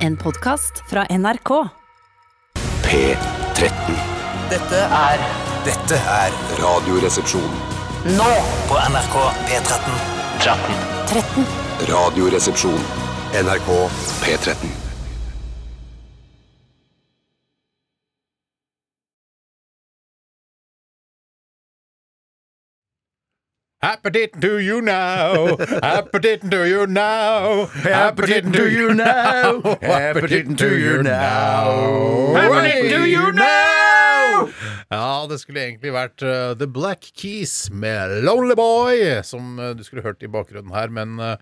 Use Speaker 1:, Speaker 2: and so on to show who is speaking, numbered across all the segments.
Speaker 1: En podkast fra NRK.
Speaker 2: P13.
Speaker 3: Dette er Dette er
Speaker 2: Radioresepsjon.
Speaker 3: Nå på NRK P13 13
Speaker 2: Radioresepsjon. NRK P13.
Speaker 4: Appetitten to you now, appetitten to you now,
Speaker 5: Appetitten to you now, appetitten to you now.
Speaker 4: Appetitten to you now! Ja, det skulle egentlig vært eh, The Black Keys med Lonely Boy, som eh, du skulle hørt i bakgrunnen her, men eh,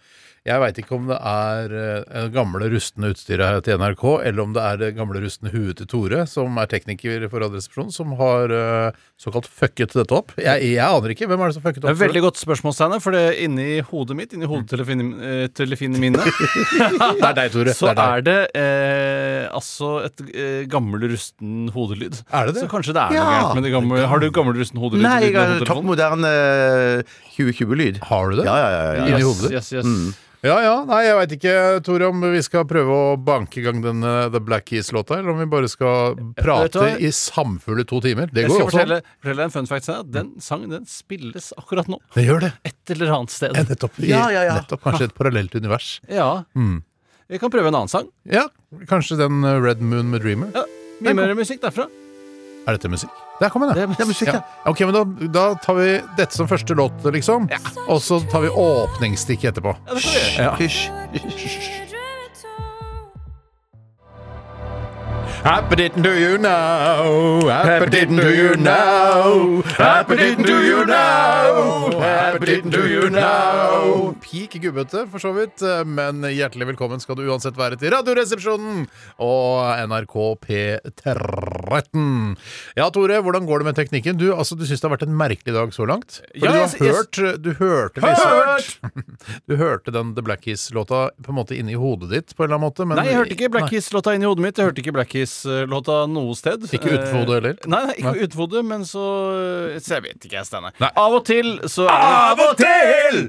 Speaker 4: jeg veit ikke om det er eh, gamle rustne utstyret her til NRK, eller om det er det gamle rustne huet til Tore, som er tekniker for Radioresepsjonen, som har eh, såkalt fucket dette opp. Jeg, jeg aner ikke. Hvem er det som fucket
Speaker 5: Det
Speaker 4: opp?
Speaker 5: er et veldig godt spørsmål, Steinar, for det inni hodet mitt, inni eh, hodetelefonene mine,
Speaker 4: Det er deg, Tore.
Speaker 5: så
Speaker 4: det er deg.
Speaker 5: er det eh, altså et eh, gammel rusten hodelyd.
Speaker 4: Er det det?
Speaker 5: Så kanskje det er noe
Speaker 6: Ja.
Speaker 5: gærent med det gamle Har du gammel rusten hodelyd?
Speaker 6: Nei,
Speaker 5: i
Speaker 6: jeg har
Speaker 5: hodetelefonen?
Speaker 6: topp moderne 2020-lyd.
Speaker 4: Har du det?
Speaker 6: Ja, ja, ja. ja,
Speaker 4: Inni
Speaker 6: ja.
Speaker 4: hodet? Mm.
Speaker 5: Yes, yes.
Speaker 4: Ja, ja. Nei, jeg veit ikke, Tore, om vi skal prøve å banke i gang den eh, The Black Keys-låta, eller om vi bare skal
Speaker 5: Vet du
Speaker 4: prate
Speaker 5: hva?
Speaker 4: i samfulle to timer. Det
Speaker 5: Jeg
Speaker 4: går
Speaker 5: skal
Speaker 4: jo også.
Speaker 5: fortelle, fortelle deg en fun fact. Steinar. Den sangen den spilles akkurat nå.
Speaker 4: Det gjør det.
Speaker 5: Et eller annet sted.
Speaker 4: Ja, Nettopp. I,
Speaker 6: Ja, ja, ja.
Speaker 4: nettopp. Kanskje et parallelt univers.
Speaker 5: Ja.
Speaker 4: Mm.
Speaker 5: Vi kan prøve en annen sang.
Speaker 4: Ja, kanskje den eh, Red Moon med Dreamer.
Speaker 5: Ja. Mye mer musikk derfra.
Speaker 4: Er dette musikk? Der kom den,
Speaker 5: Det
Speaker 4: ja.
Speaker 5: er musikk,
Speaker 4: ja. Ok, men da, da tar vi dette som første låt, liksom. Og så tar vi åpningsstikk etterpå.
Speaker 5: Ja, det skal vi gjøre.
Speaker 6: Hysj.
Speaker 4: Appetitten do you know? Appetitten
Speaker 5: do you know?
Speaker 4: Appetitten
Speaker 5: do you know? Appetitten do you know?
Speaker 4: Peak gubbete, for så vidt. Men hjertelig velkommen skal du uansett være til Radioresepsjonen og NRK P13. Ja, Tore, hvordan går det med teknikken? Du, altså, du syns det har vært en merkelig dag så langt? For du
Speaker 5: Ja, altså,
Speaker 4: har
Speaker 5: jeg- jeg-
Speaker 4: hørt Du hørte
Speaker 5: Hørt!
Speaker 4: Du hørte den The Black Keys-låta på en måte inni hodet ditt, på en eller annen måte? Men
Speaker 5: Nei, jeg hørte ikke Black Keys-låta inni hodet mitt. Jeg hørte ikke Black Keys-låta noe sted.
Speaker 4: Ikke utenfor hodet heller?
Speaker 5: Nei, nei, ikke
Speaker 4: Nei.
Speaker 5: utenfor hodet, men så Så jeg vet ikke, jeg, Steinar.
Speaker 4: Nei.
Speaker 5: Av og til så er det
Speaker 4: Av og til!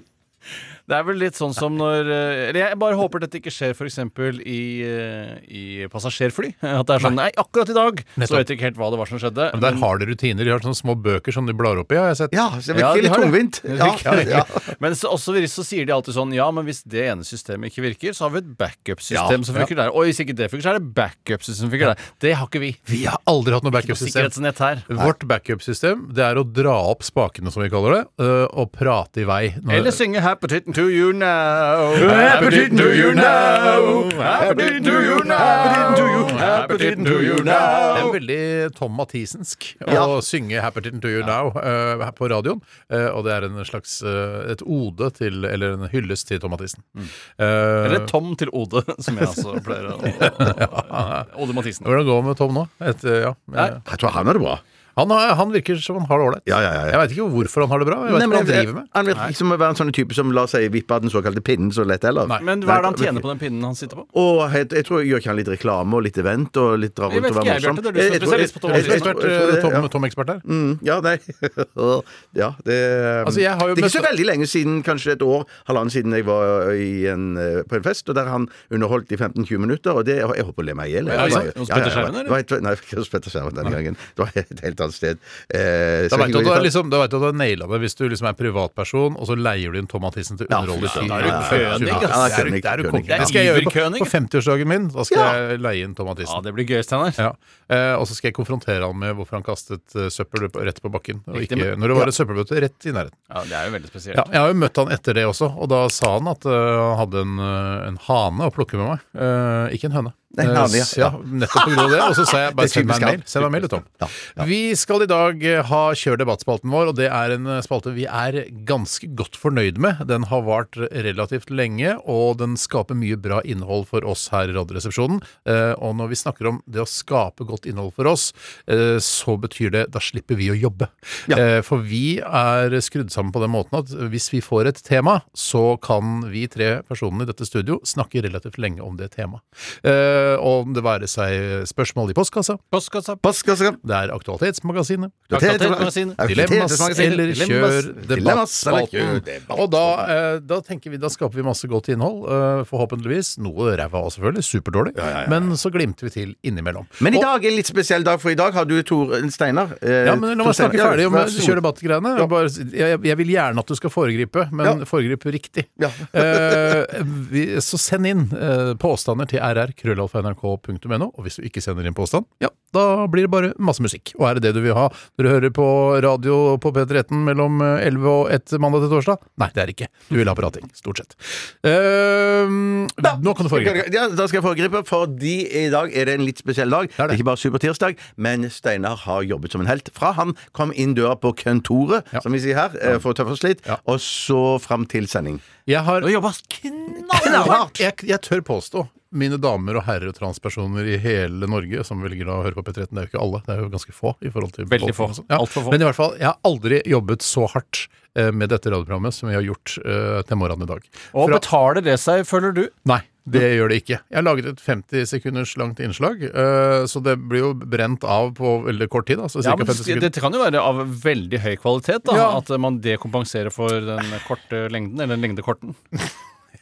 Speaker 5: Det er vel litt sånn som når eh, Eller jeg bare håper dette ikke skjer f.eks. I, eh, i passasjerfly. At det er sånn Nei, akkurat i dag
Speaker 4: Nettopp.
Speaker 5: så vet jeg ikke helt hva det var som skjedde.
Speaker 4: Men der har de rutiner. De har sånne små bøker som de blar opp i, har jeg sett.
Speaker 6: Ja, så det
Speaker 5: Ja,
Speaker 6: virker
Speaker 5: de
Speaker 6: litt
Speaker 5: har det.
Speaker 6: tungvint.
Speaker 5: Det
Speaker 6: Ja,
Speaker 5: virker
Speaker 6: ja.
Speaker 5: Men så, også så sier de alltid sånn Ja, men hvis det ene systemet ikke virker, så har vi et
Speaker 4: Ja,
Speaker 5: backup-system som
Speaker 4: ja.
Speaker 5: funker der. Og hvis ikke det funker, så er det backup-system som funker der. Det har ikke vi.
Speaker 4: Vi har aldri hatt noe
Speaker 5: Ikke noe
Speaker 4: backup-system.
Speaker 5: sikkerhetsnett her.
Speaker 4: Vårt backup-system det er å dra opp spakene, som vi kaller det, øh, og prate i vei. Når-
Speaker 5: Eller synge Happy Titten to you now.
Speaker 4: Happy Titten to you now.
Speaker 5: Happy Titten to you now.
Speaker 4: Happy Titten to you.
Speaker 5: Happy Titten to you
Speaker 4: det er
Speaker 5: now.
Speaker 4: veldig Tom Mathisensk å
Speaker 6: Ja.
Speaker 4: synge 'Happertin to you now' øh, her på radioen. Eh, og det er en slags øh, et ode til, eller en hyllest til Tom Mathisen.
Speaker 6: Mm.
Speaker 4: Eh,
Speaker 5: Eller Tom til Ode, som jeg altså pleier å Ode Mathisen.
Speaker 4: hvordan går det med Tom nå? Et, øh, ja.
Speaker 5: Nei.
Speaker 6: Jeg tror han har det bra.
Speaker 4: Han, har- han virker som han har det ålreit.
Speaker 6: Ja, ja, ja, ja.
Speaker 4: Jeg veit ikke hvorfor han har det bra. Jeg vet
Speaker 6: Nei,
Speaker 4: ikke
Speaker 6: men
Speaker 4: hva han
Speaker 6: jeg-
Speaker 4: driver med.
Speaker 6: Han virker ikke som å være en sånn type som lar seg vippe av den såkalte pinnen så lett heller.
Speaker 4: Nei.
Speaker 5: Men hva er det han tjener på den pinnen han sitter på?
Speaker 6: Og jeg, jeg tror jeg gjør ikke han litt reklame og litt event og litt drar
Speaker 5: Jeg
Speaker 6: rundt
Speaker 5: vet
Speaker 6: og være
Speaker 5: ikke, jeg,
Speaker 6: morsom.
Speaker 5: Bjarte, det er du som er
Speaker 6: Jeg- jeg tror-
Speaker 5: spesialist på Tom
Speaker 6: jeg- jeg- jeg- jeg-
Speaker 4: Ekspert,
Speaker 6: jeg- jeg-
Speaker 4: eh,
Speaker 6: jeg-
Speaker 4: Tom, Tom ekspert her.
Speaker 6: Mm, Ja, nei Ja, det eh,
Speaker 4: Altså, jeg har jo
Speaker 6: Det er ikke
Speaker 4: møtt-
Speaker 6: så veldig lenge siden, kanskje et år, halvannen siden jeg var i en, eh, på en fest, og der han underholdt i 15-20 minutter, og det Jeg holdt på å le meg i hjel. jeg.
Speaker 5: Ja,
Speaker 6: Det var-
Speaker 5: sant. Hos
Speaker 6: ja, ja,
Speaker 5: Petter
Speaker 6: ja,
Speaker 5: Skjermen,
Speaker 6: det var et- Nei, ikke hos Petter Skjermen denne gangen. Det var et helt annet sted. Eh,
Speaker 4: Da
Speaker 6: så
Speaker 4: veit
Speaker 6: jeg
Speaker 4: du
Speaker 6: går
Speaker 4: at du
Speaker 6: i-
Speaker 4: har liksom, da vet du at du har naila det hvis du liksom er privatperson, og så leier du inn Tom Mathisen til å
Speaker 6: Ja,
Speaker 4: underholde. i
Speaker 6: fy faen,
Speaker 4: ti-
Speaker 6: da er du
Speaker 4: ja,
Speaker 5: kønig,
Speaker 4: ja, ja,
Speaker 5: ass.
Speaker 4: det er du-
Speaker 6: Kønig,
Speaker 4: Det er du
Speaker 6: kønig.
Speaker 4: konge.
Speaker 6: Det er
Speaker 4: Det skal jeg gjøre
Speaker 5: iverkøning,
Speaker 4: på, på 50-årsdagen min. Da skal
Speaker 6: Ja.
Speaker 4: jeg leie inn Tom
Speaker 5: Ja,
Speaker 4: Mathisen.
Speaker 5: det blir gøy, Steinar.
Speaker 4: Ja. Eh, og så skal jeg konfrontere han med hvorfor han kastet eh, søppel på- rett på bakken. Og
Speaker 5: Riktig,
Speaker 4: ikke,
Speaker 5: men-
Speaker 4: når det var et søppelbøtte rett i nærheten.
Speaker 5: Ja, det er jo veldig spesielt.
Speaker 4: Ja, jeg har jo møtt han etter det også, og da sa han at eh, han hadde en, eh, en hane å plukke med meg. Eh, ikke en høne.
Speaker 6: Nei, en hane,
Speaker 4: Eh,
Speaker 6: ja.
Speaker 4: s- ja. Nettopp pga. det. Og så sa jeg bare
Speaker 6: Det er
Speaker 4: send meg en
Speaker 6: typisk han.
Speaker 4: mail. Send meg en mail, Tom.
Speaker 6: Ja, ja.
Speaker 4: Vi skal i dag eh, ha Kjør debattspalten vår, og det er en eh, spalte vi er ganske godt fornøyd med. Den har vart relativt lenge, og den skaper mye bra innhold for oss her i Radioresepsjonen. Eh, Og når vi snakker om det å skape godt innhold for oss, eh, så betyr det da slipper vi å jobbe. Eh, For vi er skrudd sammen på den måten at hvis vi får et tema, så kan vi tre personene i dette studio snakke relativt lenge om det temaet. Eh, eh, om det være seg spørsmål i postkassa,
Speaker 5: Postkassa,
Speaker 6: Postkassa.
Speaker 4: det er Aktualitetsmagasinet,
Speaker 5: Aktualitetsmagasinet.
Speaker 4: Dilemmas
Speaker 6: Aktualitetsmagasinet.
Speaker 4: eller
Speaker 6: Dilemmas.
Speaker 4: Kjør
Speaker 6: Dilemmas eller Kjør
Speaker 4: debatt-spalten.
Speaker 6: debatt.
Speaker 4: Og da, eh, da tenker vi, da skaper vi masse godt innhold, eh, forhåpentligvis. Noe ræva også, selvfølgelig. Superdårlig. Men så glimter vi til innimellom.
Speaker 6: Men i
Speaker 4: Og-
Speaker 6: dag er en litt spesiell dag, for i dag har du Tor Steinar. eh,
Speaker 4: Ja, men La
Speaker 6: Tor
Speaker 4: meg snakke
Speaker 6: Steinar.
Speaker 4: ferdig om
Speaker 6: Ja,
Speaker 4: kjør debatt-greiene. Jeg bare- Jeg, jeg vil gjerne at du skal foregripe, men foregripe riktig.
Speaker 6: Ja.
Speaker 4: Eh, vi, så send inn eh, påstander til rr.krøllalfa.nrk.no. Og hvis du ikke sender inn påstand, ja, da blir det bare masse musikk. Og er det det du vil ha? Dere hører på radio på P13 mellom eh, 11 og 1 mandag til torsdag? Nei, det er det ikke. Du vil ha prating, stort sett. Eh, nå kan du foregripe.
Speaker 6: Ja, da skal jeg foregripe, fordi i dag er det en litt spesiell dag. Det
Speaker 4: er
Speaker 6: er
Speaker 4: det.
Speaker 6: ikke bare supertirsdag, men Steinar har jobbet som en helt. Fra han kom inn døra på kontoret,
Speaker 4: Ja.
Speaker 6: som vi sier her, eh, for å tøffe oss litt,
Speaker 4: Ja.
Speaker 6: og så fram til sending.
Speaker 4: Jeg har
Speaker 5: Du jobba knallhardt!
Speaker 4: Jeg, jeg tør påstå, mine damer og herrer og transpersoner i hele Norge som velger da å høre på P13, det er jo ikke alle, det er jo ganske få. i forhold til
Speaker 5: Veldig få.
Speaker 4: befolkningen også. Ja.
Speaker 5: Alt for få.
Speaker 4: Men i hvert fall, jeg har aldri jobbet så hardt eh, med dette radioprogrammet som jeg har gjort eh, til morgenen i dag.
Speaker 5: Og
Speaker 4: Fra-
Speaker 5: betaler det seg, føler du?
Speaker 4: Nei, det gjør det ikke. Jeg har laget et 50 sekunders langt innslag, eh, så det blir jo brent av på veldig kort tid. Altså,
Speaker 5: Ja,
Speaker 4: cirka
Speaker 5: men
Speaker 4: 50 sekunder.
Speaker 5: det kan jo være av veldig høy kvalitet, da.
Speaker 4: Ja.
Speaker 5: At man dekompenserer for den korte lengden, eller den lengdekorten.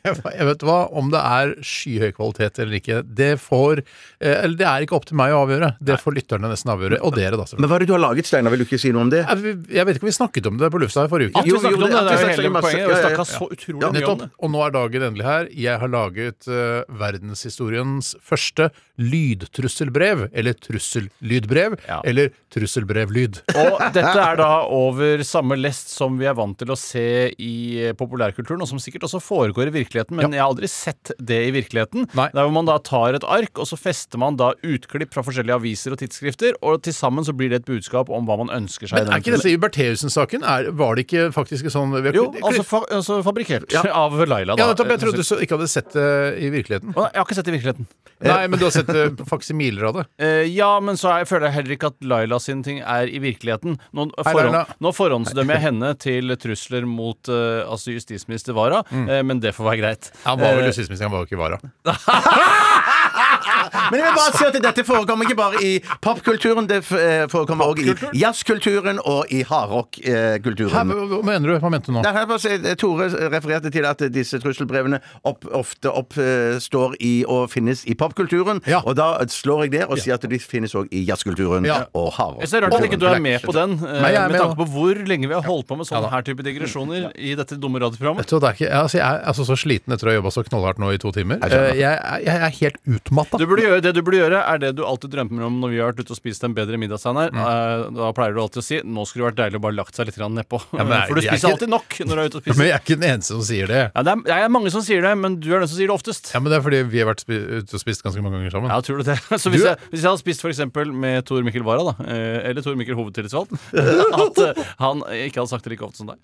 Speaker 4: Jeg vet hva, Om det er skyhøy kvalitet eller ikke, det får eh, Eller det er ikke opp til meg å avgjøre. Det får lytterne nesten avgjøre. Og dere, da. selvfølgelig.
Speaker 6: Men hva er det du har laget, Steinar? Vil du ikke si noe om det?
Speaker 4: Jeg, jeg vet ikke om vi snakket om det på lufta i forrige uke.
Speaker 5: At vi
Speaker 6: Jo, jo,
Speaker 5: snakket om
Speaker 6: det-
Speaker 5: det, det
Speaker 6: at
Speaker 5: er
Speaker 6: vi
Speaker 5: jo
Speaker 6: snakket
Speaker 5: hele
Speaker 6: masse-
Speaker 5: poenget.
Speaker 6: ja, ja,
Speaker 5: Vi
Speaker 6: ja.
Speaker 5: snakka så utrolig mye om
Speaker 4: Nettopp.
Speaker 5: det.
Speaker 4: Og nå er dagen endelig her. Jeg har laget eh, verdenshistoriens første lydtrusselbrev. Eller trussellydbrev.
Speaker 5: Ja.
Speaker 4: Eller trusselbrevlyd.
Speaker 5: Og dette er da over samme lest som vi er vant til å se i eh, populærkulturen, og som sikkert også foregår i virkeligheten, men jeg har aldri sett det i virkeligheten.
Speaker 4: Nei.
Speaker 5: Der hvor man da tar et ark, og så fester man da utklipp fra forskjellige aviser og tidsskrifter, og til sammen så blir det et budskap om hva man ønsker seg. i
Speaker 4: Men er
Speaker 5: den
Speaker 4: ikke dette i Bertheussen-saken? Er- Var det ikke faktisk sånn vi har-
Speaker 5: Jo, altså, fa altså fabrikkert av Laila, da.
Speaker 4: ja, nettopp, Jeg trodde du så- ikke hadde sett det i virkeligheten.
Speaker 5: Å, nei, jeg har ikke sett det i virkeligheten.
Speaker 4: Nei, men du har sett eh, faksimiler av det.
Speaker 5: Eh, ja, men så er, føler jeg heller ikke at Laila sine ting er i virkeligheten. Nå,
Speaker 4: Laila.
Speaker 5: forhånd, nå forhåndsdømmer jeg henne til trusler mot eh, altså justisminister Wara, eh, men det får være greit.
Speaker 4: Han var
Speaker 5: Eh,
Speaker 4: vel justisminister, han var jo ikke vara.
Speaker 6: Men jeg vil bare si at dette forekommer ikke bare i popkulturen, det f- eh, forekommer også i jazzkulturen og i
Speaker 4: Hæ,
Speaker 6: hardrockkulturen.
Speaker 4: Hva hva mener du? Hva mente du nå?
Speaker 6: Nei, jeg bare sier, Tore refererte til at disse trusselbrevene opp, ofte oppstår i og finnes i popkulturen.
Speaker 4: Ja.
Speaker 6: Og da slår jeg det og sier at de finnes òg i jazzkulturen
Speaker 4: Ja.
Speaker 6: og
Speaker 5: Jeg ser rart at ikke du
Speaker 6: hardrockkulturen.
Speaker 5: er med på den, eh,
Speaker 4: Nei, jeg er
Speaker 5: med
Speaker 4: med
Speaker 5: tanke
Speaker 4: da.
Speaker 5: på hvor lenge vi har holdt på med sånne her type digresjoner i dette dumme radioprogrammet.
Speaker 4: Vet du hva, det er ikke, jeg, altså, jeg er altså så sliten etter å ha jobba så knallhardt nå i to timer. Eh, Jeg, er- jeg er helt utmatta.
Speaker 5: Du burde gjøre Det du burde gjøre, er det du alltid drømmer om når vi har vært ute og spist en bedre middag, Steinar.
Speaker 4: Mm.
Speaker 5: Eh, Da pleier du alltid å si 'nå skulle det vært deilig å bare lagt seg litt grann nedpå'.
Speaker 4: men nei,
Speaker 5: For du
Speaker 4: jeg er
Speaker 5: spiser
Speaker 4: ikke-
Speaker 5: alltid nok når du er ute og
Speaker 4: Men
Speaker 5: spiser.
Speaker 4: jeg er ikke den eneste som sier det.
Speaker 5: Ja, det, er, det er mange som sier det, men du er den som sier det oftest.
Speaker 4: Ja, men Det er fordi vi har vært spi- ute og spist ganske mange ganger sammen.
Speaker 5: Ja, tror du det? Så hvis,
Speaker 4: Du-
Speaker 5: jeg, hvis jeg hadde spist for eksempel med Tor Mikkel Wara, da, eh, eller Tor Mikkel Hovedtillitsvalgt, at eh, han ikke hadde sagt det like ofte som deg.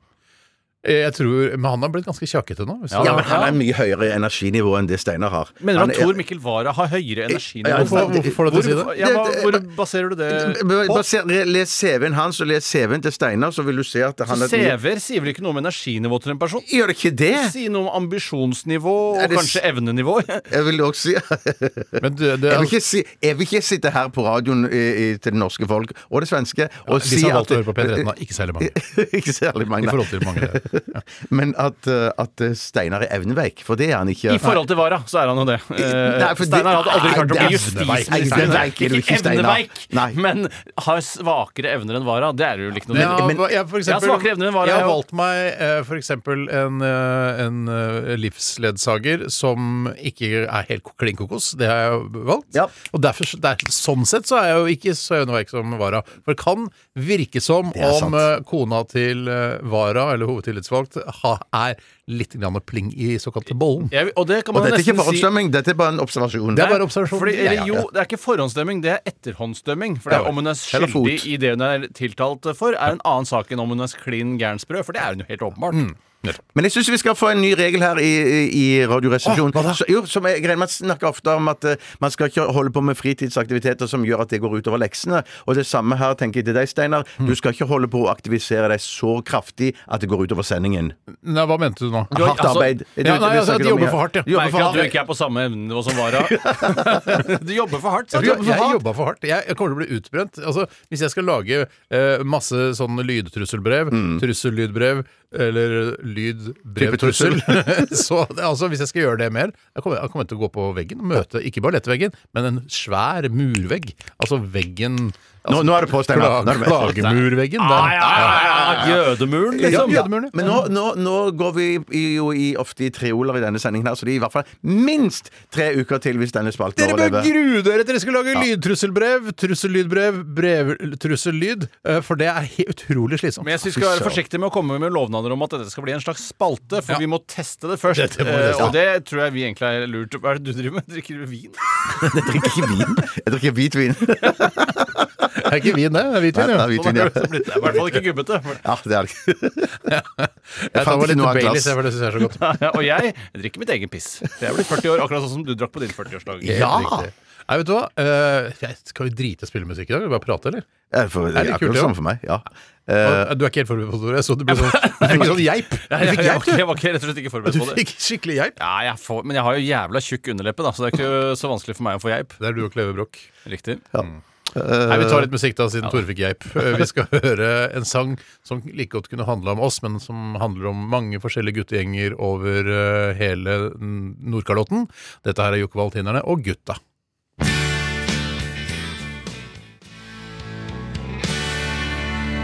Speaker 4: Jeg tror, Men han har blitt ganske kjakkete nå. Hvis
Speaker 5: Ja,
Speaker 4: du-
Speaker 6: Ja, men han er mye høyere energinivå enn det Steinar har.
Speaker 5: Mener du
Speaker 6: Han
Speaker 5: at
Speaker 6: er-
Speaker 5: Tor Mikkel Wara har høyere energi
Speaker 6: Ja,
Speaker 5: enn
Speaker 4: hvorfor, hvorfor får du til å si det?
Speaker 5: Ja, hva, hvor baserer du det?
Speaker 6: Bare- bare se- Les CV-en hans og les CV-en til Steinar, så vil du se at han
Speaker 5: Så
Speaker 6: er
Speaker 5: CV-er sier vel ikke noe om energinivå til en person?
Speaker 6: Gjør det ikke det?
Speaker 5: Si noe om ambisjonsnivå
Speaker 6: Er
Speaker 5: og
Speaker 6: det
Speaker 5: kanskje evnenivå.
Speaker 6: Jeg vil også si
Speaker 4: Men du, det,
Speaker 6: Jeg vil, ikke si, jeg vil ikke sitte her på radioen eh, i, i, til det norske folk og det svenske og
Speaker 4: de
Speaker 6: si
Speaker 4: som har
Speaker 6: at
Speaker 4: valgt å høre altså- på P13, da. Ikke særlig mange.
Speaker 6: Ikke særlig
Speaker 4: I
Speaker 6: mange. nei.
Speaker 4: forhold til mange der.
Speaker 6: Men at, eh, at Steinar er evneveik, for det er han ikke.
Speaker 5: I forhold til Wara, så er han jo det. Eh,
Speaker 6: Nei, for det-
Speaker 5: Steinar hadde aldri klart å bli
Speaker 6: Nei, det er evneveik.
Speaker 5: justisminister.
Speaker 6: Evneveik er du ikke, Steinar. Nei.
Speaker 5: men har svakere evner enn Wara. Det er jo ikke noe
Speaker 4: Ja,
Speaker 5: men,
Speaker 4: hva- jeg, for
Speaker 5: Jeg har
Speaker 4: eksempel,
Speaker 5: svakere evner enn Vara,
Speaker 4: jeg har
Speaker 5: jeg
Speaker 4: valgt meg eh, for eksempel en, eh, en eh, livsledsager som ikke er helt klin kokos. Det har jeg valgt.
Speaker 6: Ja.
Speaker 4: Og derfor, så- der, sånn sett så er jeg jo ikke så evneveik som Vara. For det kan virke som
Speaker 6: Det er
Speaker 4: om
Speaker 6: sant.
Speaker 4: eh, kona til eh, Vara, eller hovedtillitsvalgt, ha, er litt grann pling i såkalte bollen.
Speaker 5: jeg, og det kan
Speaker 6: Og
Speaker 5: man
Speaker 6: dette er ikke
Speaker 5: nesten si
Speaker 6: forhåndsdømming, dette er bare en observasjon.
Speaker 4: Det er bare observasjon.
Speaker 5: Fordi,
Speaker 4: Ja,
Speaker 5: eller,
Speaker 4: ja,
Speaker 5: jo,
Speaker 4: ja.
Speaker 5: det er ikke forhåndsdømming, det er etterhåndsdømming. For det
Speaker 6: Ja,
Speaker 5: er om hun er
Speaker 6: eller fot. Mm.
Speaker 5: skyldig i det hun er tiltalt for, er en annen sak enn om hun er klin gæren sprø, for det er hun jo helt åpenbart.
Speaker 6: Men jeg syns vi skal få en ny regel her i, i- i Radioresepsjonen.
Speaker 4: Åh, hva da?
Speaker 6: Så- jo, som jeg regner med at snakker ofte om at eh, man skal ikke holde på med fritidsaktiviteter som gjør at det går utover leksene. Og det samme her tenker jeg til deg, Steinar.
Speaker 4: Hmm.
Speaker 6: Du skal ikke holde på å aktivisere deg så kraftig at det går utover sendingen.
Speaker 4: Nei, hva mente du nå?
Speaker 5: Du har-
Speaker 6: Hardt
Speaker 5: altså-
Speaker 6: arbeid.
Speaker 4: Ja, nei, altså, de jobber for hardt, ja.
Speaker 6: ja.
Speaker 5: Merker at du ikke er på samme evne som Vara. du jobber for hardt, sa
Speaker 4: Jeg,
Speaker 5: du.
Speaker 4: jeg, jeg jobba for hardt. Jeg jeg kommer til å bli utbrent. Altså, hvis jeg skal lage eh, masse sånne lydtrusselbrev,
Speaker 5: Mm.
Speaker 4: trussellydbrev eller lydbrevtrussel Så det, altså, hvis jeg skal gjøre det mer, jeg kommer, jeg kommer til å gå på veggen og møte ikke bare lettveggen, men en svær murvegg. Altså veggen altså,
Speaker 6: Nå- nå er det på, Steinar.
Speaker 4: klag-
Speaker 6: Nå er det på.
Speaker 4: Klagemurveggen.
Speaker 5: Ja,
Speaker 4: der.
Speaker 5: ja, ja, ja, Jødemuren,
Speaker 4: Ja,
Speaker 5: liksom.
Speaker 4: ja, jødemuren, ja.
Speaker 6: Men nå, nå, nå går vi i- jo i, ofte i treoler i denne sendingen her, så det er i hvert fall minst tre uker til hvis denne spalten
Speaker 4: Dere bør
Speaker 6: overlever.
Speaker 4: grue dere til dere skal lage lydtrusselbrev, trussellydbrev, brev, trussellyd, eh, for det er he- utrolig slitsomt.
Speaker 5: Men jeg synes vi skal være forsiktige med å komme med lovnader om at dette skal bli en slags spalte, for
Speaker 4: Ja.
Speaker 5: vi må teste det først.
Speaker 4: Dette må vi teste.
Speaker 5: Eh, og det tror jeg vi egentlig er lurt Hva er det du driver med? Drikker du vin?
Speaker 6: Jeg drikker ikke vin. Jeg drikker hvitvin.
Speaker 4: Det er ikke vin, det. Det er hvitvin,
Speaker 6: Nei,
Speaker 4: jo.
Speaker 6: det er hvitvin, ja.
Speaker 5: Det er i hvert fall ikke gubbete.
Speaker 6: Ja, det er det ikke.
Speaker 4: Jeg tar meg
Speaker 6: fant ikke
Speaker 4: litt
Speaker 6: noe annet
Speaker 4: Baileys,
Speaker 6: glass.
Speaker 4: jeg, for det syns jeg er så godt.
Speaker 5: Og jeg drikker mitt eget piss. For jeg blir 40 år, akkurat sånn som du drakk på din 40-årsdag.
Speaker 4: Helt riktig. Nei, vet du hva? Eh, jeg skal vi drite i spillemusikk i dag? Vil du bare prate, eller?
Speaker 6: Jeg får- Det
Speaker 4: litt
Speaker 6: er
Speaker 4: kult,
Speaker 6: akkurat
Speaker 4: det
Speaker 6: det
Speaker 4: også.
Speaker 6: samme for meg. Ja. Eh,
Speaker 4: du er ikke helt forberedt på det, så du ble sånn, du fikk sånn geip. Du fikk
Speaker 5: Jeg, jeg, var
Speaker 4: geip,
Speaker 5: ikke-
Speaker 4: du.
Speaker 5: jeg var ikke rett og slett ikke
Speaker 4: Du
Speaker 5: forberedt på det.
Speaker 4: fikk skikkelig geip.
Speaker 5: Ja, jeg får, men jeg har jo jævla tjukk underleppe, da, så det er ikke så vanskelig for meg å få geip.
Speaker 4: Det er du og Kleve Broch.
Speaker 5: Riktig.
Speaker 4: Nei, Vi tar litt musikk, da, siden Tore fikk geip. Eh, Vi skal høre en sang som like godt kunne handla om oss, men som handler om mange forskjellige guttegjenger over eh, hele mm, Nordkalotten. Dette her er Jokke Valentinerne og Gutta.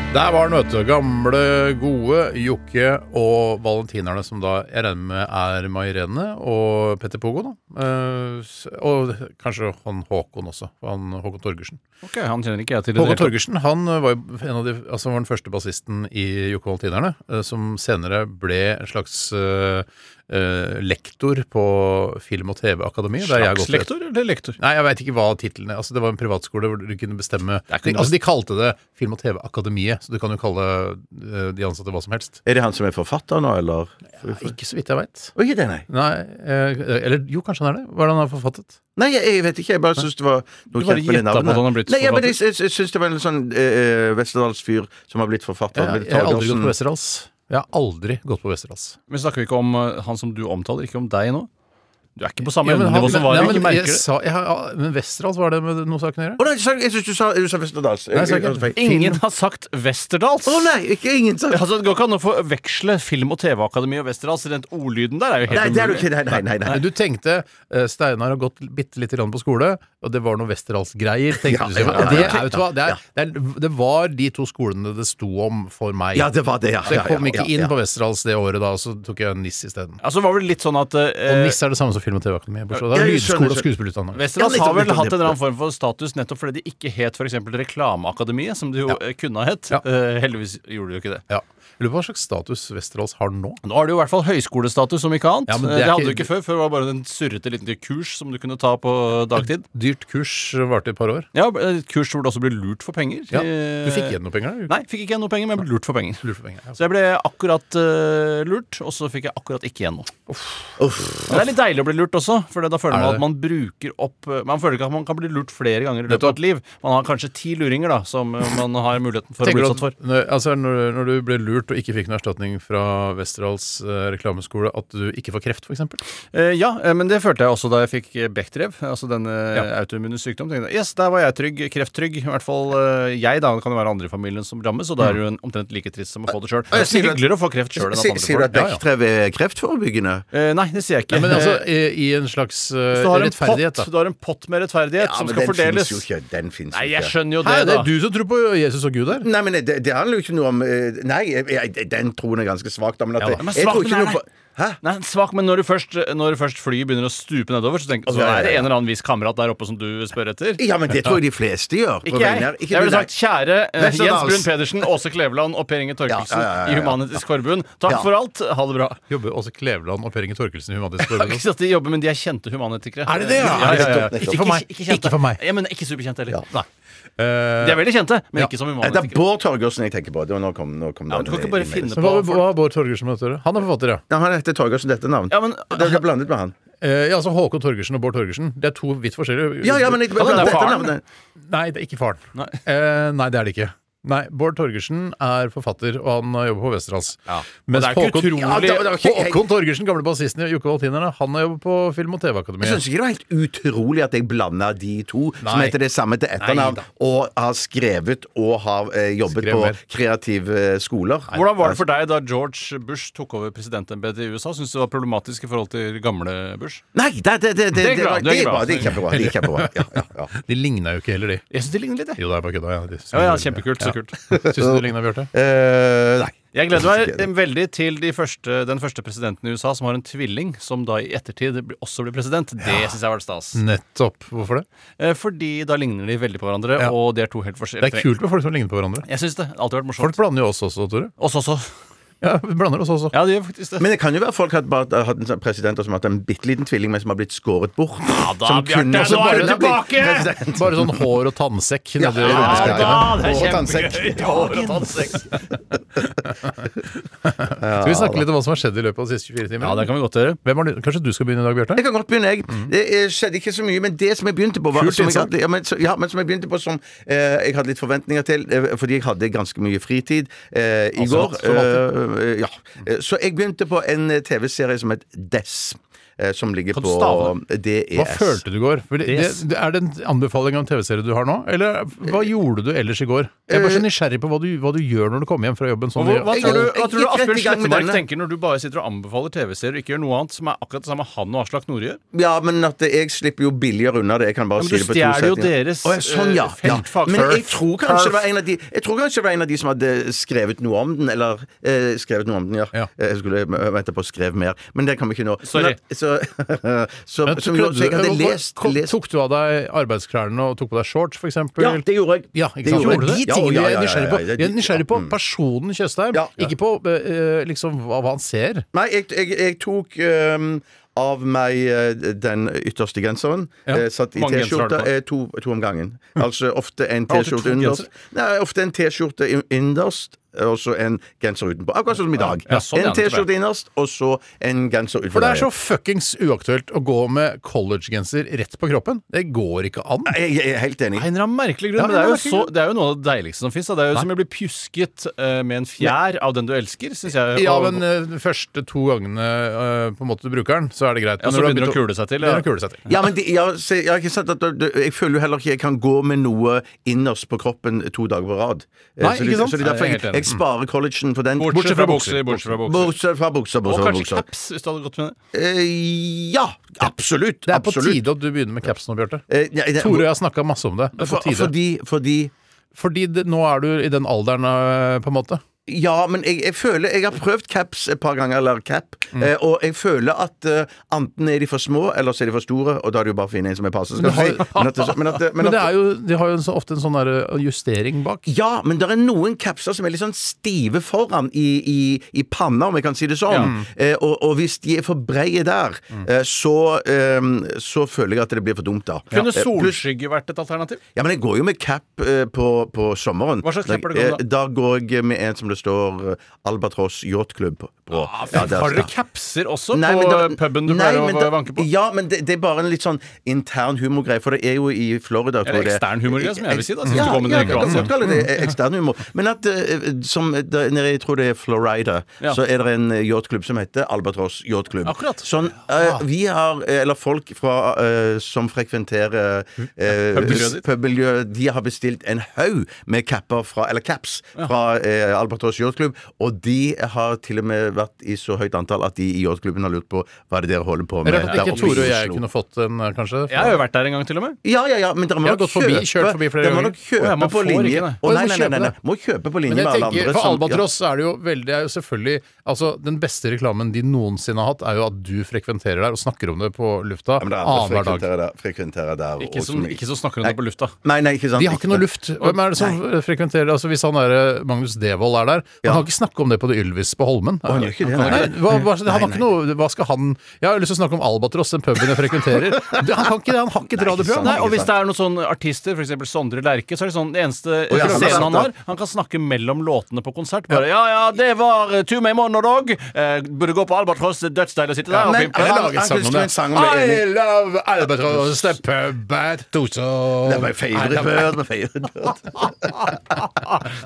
Speaker 4: Der var den, vet du. Gamle, gode Jokke og Valentinerne, som da jeg regner med er Mai Irene og Petter Pogo, da. Eh, s- og kanskje han Håkon også. Han Håkon Torgersen.
Speaker 5: Ok, Han kjenner ikke jeg til.
Speaker 4: Håkon
Speaker 5: i det hele tatt.
Speaker 4: Torgersen han var jo en av de, altså var den første bassisten i Jokke Valentinerne, eh, som senere ble en slags eh, eh, lektor på Film- og TV-akademi. der jeg har gått
Speaker 5: Slags
Speaker 4: til-
Speaker 5: lektor eller lektor?
Speaker 4: Nei, jeg veit ikke hva tittelen er. Altså, det var en privatskole hvor du kunne bestemme
Speaker 5: er ikke noe-
Speaker 4: Altså, De kalte det Film- og TV-akademiet, så du kan jo kalle eh, de ansatte hva som helst.
Speaker 6: er det han som er forfatter nå, eller?
Speaker 4: Ikke så vidt jeg veit.
Speaker 6: Å, ikke det, nei.
Speaker 4: Nei, eh, eller jo, kanskje han er det. Hva er det han har forfattet?
Speaker 6: Nei, jeg, jeg vet ikke. Jeg bare syns det var noe
Speaker 5: Du bare
Speaker 6: kjent med det
Speaker 5: gjetta på at
Speaker 6: navnet.
Speaker 5: han har blitt
Speaker 6: Nei, jeg, men jeg,
Speaker 5: forfatter.
Speaker 6: jeg, jeg syns det var en sånn eh, Westerdals-fyr som har blitt forfatter.
Speaker 4: Jeg,
Speaker 6: Bill
Speaker 4: jeg har aldri gått
Speaker 6: Torgersen.
Speaker 4: på Westerdals. Jeg har aldri gått på Westerdals.
Speaker 5: Men snakker vi ikke om eh, han som du omtaler, ikke om deg nå? Du er ikke på samme
Speaker 4: Ja, men han-
Speaker 5: evnenivå som Vara.
Speaker 4: Nei,
Speaker 5: ikke
Speaker 4: men jeg
Speaker 5: merker det.
Speaker 4: sa- jeg har- Men Westerdals, var det med noe saken å gjøre?
Speaker 6: Å nei, jeg sa- jeg syns du sa, du sa Westerdals.
Speaker 4: Nei, jeg sa ikke-
Speaker 6: Jeg- jeg- jeg-
Speaker 5: Ingen har sagt Westerdals!
Speaker 6: Å nei, ikke ingen sa
Speaker 5: Altså, Det går ikke an å forveksle Film- og TV-akademi og Westerdals. Rent ordlyden der er jo helt
Speaker 6: Nei, det er du
Speaker 5: umulig.
Speaker 6: ikke. Nei, nei, nei. nei.
Speaker 4: Men du tenkte eh, Steinar har gått bitte lite grann på skole, og det var noe Westerdals-greier. tenkte du sikkert.
Speaker 6: ja, ja,
Speaker 4: Det,
Speaker 6: ja.
Speaker 4: er- vet du hva, det, er, det, er, det var de to skolene det sto om for meg.
Speaker 6: Ja, det var det, ja.
Speaker 4: så jeg
Speaker 6: Ja, ja,
Speaker 4: kom ikke
Speaker 6: ja,
Speaker 4: inn
Speaker 6: ja.
Speaker 4: på Westerdals det året da, og så tok jeg NIS isteden.
Speaker 5: Altså, var vel litt sånn at
Speaker 4: Og
Speaker 5: eh,
Speaker 4: NIS er det samme som film- og TV-akademi. bortsett fra- Det
Speaker 6: Ja,
Speaker 4: er
Speaker 6: jeg skjønner,
Speaker 4: lydskole og
Speaker 6: skjønner.
Speaker 4: skuespillerutdanning.
Speaker 5: Westerdals
Speaker 6: Ja, nettopp,
Speaker 5: har vel
Speaker 6: nettopp,
Speaker 5: hatt en eller
Speaker 6: nettopp.
Speaker 5: annen form for status nettopp fordi de ikke het f.eks. Reklameakademiet, som det jo eh, kunne ha hett.
Speaker 4: Ja.
Speaker 5: Eh, heldigvis gjorde de jo ikke det.
Speaker 4: Ja. Jeg lurer på hva slags status Westerdals har nå.
Speaker 5: Nå har du jo i hvert fall høyskolestatus, om ikke annet.
Speaker 4: Ja,
Speaker 5: Eh,
Speaker 4: men
Speaker 5: det,
Speaker 4: det er
Speaker 5: hadde du
Speaker 4: ikke-
Speaker 5: ikke før. Før var det bare en surrete liten kurs som du kunne ta på dagtid.
Speaker 4: Dyrt kurs varte i et par år.
Speaker 5: Ja, et kurs hvor du også ble lurt for penger.
Speaker 4: Ja.
Speaker 5: Eh,
Speaker 4: Du fikk igjen noe penger? da?
Speaker 5: Nei, fikk ikke igjen noe penger, men jeg ble lurt for penger.
Speaker 4: Lurt for penger, ja.
Speaker 5: Så jeg ble akkurat eh, lurt, og så fikk jeg akkurat ikke igjen noe. Men det er litt deilig å bli lurt også, for da føler
Speaker 4: Er
Speaker 5: man
Speaker 4: det?
Speaker 5: at man bruker opp eh, Man føler ikke at man kan bli lurt flere ganger i løpet av et liv. Man har kanskje ti luringer da, som eh, man har muligheten for å
Speaker 4: Tenker
Speaker 5: bli
Speaker 4: du
Speaker 5: utsatt
Speaker 4: at,
Speaker 5: for.
Speaker 4: når, altså, når, når du ble lurt og ikke fikk noen erstatning fra Westerdals eh, reklameskole, at du ikke får kreft, f.eks.?
Speaker 5: Eh, ja, eh, men det følte jeg også da jeg fikk eh, Bechdrev, altså denne ja. autoimmune sykdom. Tenkte, jeg, yes, der var jeg trygg, krefttrygg. I hvert fall eh, jeg, da. Det kan jo være andre i familien som rammes, og da er det jo en, omtrent like trist som å få det sjøl. Det er
Speaker 6: Eh, sier du-
Speaker 5: hyggeligere å få kreft sjøl enn at
Speaker 6: Si-
Speaker 5: andre
Speaker 6: Sier du
Speaker 5: får
Speaker 6: at
Speaker 5: det. Ja, ja.
Speaker 6: Bechdrev er kreftforebyggende?
Speaker 5: Eh, nei, det sier jeg ikke.
Speaker 4: Nei, men altså,
Speaker 5: Eh,
Speaker 4: i, i en slags eh,
Speaker 5: Så du har, en
Speaker 4: rettferdighet,
Speaker 5: pott,
Speaker 4: da.
Speaker 5: du har en pott med rettferdighet som
Speaker 6: men
Speaker 5: skal
Speaker 6: den
Speaker 5: fordeles.
Speaker 6: finnes jo ikke. Den finnes
Speaker 5: Nei,
Speaker 6: jo
Speaker 5: jeg
Speaker 6: ikke.
Speaker 5: skjønner jo det,
Speaker 4: Hæ, det
Speaker 5: da.
Speaker 4: er du som tror på Jesus og Gud her?
Speaker 6: Nei, men det, det handler jo ikke noe om eh, Nei, jeg, jeg, den troen er ganske svak, da. Men at
Speaker 4: Ja da.
Speaker 6: jeg-
Speaker 5: Men
Speaker 6: jeg
Speaker 5: svak
Speaker 6: tror ikke
Speaker 5: den er,
Speaker 6: noe på
Speaker 5: Nei, svak, men når, du først, når først flyet begynner å stupe nedover, så, tenker,
Speaker 6: ja,
Speaker 5: så
Speaker 6: ja,
Speaker 5: er det
Speaker 6: ja.
Speaker 5: en eller annen viss kamerat der oppe som du spør etter.
Speaker 6: Ja, men det tror jeg de fleste gjør. på
Speaker 5: Ikke jeg.
Speaker 6: vegne her.
Speaker 5: jeg
Speaker 6: du,
Speaker 5: ville
Speaker 6: nei.
Speaker 5: sagt kjære eh,
Speaker 6: Westerdals.
Speaker 5: Jens Brun Pedersen, Åse Kleveland og Per Inge Torkelsen
Speaker 6: Ja, ja, ja, ja, ja.
Speaker 5: i Human-Etisk Forbund. Takk
Speaker 6: Ja.
Speaker 5: for alt. Ha det bra.
Speaker 4: Jobber Åse Kleveland og Per Inge Torkelsen i Human-Etisk Forbund.
Speaker 5: Ikke at de jobber, men de er kjente humanetikere.
Speaker 4: Er de det, ja?
Speaker 5: Ja, ja, ja.
Speaker 4: Nettopp, nettopp. Ikke for meg.
Speaker 5: kjente.
Speaker 4: Ikke for meg.
Speaker 5: Ja, men ikke superkjente heller. Nei.
Speaker 4: Eh,
Speaker 5: De er veldig kjente, men
Speaker 4: Ja.
Speaker 5: ikke som
Speaker 6: Nei, Det er
Speaker 5: humanetikere.
Speaker 6: Bård Torgersen jeg tenker på. Det var nå kom, nå kom
Speaker 5: Ja, men du kan
Speaker 6: navnet
Speaker 5: ikke bare
Speaker 6: i- i-
Speaker 5: finne
Speaker 4: men hva,
Speaker 5: på
Speaker 4: hva har Bård Torgersen med å gjøre? Han er forfatter, ja.
Speaker 6: Ja, han heter Torgersen, dette navn.
Speaker 5: Ja, men-
Speaker 6: Dere har blandet med han.
Speaker 4: Eh, ja. Altså Håkon Torgersen og Bård Torgersen. Det er to vidt forskjellige
Speaker 6: Ja, ja, men jeg
Speaker 5: Ja, men det er
Speaker 6: dette
Speaker 5: faren.
Speaker 6: navnet.
Speaker 4: Nei, det er ikke faren.
Speaker 5: Nei.
Speaker 4: Eh, nei, det er det ikke. Nei, Bård Torgersen er forfatter, og han eh, jobber på Westerdals.
Speaker 5: Ja.
Speaker 4: Mens
Speaker 5: Og det er ikke
Speaker 4: Håkon,
Speaker 5: utrolig- Ja, det var- det var
Speaker 6: ikke-
Speaker 4: Håkon Torgersen, gamle bassisten i Jokke Valtinerne, han har jobbet på Film- og
Speaker 6: Jeg
Speaker 4: TV-akademiet.
Speaker 6: syns ikke det var helt utrolig at jeg blanda de to, som
Speaker 4: Nei.
Speaker 6: heter det samme til etternavn,
Speaker 4: Nei da.
Speaker 6: og har skrevet og har eh, jobbet
Speaker 4: Skrev mer.
Speaker 6: på kreative eh, skoler.
Speaker 5: Hvordan var det for deg da George Bush tok over presidentembetet i USA? Syns du det var problematisk i forhold til gamle Bush?
Speaker 6: Nei, det, det, det, det,
Speaker 5: Det er
Speaker 6: det,
Speaker 5: bra,
Speaker 6: var-
Speaker 5: det er
Speaker 6: det, er
Speaker 5: bra.
Speaker 6: bra, det er kjempebra. Det er kjempebra. Ja, ja, ja.
Speaker 4: De ligna jo ikke heller, de.
Speaker 5: Jeg syns de ligner litt, jeg.
Speaker 4: Jo, det er bare kødda. Ja, de-
Speaker 5: Ja, ja, kjempekult. Så kult.
Speaker 4: Syns du det ligna, Bjarte?
Speaker 6: Eh, nei.
Speaker 5: Jeg gleder meg eh, veldig til de første, den første presidenten i USA som har en tvilling, som da i ettertid blir- også blir president. Det syns jeg har vært stas.
Speaker 4: Mm. Nettopp. Hvorfor det?
Speaker 5: Eh, Fordi da ligner de veldig på hverandre,
Speaker 4: Ja.
Speaker 5: og de er to helt forskjellige.
Speaker 4: Det er kult med folk som ligner på hverandre.
Speaker 5: Jeg syns det. Alltid vært
Speaker 4: Folk
Speaker 5: morsomt.
Speaker 4: blander jo oss også, Tore.
Speaker 5: Oss også.
Speaker 4: Ja, vi blander oss også.
Speaker 5: Ja, det gjør faktisk det.
Speaker 6: Men det kan jo være folk har hatt, hatt en sånn president som har hatt en bitte liten tvilling, men som har blitt skåret bort. Ja
Speaker 5: da, Bjarte, nå
Speaker 4: er du
Speaker 5: tilbake!
Speaker 4: Bare sånn hår og tannsekk nedi
Speaker 6: Ja,
Speaker 5: Ja,
Speaker 4: rumpeskøytene.
Speaker 5: da, det
Speaker 6: Og
Speaker 5: er
Speaker 6: tannsekk.
Speaker 5: kjempegøy. Hår og tannsekk.
Speaker 4: Skal vi snakke litt om hva som har skjedd i løpet av de siste 24
Speaker 5: Ja, det
Speaker 4: timene?
Speaker 5: kan vi godt gjøre.
Speaker 4: Hvem har du- Kanskje du skal begynne i dag, Bjarte? Mm.
Speaker 6: Jeg kan godt begynne, jeg. Det eh, skjedde ikke så mye, men det som jeg begynte på var,
Speaker 4: Kult
Speaker 6: som jeg,
Speaker 4: innsats.
Speaker 6: hadde, ja, men, så- ja, men som jeg begynte på som eh, jeg hadde litt forventninger til, eh, fordi jeg hadde ganske mye fritid eh, i
Speaker 4: Altså,
Speaker 6: går.
Speaker 4: som
Speaker 6: Eh,
Speaker 4: Mm.
Speaker 6: ja. Eh, Så jeg begynte på en eh, TV-serie som het Dess. eh, Som ligger
Speaker 5: Kan du
Speaker 6: på E
Speaker 5: stave
Speaker 6: DES.
Speaker 4: Hva følte du i går? For det,
Speaker 5: Yes.
Speaker 4: det, er det en anbefaling av en TV-serie du har nå? Eller hva
Speaker 6: Eh,
Speaker 4: gjorde du ellers i går? Jeg er bare så nysgjerrig på hva du, hva du gjør når du kommer hjem fra jobben. Sånn,
Speaker 5: Hva, hva
Speaker 4: i-
Speaker 5: tror du, hva
Speaker 6: Jeg-
Speaker 5: tror
Speaker 6: jeg
Speaker 5: du
Speaker 6: gikk rett i
Speaker 5: Asbjørn
Speaker 6: gang med
Speaker 5: Slettemark
Speaker 6: denne.
Speaker 5: tenker når du bare sitter og anbefaler TV-serier og ikke gjør noe annet som er akkurat det samme han og Aslak Nore gjør?
Speaker 6: Ja, men at eh, jeg slipper jo billigere unna det. Jeg kan bare
Speaker 5: Ja, men
Speaker 6: si
Speaker 5: du
Speaker 6: det på to
Speaker 5: stjeler jo
Speaker 6: setninger.
Speaker 5: deres,
Speaker 6: Å, ja, sånn, ja.
Speaker 5: eh, feltfag.
Speaker 6: ja. Men jeg
Speaker 5: Perf.
Speaker 6: tror, kanskje det var
Speaker 5: Perf.
Speaker 6: en av de, jeg tror kanskje det var en av de som hadde skrevet noe om den. Eller eh, skrevet noe om den, ja.
Speaker 4: Ja.
Speaker 6: Eh, Jeg skulle eh, vente på å skrev mer. Men det kan vi ikke nå.
Speaker 5: Sorry.
Speaker 6: Men, så, så,
Speaker 4: Men
Speaker 6: som, gjorde- så jeg hadde
Speaker 4: prøvde du-
Speaker 6: lest,
Speaker 4: Kom-
Speaker 6: lest
Speaker 4: Tok du av deg arbeidsklærne og tok på deg shorts, for eksempel?
Speaker 6: Ja, det gjorde jeg.
Speaker 4: Ja, ikke sant?
Speaker 6: Det gjorde
Speaker 4: Gjorde du
Speaker 6: jeg.
Speaker 4: det?
Speaker 6: Ja,
Speaker 4: De tingene
Speaker 6: ja,
Speaker 4: jeg er
Speaker 6: ja, ja,
Speaker 4: nysgjerrig
Speaker 6: ja,
Speaker 4: på.
Speaker 6: ja,
Speaker 4: Jeg er
Speaker 6: de-
Speaker 4: nysgjerrig på
Speaker 6: ja, mm.
Speaker 4: personen Tjøstheim,
Speaker 6: Ja, ja.
Speaker 4: ikke på eh, liksom hva hva han ser.
Speaker 6: Nei, jeg, jeg, jeg tok ehm, av meg eh, den ytterste genseren. eh, satt i
Speaker 5: Mange gensere har du
Speaker 6: T-skjorte
Speaker 5: på?
Speaker 6: eh, to, to om gangen. Altså ofte en
Speaker 5: Har du alltid to
Speaker 6: T-skjorte underst.
Speaker 5: gensere?
Speaker 6: Nei, ofte en T-skjorte in- innerst. Og så en genser utenpå. Akkurat som i dag.
Speaker 5: Ja, sånn, ja,
Speaker 6: en T-skjorte innerst, og så en genser utenpå.
Speaker 4: For det er
Speaker 6: der.
Speaker 4: så fuckings uaktuelt å gå med collegegenser rett på kroppen. Det går ikke an.
Speaker 6: jeg, jeg er helt enig.
Speaker 5: Av en eller annen merkelig grunn.
Speaker 4: Ja,
Speaker 5: men det er, jo
Speaker 4: merkelig
Speaker 5: så, det er jo noe av det deiligste som fins. Det er jo som å bli pjusket eh, med en fjær av den du elsker, syns jeg.
Speaker 4: Ja,
Speaker 5: Og-
Speaker 4: men eh, de første to gangene eh, på en måte du bruker den, så er det greit.
Speaker 5: Ja,
Speaker 4: Men
Speaker 5: så
Speaker 4: når du har
Speaker 5: begynner det
Speaker 4: begynt
Speaker 5: å kule seg til, ja.
Speaker 4: Begynner å kule seg til.
Speaker 6: Ja, men de, ja, se, jeg, har ikke sett at det- jeg føler jo heller ikke jeg kan gå med noe innerst på kroppen to dager på rad. Eh,
Speaker 4: Nei,
Speaker 6: så
Speaker 4: ikke
Speaker 6: det,
Speaker 4: sant?
Speaker 6: Så det er derfor
Speaker 5: Nei, jeg
Speaker 6: jeg,
Speaker 5: er helt enig.
Speaker 6: jeg sparer collegen for den.
Speaker 5: bortsett fra bukser. Bortsett fra bukser.
Speaker 6: Bortsett fra bukser.
Speaker 5: Og
Speaker 6: Bortsett fra
Speaker 5: kanskje
Speaker 6: bukser.
Speaker 5: caps, hvis du hadde gått med det.
Speaker 6: Eh, ja, absolutt.
Speaker 4: Det er på
Speaker 6: absolutt.
Speaker 4: tide at du begynner med caps nå, Bjarte.
Speaker 6: Eh, ja, det-
Speaker 4: Tore og jeg har snakka masse om det. det er på
Speaker 6: for,
Speaker 4: tide. Fordi,
Speaker 6: fordi, fordi
Speaker 4: det, nå er du i den alderen, eh, på en måte.
Speaker 6: Ja, men jeg, jeg føler Jeg har prøvd caps et par ganger, eller cap,
Speaker 4: Mm.
Speaker 6: eh, og jeg føler at eh, enten er de for små, eller så er de for store, og da er det jo bare å finne en som er passe. Skal
Speaker 4: Men
Speaker 6: du
Speaker 4: har-
Speaker 6: si. Men at, det- men at, det- men
Speaker 4: Men det
Speaker 6: at
Speaker 4: er jo, de har jo så ofte en sånn der eh, justering bak.
Speaker 6: ja, men det er noen capser som er litt sånn stive foran i, i, i panna, om jeg kan si det sånn. Eh, og, og hvis de er for breie der,
Speaker 4: Mm.
Speaker 6: eh, så, eh, så føler jeg at det blir for dumt, da.
Speaker 5: Kunne
Speaker 6: Eh, pluss-
Speaker 5: solskygge vært et alternativ?
Speaker 6: Ja, men jeg går jo med cap eh, på, på sommeren.
Speaker 5: Hva slags cap er det
Speaker 6: Eh,
Speaker 5: gått
Speaker 6: Da går jeg med en som det står eh, Albatross Yachtklubb på. Ja,
Speaker 5: Ah, Har dere capser også på puben du pleier å vanke på?
Speaker 6: Ja, men det, det er bare en litt sånn intern humorgreie, for det er jo i Florida tror
Speaker 5: Eller
Speaker 6: jeg det-
Speaker 5: ekstern humorgreie, som jeg vil si, da,
Speaker 6: Eks-
Speaker 5: siden
Speaker 6: Ja,
Speaker 5: du går med den
Speaker 6: ja,
Speaker 5: i
Speaker 6: jeg kan
Speaker 5: Kroatia.
Speaker 6: godt kalle det ekstern humor. Men at eh, som da, nede, jeg tror det er Florida,
Speaker 5: Ja.
Speaker 6: så er det en yachtklubb som heter Albatross Yachtklubb.
Speaker 5: Akkurat.
Speaker 6: Sånn, eh, vi har, eh, eller folk fra, eh, som frekventerer eh,
Speaker 5: Pubmiljøet ditt.
Speaker 6: pubmiljøet, de har bestilt en haug med capper fra, eller caps fra eh, Albatross hos Yachtklubben. Og de har til og med vært i så høyt antall at de i Yachtklubben har lurt på hva er det dere holder på med.
Speaker 4: Rett at
Speaker 6: der
Speaker 4: ikke
Speaker 6: oppe i
Speaker 4: Tore og jeg
Speaker 6: Oslo?
Speaker 4: kunne fått en, eh, kanskje.
Speaker 5: Jeg har jo vært der en gang, til og med.
Speaker 6: Ja, ja, ja, men dere må
Speaker 4: Jeg har
Speaker 6: nok
Speaker 4: gått forbi-
Speaker 6: kjøpe,
Speaker 4: kjørt forbi flere
Speaker 6: dere må
Speaker 4: ganger.
Speaker 6: nok
Speaker 5: Å,
Speaker 6: kjøpe
Speaker 5: ja, man
Speaker 6: på
Speaker 5: får ikke
Speaker 6: linje
Speaker 4: Å,
Speaker 5: det.
Speaker 6: Å, nei,
Speaker 4: du må
Speaker 6: nei, nei,
Speaker 4: kjøpe
Speaker 6: nei, nei.
Speaker 4: det.
Speaker 6: Må kjøpe på linje
Speaker 4: Men
Speaker 6: med
Speaker 4: jeg
Speaker 6: alle andre.
Speaker 4: tenker, For
Speaker 6: som-
Speaker 4: Albatross så er det jo veldig det er jo selvfølgelig altså Den beste reklamen de noensinne har hatt, er jo at du frekventerer der og snakker om det på lufta
Speaker 6: Ja, men det er
Speaker 4: annenhver
Speaker 6: andre
Speaker 4: Ah, dag.
Speaker 6: frekventerer der. Frekventerer der
Speaker 5: Ikke
Speaker 6: og
Speaker 5: som,
Speaker 6: som-
Speaker 5: ikke som snakker om det på lufta.
Speaker 6: Nei, nei, ikke sant.
Speaker 4: De har ikke noe luft. Hvem er det som frekventerer altså Hvis han der, Magnus Devold er der Han
Speaker 6: Ja.
Speaker 4: kan ikke snakke om det på The Ylvis på Holmen.
Speaker 6: han gjør ikke det, nei.
Speaker 4: Nei, hva, hva, han har ikke noe Hva skal han Jeg har lyst til å snakke om Albatross, den puben jeg frekventerer. Det, han kan ikke det. Han har ikke et
Speaker 6: Nei, ikke sant.
Speaker 4: radioprogram.
Speaker 5: Nei, og hvis det er noen sånne artister, f.eks. Sondre Lerche, så er det sånn det eneste
Speaker 6: ja, han
Speaker 5: scenen han
Speaker 6: har
Speaker 5: har
Speaker 6: sagt
Speaker 5: Han kan snakke mellom låtene på konsert. Bare 'Ja ja, det var eh, Two May Monolog'. Eh, burde gå på Albatross, dødsdeilig å sitte der og
Speaker 6: Men-
Speaker 5: pimpe.
Speaker 6: han-
Speaker 4: Jeg laget
Speaker 6: han
Speaker 4: sang om
Speaker 6: kunne
Speaker 4: det.
Speaker 6: skrive en sang om det,
Speaker 4: I
Speaker 6: enig.
Speaker 4: love Albatross, the pub at Tuso.
Speaker 6: Det var favorite bird, my favorite bird.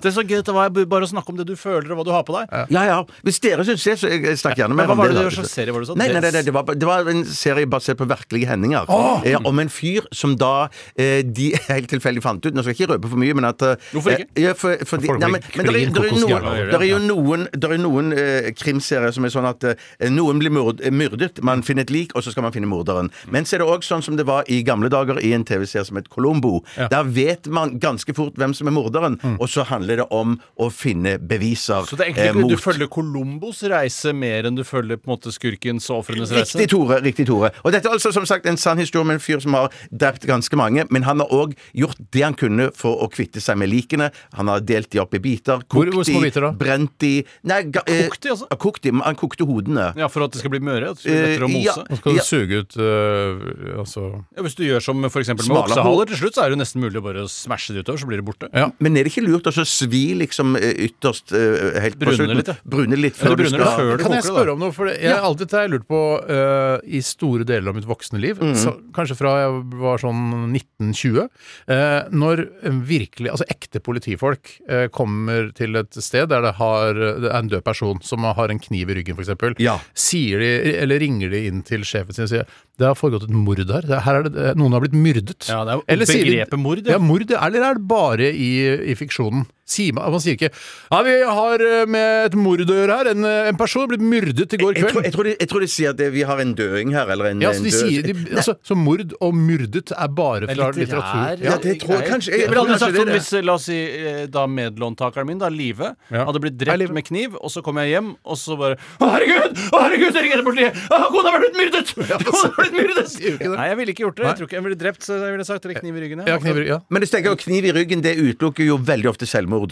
Speaker 5: Det er så gøy at det var bare å snakke om det du føler, og hva du har på deg.
Speaker 6: Ja, ja. Hvis dere syns det, så jeg jeg snakker gjerne mer
Speaker 5: hva
Speaker 6: om
Speaker 5: var
Speaker 6: det.
Speaker 5: det
Speaker 6: da.
Speaker 5: du- hva slags serie var det du sa?
Speaker 6: Nei, nei, nei, nei,
Speaker 5: Dress?
Speaker 6: det, var, det var en serie basert på virkelige hendinger. Eh, om en fyr som da eh, de helt tilfeldig fant ut Nå skal jeg ikke røpe for mye, men at eh,
Speaker 5: Hvorfor ikke?
Speaker 6: eh, ja, for, fordi-
Speaker 4: Folk blir
Speaker 6: nei, men, men det er, det er jo
Speaker 4: klin
Speaker 6: noen,
Speaker 4: kokos gærne av å gjøre
Speaker 6: der er jo noen, der er noen eh, krimserier som er sånn at eh, noen blir mord, eh, myrdet. Man finner et lik, og så skal man finne morderen.
Speaker 5: Mm.
Speaker 6: Men så er det òg sånn som det var i gamle dager i en TV-serie som het Colombo. Der vet man ganske fort hvem som er morderen, og så handler det om å finne beviser
Speaker 5: Mm. Så det er
Speaker 6: eh,
Speaker 5: egentlig ikke
Speaker 6: mot
Speaker 5: du følger Colombos reise mer enn du følger på en måte skurkens og ofrenes reise?
Speaker 6: Riktig, Tore. riktig Tore Og dette er altså som sagt en sann historie om en fyr som har drept ganske mange, men han har òg gjort det han kunne for å kvitte seg med likene. Han har delt de opp i biter,
Speaker 4: Hvor-
Speaker 6: kokt
Speaker 4: hvor små
Speaker 6: de,
Speaker 4: biter da?
Speaker 6: brent de Nei, ga, eh,
Speaker 5: Kokt de, altså?
Speaker 6: ja, kokt de, men Han kokte hodene.
Speaker 5: Ja, For at det skal bli møre? At det skal bli lettere å
Speaker 6: Eh, ja.
Speaker 5: mose?
Speaker 4: Nå skal du
Speaker 6: Ja.
Speaker 4: suge ut øh, altså
Speaker 5: Ja, hvis du gjør som for eksempel med
Speaker 6: Smala hår.
Speaker 5: oksehaler, til slutt så er det jo nesten mulig å bare smashe det utover, så blir det borte.
Speaker 4: Ja.
Speaker 6: Men er det ikke lurt å så svi liksom eh, ytterst eh, helt på
Speaker 5: Brune
Speaker 6: slutten?
Speaker 5: litt, ja.
Speaker 6: Brune litt
Speaker 5: Ja, du
Speaker 6: før du
Speaker 5: bruner
Speaker 6: skal
Speaker 5: det før du
Speaker 4: Kan jeg
Speaker 5: koker
Speaker 4: spørre
Speaker 5: det, da.
Speaker 4: om noe? For det- jeg har alltid jeg lurt på øh, I store deler av mitt voksne liv, så, kanskje fra jeg var sånn 1920, eh, når virkelig Altså ekte politifolk eh, kommer til et sted der det, har, det er en død person som har en kniv i ryggen, f.eks.
Speaker 6: Ja.
Speaker 4: Sier de, eller ringer de inn til sjefen sin og sier det har foregått et mord her. Det, her er det, eh, noen har blitt myrdet.
Speaker 5: Ja, det er jo
Speaker 4: Eller sier de-
Speaker 5: begrepet mord, ja.
Speaker 4: Ja, mord, ja, eller er det bare i, i fiksjonen? Sier man, man sier ikke Ja, vi har eh, med et mord å gjøre her. En, eh, en person ble myrdet i går
Speaker 6: Jeg tror,
Speaker 4: kveld.
Speaker 6: jeg, tror de, jeg tror de sier at det, vi har en døing her, eller en,
Speaker 4: Ja, så,
Speaker 6: en
Speaker 4: de
Speaker 6: død-
Speaker 4: sier, de, altså, så mord og myrdet er bare fra litteratur.
Speaker 5: liksom.
Speaker 6: Ja, det tror jeg kanskje- jeg
Speaker 5: Jeg
Speaker 6: tror
Speaker 5: ville aldri
Speaker 6: kanskje
Speaker 5: sagt
Speaker 6: det er
Speaker 5: sånn
Speaker 6: det.
Speaker 5: hvis, la oss si, eh, da medlåntakeren min, da Live,
Speaker 4: Ja.
Speaker 5: hadde blitt
Speaker 4: Hei,
Speaker 5: drept
Speaker 4: Live.
Speaker 5: med kniv, og så kom jeg hjem, og så bare Å, herregud! Å, herregud! Jeg ringer politiet! Å, kona har blitt myrdet! Kona har blitt myrdet!
Speaker 4: Sier jo ikke det.
Speaker 5: Nei, jeg ville ikke gjort det. Jeg tror ikke jeg ville drept, så jeg ville sagt det er kniv i ryggen.
Speaker 4: Ja, kniver, ja.
Speaker 6: Men hvis du tenker, kniv i ryggen, det utelukker jo veldig ofte selvmord.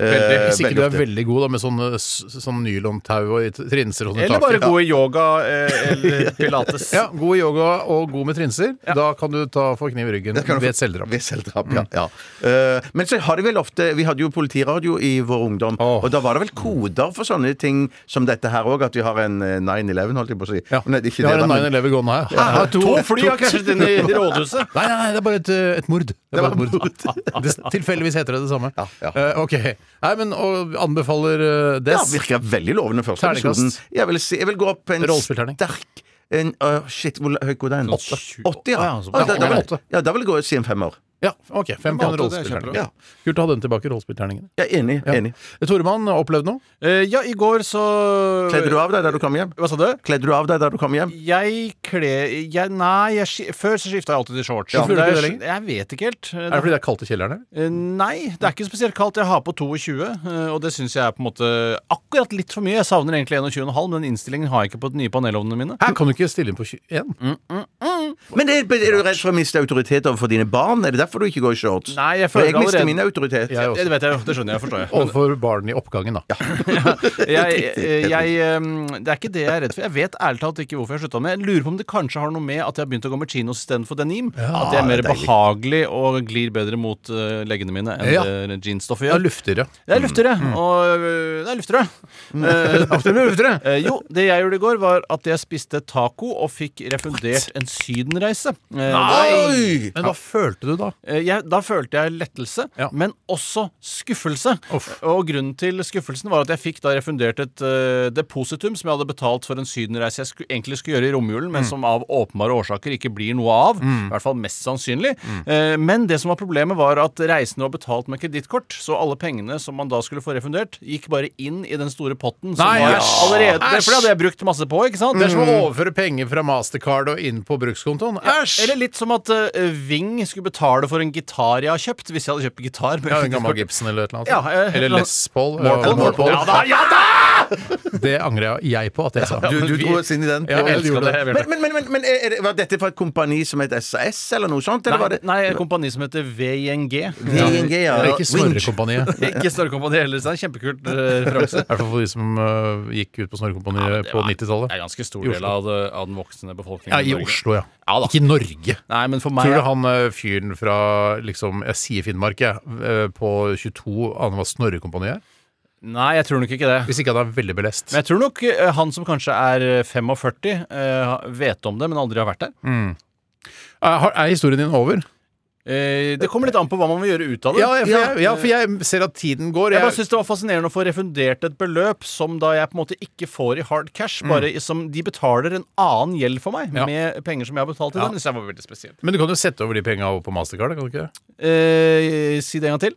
Speaker 6: Eh,
Speaker 4: Veldig, hvis ikke du er
Speaker 6: ofte.
Speaker 4: veldig god da, med sånne s- sånn nylontau og i t- trinser og sånt.
Speaker 5: Eller bare god i yoga eh, eller pilates.
Speaker 4: Ja, god i yoga og god med trinser. Da kan du ta få kniv i ryggen
Speaker 6: Det kan du
Speaker 4: ved et
Speaker 6: få-
Speaker 4: selvdrap.
Speaker 6: Ved selvdrap, ja.
Speaker 4: Mm.
Speaker 6: ja. Eh, men så har de vel ofte Vi hadde jo politiradio i vår ungdom,
Speaker 4: Åh.
Speaker 6: og da var det vel koder for sånne ting som dette her òg, at vi har en eh, 9-11, holdt jeg på å si.
Speaker 4: Ja.
Speaker 6: Men det er ikke
Speaker 4: Vi har
Speaker 6: det,
Speaker 4: en
Speaker 6: da, men-
Speaker 4: 9-11 gående her. Her er
Speaker 5: To fly har krasjet inn i rådhuset.
Speaker 4: Nei, nei, nei, det er bare et, eh, et mord. Det er bare et mord. Det, tilfeldigvis heter det det samme.
Speaker 6: Ja, ja.
Speaker 4: Eh, ok. Nei, men og anbefaler eh,
Speaker 6: Ja,
Speaker 4: Dess.
Speaker 6: virker veldig lovende første
Speaker 4: Terningkast.
Speaker 6: episoden. Jeg vil, si, jeg vil gå opp på en
Speaker 4: Rollespillterning.
Speaker 6: sterk en, øh, Shit, hvor høy god er den?
Speaker 5: Åtte.
Speaker 6: 80, ja.
Speaker 5: Ja, så-
Speaker 6: Ja, da, da,
Speaker 4: åtte.
Speaker 6: vil, ja, da vil jeg gå og si en femmer.
Speaker 4: Ja, ok. Fem på en
Speaker 5: Ja, det er
Speaker 4: rollespillterning.
Speaker 5: kjempebra.
Speaker 4: Ja. Kult å ha den tilbake, rollespillterningene.
Speaker 6: Ja, enig.
Speaker 4: Ja.
Speaker 6: enig.
Speaker 4: Toremann, opplevd noe?
Speaker 5: Eh, ja, i går så
Speaker 6: Kledde du av deg der du kom hjem?
Speaker 5: Hva sa du?
Speaker 6: Kledde du av deg der du kom hjem?
Speaker 5: Jeg kler jeg, Nei, jeg, ski- før så skifta jeg alltid til shorts.
Speaker 4: Hvorfor gjør du
Speaker 5: Men det er-
Speaker 4: ikke det
Speaker 5: Jeg vet ikke helt.
Speaker 4: Er det fordi det er kaldt i kjelleren? eller?
Speaker 5: Eh, Nei, det er ikke spesielt kaldt. Jeg har på 22, eh, og det syns jeg er på en måte akkurat litt for mye. Jeg savner egentlig 21,5, men den innstillingen har jeg ikke på de nye panelovnene mine.
Speaker 4: Hæ, kan du ikke stille inn på 21?
Speaker 6: Men er, er du redd for å miste autoritet overfor dine barn? Er det derfor du ikke går i shorts?
Speaker 5: Nei, jeg
Speaker 6: For
Speaker 5: føler
Speaker 6: jeg mister
Speaker 5: allerede-
Speaker 6: min autoritet.
Speaker 4: Jeg også.
Speaker 5: Det vet jeg jo, det skjønner jeg, forstår jeg.
Speaker 4: Overfor barn i oppgangen, da.
Speaker 5: jeg, eh, jeg, jeg, um, det er ikke det jeg er redd for. Jeg vet ærlig talt ikke hvorfor jeg slutta med. Jeg lurer på om det kanskje har noe med at jeg har begynt å gå med chinos istedenfor denim. at det er mer
Speaker 6: det er deilig.
Speaker 5: behagelig og glir bedre mot uh, leggene mine enn
Speaker 4: Ja.
Speaker 5: det jeansstoffet
Speaker 4: Ja,
Speaker 5: gjør.
Speaker 4: luftigere.
Speaker 5: Det er luftigere. Og øh, det er luftigere. Eh, eh, jo, det jeg gjorde i går, var at jeg spiste taco og fikk refundert en sydenreise. Eh, det var-
Speaker 6: Oi!
Speaker 4: Men hva følte du da?
Speaker 5: Eh, Jeg, da følte jeg lettelse,
Speaker 4: Ja.
Speaker 5: men også skuffelse.
Speaker 4: Uff.
Speaker 5: Og grunnen til skuffelsen var at jeg fikk da refundert et eh, depositum som jeg hadde betalt for en sydenreise jeg sku, egentlig skulle gjøre i romjulen,
Speaker 4: Mm.
Speaker 5: men som av åpenbare årsaker ikke blir noe av. I hvert fall mest sannsynlig.
Speaker 4: Mm.
Speaker 5: Eh, men det som var problemet, var at reisen var betalt med kredittkort, så alle pengene som man da skulle få refundert, gikk bare inn i den store potten som
Speaker 4: Nei,
Speaker 5: var
Speaker 4: æsj!
Speaker 5: allerede
Speaker 4: Æsj!
Speaker 5: For det hadde jeg brukt masse på, ikke sant?
Speaker 4: Det er som å overføre penger fra Mastercard og inn på brukskontoen. Æsj!
Speaker 5: Eller litt som at eh, Ving skulle betale for en gitar jeg har kjøpt, hvis jeg hadde kjøpt gitar. med
Speaker 4: Ja, en gammel
Speaker 5: kredittkort.
Speaker 4: Gibson eller et eller annet.
Speaker 5: Ja, eh,
Speaker 4: eller Les Paul. eh,
Speaker 5: Eller
Speaker 4: eller
Speaker 5: Morpol. Ja da, ja da!
Speaker 4: Det angrer jeg på at jeg sa.
Speaker 6: Du, du dro oss inn i den.
Speaker 4: Ja, jeg
Speaker 5: elsker
Speaker 4: gjorde
Speaker 5: det.
Speaker 4: det.
Speaker 5: Jeg
Speaker 6: Men, men, men, men, men er, det- var dette fra et kompani som het SAS, eller noe sånt? Eller
Speaker 5: Nei,
Speaker 6: var det
Speaker 5: nei, et kompani som heter VNG.
Speaker 6: VNG, ja.
Speaker 4: Det er ikke
Speaker 6: Winch.
Speaker 4: Snorrekompaniet.
Speaker 5: Ikke Snorrekompaniet heller, så det er en kjempekult eh, referanse.
Speaker 4: I hvert fall for de som eh, gikk ut på Snorrekompaniet
Speaker 5: Ja, men det
Speaker 4: på
Speaker 5: var- Det
Speaker 4: 90-tallet.
Speaker 5: er ganske stor
Speaker 4: I Oslo.
Speaker 5: del av, det- av den voksne befolkningen.
Speaker 4: Ja, I
Speaker 5: Norge.
Speaker 4: Oslo, ja.
Speaker 5: Ja da.
Speaker 4: Ikke i Norge.
Speaker 5: Nei, men for meg
Speaker 4: Tror du han eh, fyren fra liksom, jeg sier Finnmark, jeg, eh, på 22, aner hva Snorrekompaniet er?
Speaker 5: Nei, jeg tror nok ikke det.
Speaker 4: Hvis ikke han er veldig belest.
Speaker 5: Men jeg tror nok eh, han som kanskje er 45, eh, vet om det, men aldri har vært der.
Speaker 4: Mm. Er, har- er historien din over?
Speaker 5: Eh, det kommer litt an på hva man vil gjøre ut av det.
Speaker 4: Ja, for jeg, ja, for jeg ser at tiden går.
Speaker 5: Jeg bare synes det var fascinerende å få refundert et beløp som da jeg på en måte ikke får i hard cash, bare i- som de betaler en annen gjeld for meg,
Speaker 4: Ja.
Speaker 5: med penger som jeg har betalt til dem. Det synes jeg var veldig spesielt.
Speaker 4: Men du kan jo sette over de penga over på Mastercard, kan du ikke det?
Speaker 5: Eh, si det en gang til.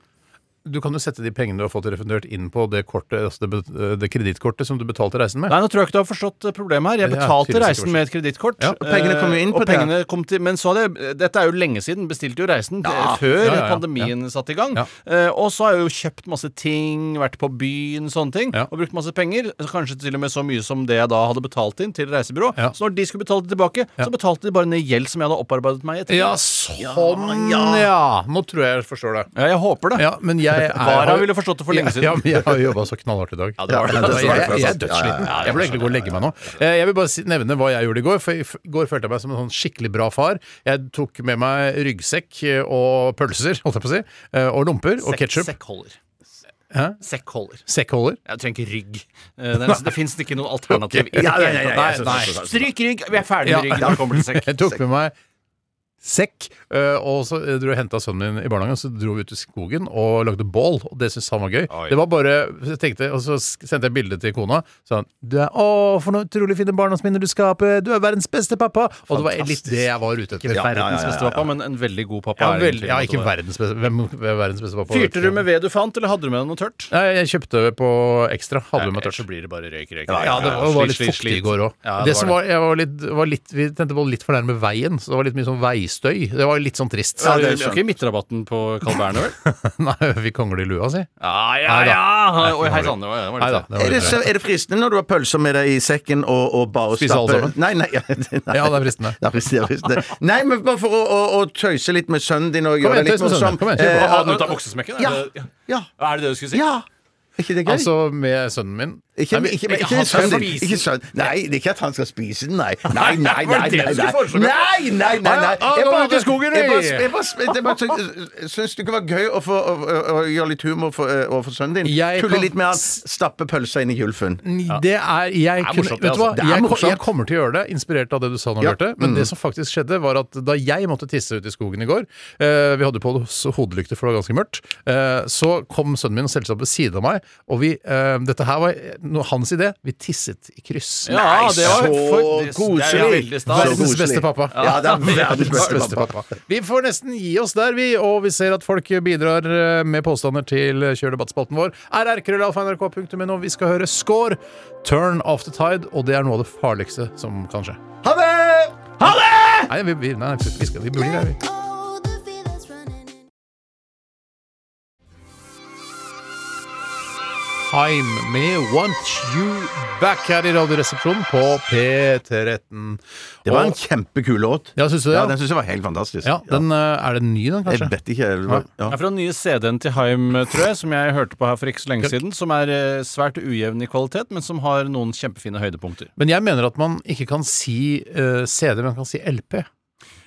Speaker 4: Du kan jo sette de pengene du har fått refundert inn på det kortet, altså det, bet- det kredittkortet som du betalte reisen med.
Speaker 5: Nei, nå tror jeg ikke du har forstått eh, problemet her. Jeg
Speaker 4: Ja,
Speaker 5: betalte
Speaker 4: tydeligvis ikke
Speaker 5: reisen med et kredittkort.
Speaker 4: Ja,
Speaker 6: og pengene kom jo inn
Speaker 5: eh, og
Speaker 6: på det.
Speaker 5: pengene kom til, men så hadde jeg, dette er jo lenge siden. Bestilte jo reisen eh, før
Speaker 4: Ja, ja, ja.
Speaker 5: pandemien satte i gang.
Speaker 4: Ja.
Speaker 5: Eh, og så har jeg jo kjøpt masse ting, vært på byen, sånne ting.
Speaker 4: Ja.
Speaker 5: Og brukt masse penger. Kanskje til og med så mye som det jeg da hadde betalt inn til reisebyrå.
Speaker 4: Ja.
Speaker 5: Så når de skulle betale det tilbake,
Speaker 4: Ja.
Speaker 5: så betalte de bare ned gjeld som jeg hadde opparbeidet meg. Etter.
Speaker 4: Ja, sånn, ja! Nå tror jeg jeg forstår det.
Speaker 5: Ja, jeg håper det.
Speaker 4: Ja, men jeg er
Speaker 5: Vara ville forstått det for lenge siden.
Speaker 4: Ja, men jeg har jobba så knallhardt i dag.
Speaker 5: det var det.
Speaker 4: Jeg,
Speaker 5: Det var
Speaker 4: jeg,
Speaker 5: det.
Speaker 4: jeg er dødssliten. Jeg burde egentlig gå og legge meg nå. Eh, Jeg vil bare si- nevne hva jeg gjorde i går. For I f- går følte jeg meg som en sånn skikkelig bra far. Jeg tok med meg ryggsekk eh, og pølser, holdt jeg på å si, eh, og lomper og
Speaker 5: Sekk-
Speaker 4: ketsjup.
Speaker 5: Sekk holder.
Speaker 4: Hæ?
Speaker 5: Sekk holder.
Speaker 4: Sekkholder.
Speaker 5: Jeg trenger ikke rygg. Eh, Det, er nesten- det fins ikke noe alternativ.
Speaker 4: Ok. Ja, ja, ja,
Speaker 6: ja,
Speaker 5: Nei,
Speaker 6: jeg synes-
Speaker 5: nei.
Speaker 6: synes- synes-
Speaker 5: Stryk rygg. Vi er ferdig med
Speaker 4: Ja.
Speaker 5: rygg. Da kommer det sekk.
Speaker 4: Jeg tok med meg sekk, eh, og så eh, dro jeg henta sønnen min i barnehagen. Så dro vi ut i skogen og lagde bål, og det syntes han var gøy. Det var bare, jeg tenkte, Og så sk- sendte jeg bilde til kona. Så han du er, 'Å, for noen utrolig fine barndomsminner du skaper. Du er verdens beste pappa.' Og det var litt det jeg var ute etter. Ja,
Speaker 5: Verdens beste pappa, men en veldig god pappa.
Speaker 4: ja,
Speaker 5: er
Speaker 4: vel,
Speaker 5: egentlig
Speaker 4: ja,
Speaker 5: måtte
Speaker 4: ikke
Speaker 5: være.
Speaker 4: verdens beste Hvem hvem er verdens beste pappa?
Speaker 5: Fyrte du med ved du fant, eller hadde du med deg noe tørt?
Speaker 4: Nei, jeg kjøpte på Ekstra. Hadde med meg
Speaker 5: Ellers
Speaker 4: tørt.
Speaker 5: så blir det bare røyk, røyk.
Speaker 4: Ja,
Speaker 5: røyk.
Speaker 4: det var, var litt
Speaker 5: slit, slit,
Speaker 4: fuktig i
Speaker 5: slit.
Speaker 4: går òg.
Speaker 5: Ja,
Speaker 4: det som var, jeg var litt, var litt, vi tente på litt for nærme veien, så det var litt mye sånn veistøy. Det var litt sånn trist.
Speaker 5: Ja, det er jo ikke midtrabatten på Carl Berner, vel?
Speaker 4: Nei, vi kongler i lua si.
Speaker 5: Ja, ja, ja! Oi, hei sann. Det var, det var litt
Speaker 4: Nei da.
Speaker 5: sånn.
Speaker 4: det var
Speaker 6: Er det,
Speaker 4: litt
Speaker 6: så, er det fristende når du har pølser med deg i sekken og, og bare
Speaker 4: Spise alle sammen?
Speaker 6: Nei, nei, ja, det- nei.
Speaker 4: Ja, det er fristende.
Speaker 6: Det er fristende, det er fristende. Nei, men bare for å, å, å tøyse litt med sønnen din og
Speaker 4: Kom
Speaker 6: gjøre
Speaker 4: igjen,
Speaker 6: det litt
Speaker 4: tøys med sønnen.
Speaker 6: morsomt.
Speaker 4: Kom igjen, kjør på.
Speaker 6: Eh,
Speaker 5: Ha den ut av boksesmekken?
Speaker 6: Ja.
Speaker 5: Er det-
Speaker 6: Ja.
Speaker 5: Er det det du skulle si?
Speaker 6: ja. Er ikke det gøy?
Speaker 4: Altså med sønnen min.
Speaker 6: ikke,
Speaker 4: Nei, men-
Speaker 6: ikke, men,
Speaker 5: ikke
Speaker 6: ikke,
Speaker 5: han skal
Speaker 6: sønnen din.
Speaker 5: spise den.
Speaker 6: Ikke sønnen. Nei, det er ikke at han skal spise den, nei. Nei, nei,
Speaker 5: Var
Speaker 6: nei.
Speaker 5: det det du
Speaker 6: nei,
Speaker 5: skulle
Speaker 6: nei.
Speaker 5: foreslå?
Speaker 6: Nei, nei, nei, nei.
Speaker 4: Ah, ah,
Speaker 6: Jeg
Speaker 4: nå er
Speaker 6: bare-
Speaker 4: vi ute i skogen,
Speaker 6: jeg bare-
Speaker 4: vi.
Speaker 6: jeg bare- jeg bare syns- Syns du ikke det var gøy å, få, å, å- å gjøre litt humor for, eh, overfor sønnen din?
Speaker 4: Jeg
Speaker 6: Tulle
Speaker 4: kan-
Speaker 6: litt med han, stappe pølsa inn i gylfen.
Speaker 4: Det er jeg kunne,
Speaker 5: morsomt, det,
Speaker 4: Vet du hva,
Speaker 5: altså.
Speaker 6: Det er
Speaker 4: jeg, ko-
Speaker 6: morsomt.
Speaker 4: jeg kommer til å gjøre det, inspirert av det du sa nå,
Speaker 6: Ja.
Speaker 4: Bjarte. Men det som faktisk skjedde, var at da jeg måtte tisse ute i skogen i går eh, Vi hadde på oss hodelykter, for det var ganske mørkt. eh, så kom sønnen min og stelte seg opp ved siden av meg, og vi eh, Dette her var no, hans idé. Vi tisset i kryss.
Speaker 5: Ja, det var for- det-
Speaker 6: koselig.
Speaker 5: det er veldig stas.
Speaker 6: Så
Speaker 4: Verdens
Speaker 6: koselig.
Speaker 4: beste pappa.
Speaker 6: Ja, det er verdens beste pappa.
Speaker 4: Vi får nesten gi oss der, vi. Og vi ser at folk bidrar eh, med påstander til eh, Kjør debattspalten vår. rrkrøllalfa.nrk.no. Vi skal høre score, turn off the tide, og det er noe av det farligste som kan skje.
Speaker 6: Ha det!
Speaker 4: Nei, vi, vi, nei, vi, skal, vi burde det, vi.
Speaker 7: Oh, the feeling's running in.
Speaker 4: Heim med Want You Back her i Radioresepsjonen på P13.
Speaker 6: Det var en
Speaker 4: Og-
Speaker 6: kjempekul låt.
Speaker 4: Ja, syns du det?
Speaker 6: Ja,
Speaker 4: Ja,
Speaker 6: den syns jeg var helt fantastisk.
Speaker 4: ja, den, eh, er den ny, den,
Speaker 6: Ja.
Speaker 4: kanskje?
Speaker 6: Jeg vet ikke eller hva- ja.
Speaker 5: Det er fra den nye CD-en til Haim, tror jeg, som jeg hørte på her for ikke så lenge siden. Som er eh, svært ujevn i kvalitet, men som har noen kjempefine høydepunkter.
Speaker 4: Men jeg mener at man ikke kan si eh, CD, men man kan si LP.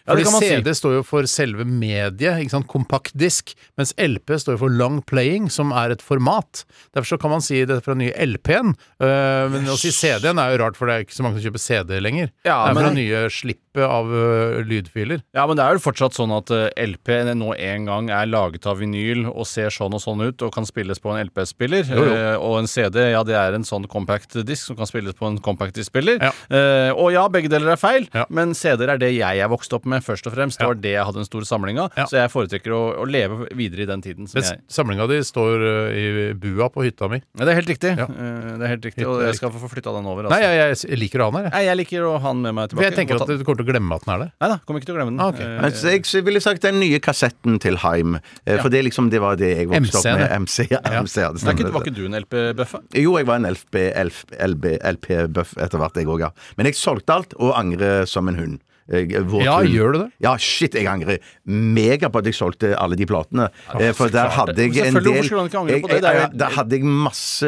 Speaker 5: det
Speaker 4: Fordi
Speaker 5: kan man si.
Speaker 4: CD står jo for selve mediet, ikke sant? kompaktdisk, mens LP står jo for long playing, som er et format. Derfor så kan man si det fra den nye LP-en, øh, men å si CD-en er jo rart, for det er jo ikke så mange som kjøper CD lenger.
Speaker 5: Ja,
Speaker 4: det er
Speaker 5: men-
Speaker 4: fra det nye slippet av øh, lydfiler.
Speaker 5: Ja, men det er jo fortsatt sånn at eh, LP nå en gang er laget av vinyl og ser sånn og sånn ut og kan spilles på en LP-spiller.
Speaker 4: Jo, jo.
Speaker 5: Eh, Og en CD, ja det er en sånn compact disk som kan spilles på en compact disk-spiller.
Speaker 4: Ja.
Speaker 5: Eh, og ja, begge deler er feil,
Speaker 4: Ja.
Speaker 5: men CD-er er det jeg er vokst opp med først og fremst. Det var det jeg hadde en stor samling av,
Speaker 4: Ja.
Speaker 5: så jeg foretrekker å, å leve videre i den tiden som
Speaker 4: Den
Speaker 5: jeg Altså.
Speaker 4: samlinga di står øh, i bua på hytta mi.
Speaker 5: Ja, Det er helt riktig.
Speaker 4: Ja.
Speaker 5: Eh, det er helt riktig,
Speaker 4: Helt
Speaker 5: og jeg
Speaker 4: riktig.
Speaker 5: skal få flytta den over. altså.
Speaker 4: Nei, jeg, jeg liker å ha den her, jeg.
Speaker 5: Nei, jeg liker å ha den med meg
Speaker 4: For
Speaker 5: tilbake.
Speaker 4: jeg tenker
Speaker 5: Og
Speaker 4: at
Speaker 5: ta-
Speaker 4: du kommer til å glemme at den er der.
Speaker 5: Nei da, kommer ikke til å glemme den.
Speaker 4: Ah, ok.
Speaker 5: Eh,
Speaker 6: Men så jeg ville sagt den nye kassetten til Heim. eh, For det liksom, det var det jeg vokste opp
Speaker 4: MC,
Speaker 6: med.
Speaker 4: det.
Speaker 6: MC, ja, MC ja, det
Speaker 5: det er ikke,
Speaker 6: stemmer.
Speaker 5: var ikke du en LP-bøffe?
Speaker 6: Jo, jeg var en LP, LP, LB, LP-bøff etter hvert, jeg òg, ja. Men jeg solgte alt og angrer som en hund. Jeg, vår
Speaker 4: Ja,
Speaker 6: hund.
Speaker 4: gjør du det?
Speaker 6: Ja, shit, jeg angrer mega på at jeg solgte alle de platene. eh, for der hadde
Speaker 5: det.
Speaker 6: jeg en
Speaker 5: Selvfølgelig,
Speaker 6: del
Speaker 5: hvorfor skulle han ikke angre på det?
Speaker 6: Jeg-
Speaker 5: Det er jo
Speaker 6: jeg-
Speaker 5: helt-
Speaker 6: Der hadde jeg masse,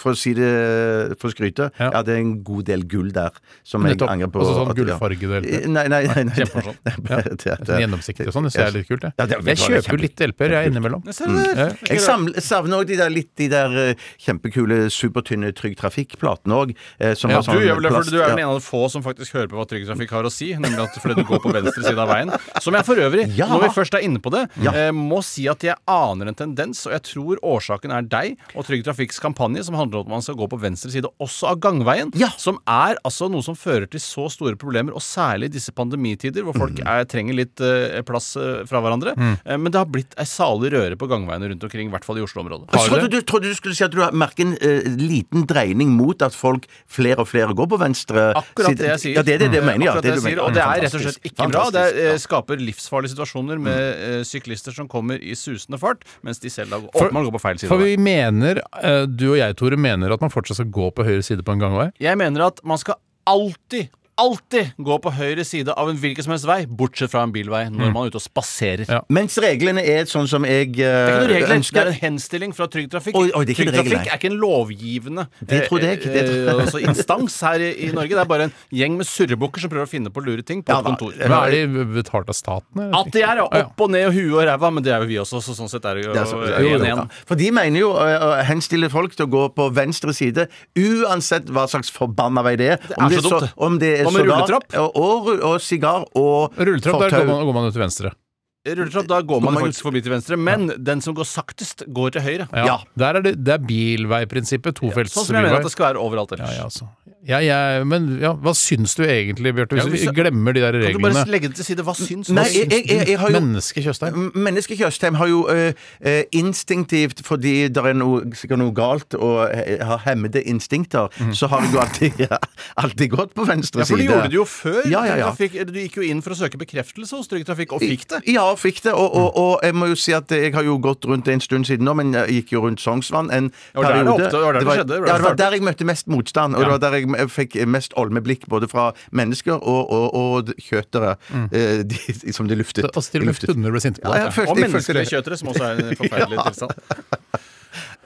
Speaker 6: for å si det for å skryte, jeg hadde en god del gull der som jeg
Speaker 4: Nettopp.
Speaker 6: angrer på.
Speaker 4: Altså sånn
Speaker 6: at- ja.
Speaker 4: gullfargede LP.
Speaker 6: Nei, nei, nei. nei,
Speaker 5: Kjempemorsomt.
Speaker 6: Det- det-
Speaker 4: Sånn Gjennomsiktig og sånn. Det synes jeg er litt kult,
Speaker 6: Ja,
Speaker 4: jeg.
Speaker 6: det-
Speaker 4: Jeg kjøper jo litt LP-er, jeg, innimellom.
Speaker 5: Ser du der?
Speaker 6: Jeg saml- savner òg de der litt de der eh, kjempekule, supertynne Trygg Trafikk-platene òg. Som
Speaker 5: Ja,
Speaker 6: var sånn
Speaker 5: du, gjør vel det, for
Speaker 6: plast-
Speaker 5: du er den
Speaker 6: ja.
Speaker 5: ene av de få som faktisk hører på hva Trygg Trafikk har å si. Nemlig at fordi du går på venstre side av veien. Som jeg for øvrig,
Speaker 6: Ja.
Speaker 5: når vi først er inne på det,
Speaker 6: Ja.
Speaker 5: eh, må si at jeg aner en tendens, og jeg tror årsaken er deg og Trygg Trafikks kampanje som handler om at man skal gå på venstre side også av gangveien.
Speaker 6: Ja.
Speaker 5: Som er altså noe som fører til så store problemer, og særlig i disse pandemitider hvor folk
Speaker 6: Mm.
Speaker 5: er, trenger litt eh, plass eh, fra hverandre. Eh, men det har blitt ei salig røre på gangveiene rundt omkring, i hvert fall i Oslo-området.
Speaker 6: Jeg trodde, du, trodde du skulle si at du merker en eh, liten dreining mot at folk flere og flere går på venstre
Speaker 5: Akkurat
Speaker 6: side.
Speaker 5: det jeg sier.
Speaker 6: Ja, det er det, det
Speaker 5: Mm.
Speaker 6: mener, jeg,
Speaker 5: Akkurat
Speaker 6: det
Speaker 5: det jeg
Speaker 6: du
Speaker 5: sier,
Speaker 6: mener.
Speaker 5: og det er rett og
Speaker 6: Fantastisk.
Speaker 5: slett ikke bra. Det er, eh,
Speaker 6: Fantastisk, Mm.
Speaker 5: skaper livsfarlige situasjoner med eh, syklister som kommer i susende fart, mens de selv da går,
Speaker 4: For-
Speaker 5: åpenbart går på feil side.
Speaker 4: For
Speaker 5: av
Speaker 4: vi
Speaker 5: veien.
Speaker 4: mener, eh, du og jeg, Tore, mener at man fortsatt skal gå på høyre side på en gangvei.
Speaker 5: Jeg mener at man skal alltid Alltid gå på høyre side av en hvilken som helst vei, bortsett fra en bilvei, når man er ute og spaserer.
Speaker 4: Ja.
Speaker 6: Mm. ja. Mens reglene er sånn som jeg eh,
Speaker 5: Det er ikke noen regler, det er
Speaker 6: ønsker.
Speaker 5: en henstilling fra Trygg Trafikk.
Speaker 6: Oi, oi, det er ikke
Speaker 5: Trygg
Speaker 6: noen regler,
Speaker 5: Trafikk
Speaker 6: nei.
Speaker 5: er ikke en lovgivende
Speaker 6: Det trodde jeg ikke, det
Speaker 5: eh,
Speaker 6: trodde jeg.
Speaker 5: altså instans her i, i Norge. Det er bare en gjeng med surrebukker som prøver å finne på lure ting på
Speaker 6: Ja,
Speaker 5: et kontor.
Speaker 4: Hva er de betalt av staten? eller?
Speaker 5: At de er ja,
Speaker 4: Ja, ja.
Speaker 5: opp og ned og huet og ræva, men det er jo vi også, så sånn sett er det jo
Speaker 6: Det er så-
Speaker 5: eh, en
Speaker 6: Ja.
Speaker 5: igjen.
Speaker 6: For de mener jo eh, å henstille folk til å gå på venstre side uansett hva slags forbanna vei det er.
Speaker 5: er så dumt, det.
Speaker 6: om det er
Speaker 5: Og med
Speaker 6: sågar-
Speaker 5: rulletrapp.
Speaker 6: Og, og, ru- og sigar og
Speaker 4: Rulletrapp, der går
Speaker 6: fortau.
Speaker 4: man, går man jo til venstre.
Speaker 5: Rulletrapp, da går man
Speaker 6: man
Speaker 5: faktisk forbi til venstre, men den som går saktest, går til høyre.
Speaker 4: Ja. Der er det, det er bilveiprinsippet. Tofelts
Speaker 5: Sånn som jeg mener
Speaker 4: bilvei.
Speaker 5: at det skal være overalt ellers.
Speaker 4: Ja, ja, altså. ja, jeg- men ja, hva syns du egentlig, Bjarte, hvis
Speaker 5: Ja,
Speaker 4: vi
Speaker 5: hvis jeg-
Speaker 4: glemmer de der
Speaker 5: Kan du bare
Speaker 4: reglene?
Speaker 5: legge det til side? Hva syns
Speaker 6: Nei,
Speaker 5: du?
Speaker 6: jeg, jeg, jeg, jeg har jo
Speaker 4: Menneske Tjøstheim.
Speaker 6: M- Mennesket Tjøstheim har jo ø, ø, instinktivt, fordi det er noe, sikkert noe galt og he- har hemmede instinkter, så har du jo alltid, alltid gått på venstre
Speaker 5: Mhm. Ja, for du
Speaker 6: side.
Speaker 5: gjorde det jo før.
Speaker 6: Ja, ja, ja.
Speaker 5: Trygg Trafikk, eller du gikk jo inn for å søke bekreftelse hos Trygg Trafikk, og fikk det. Mm.
Speaker 6: Ja, fikk det. Og, og, og jeg må jo si at jeg har jo gått rundt det en stund siden nå, men jeg gikk jo rundt Sognsvann en
Speaker 5: Ja, det var der det
Speaker 6: periode.
Speaker 5: oppstod, det var der det skjedde, det var der
Speaker 6: ja, det var
Speaker 5: det
Speaker 6: der jeg møtte mest motstand, og det var der jeg m- fikk mest olmeblikk både fra mennesker og, og, og kjøtere
Speaker 5: Mm.
Speaker 6: eh, de, som de luftet.
Speaker 4: Altså, til og med
Speaker 6: luftet.
Speaker 4: hunder ble sinte på
Speaker 6: Ja,
Speaker 4: deg.
Speaker 6: jeg følte,
Speaker 5: Og
Speaker 6: jeg følte det.
Speaker 5: menneskelige kjøtere, som også er en forferdelig tilstand.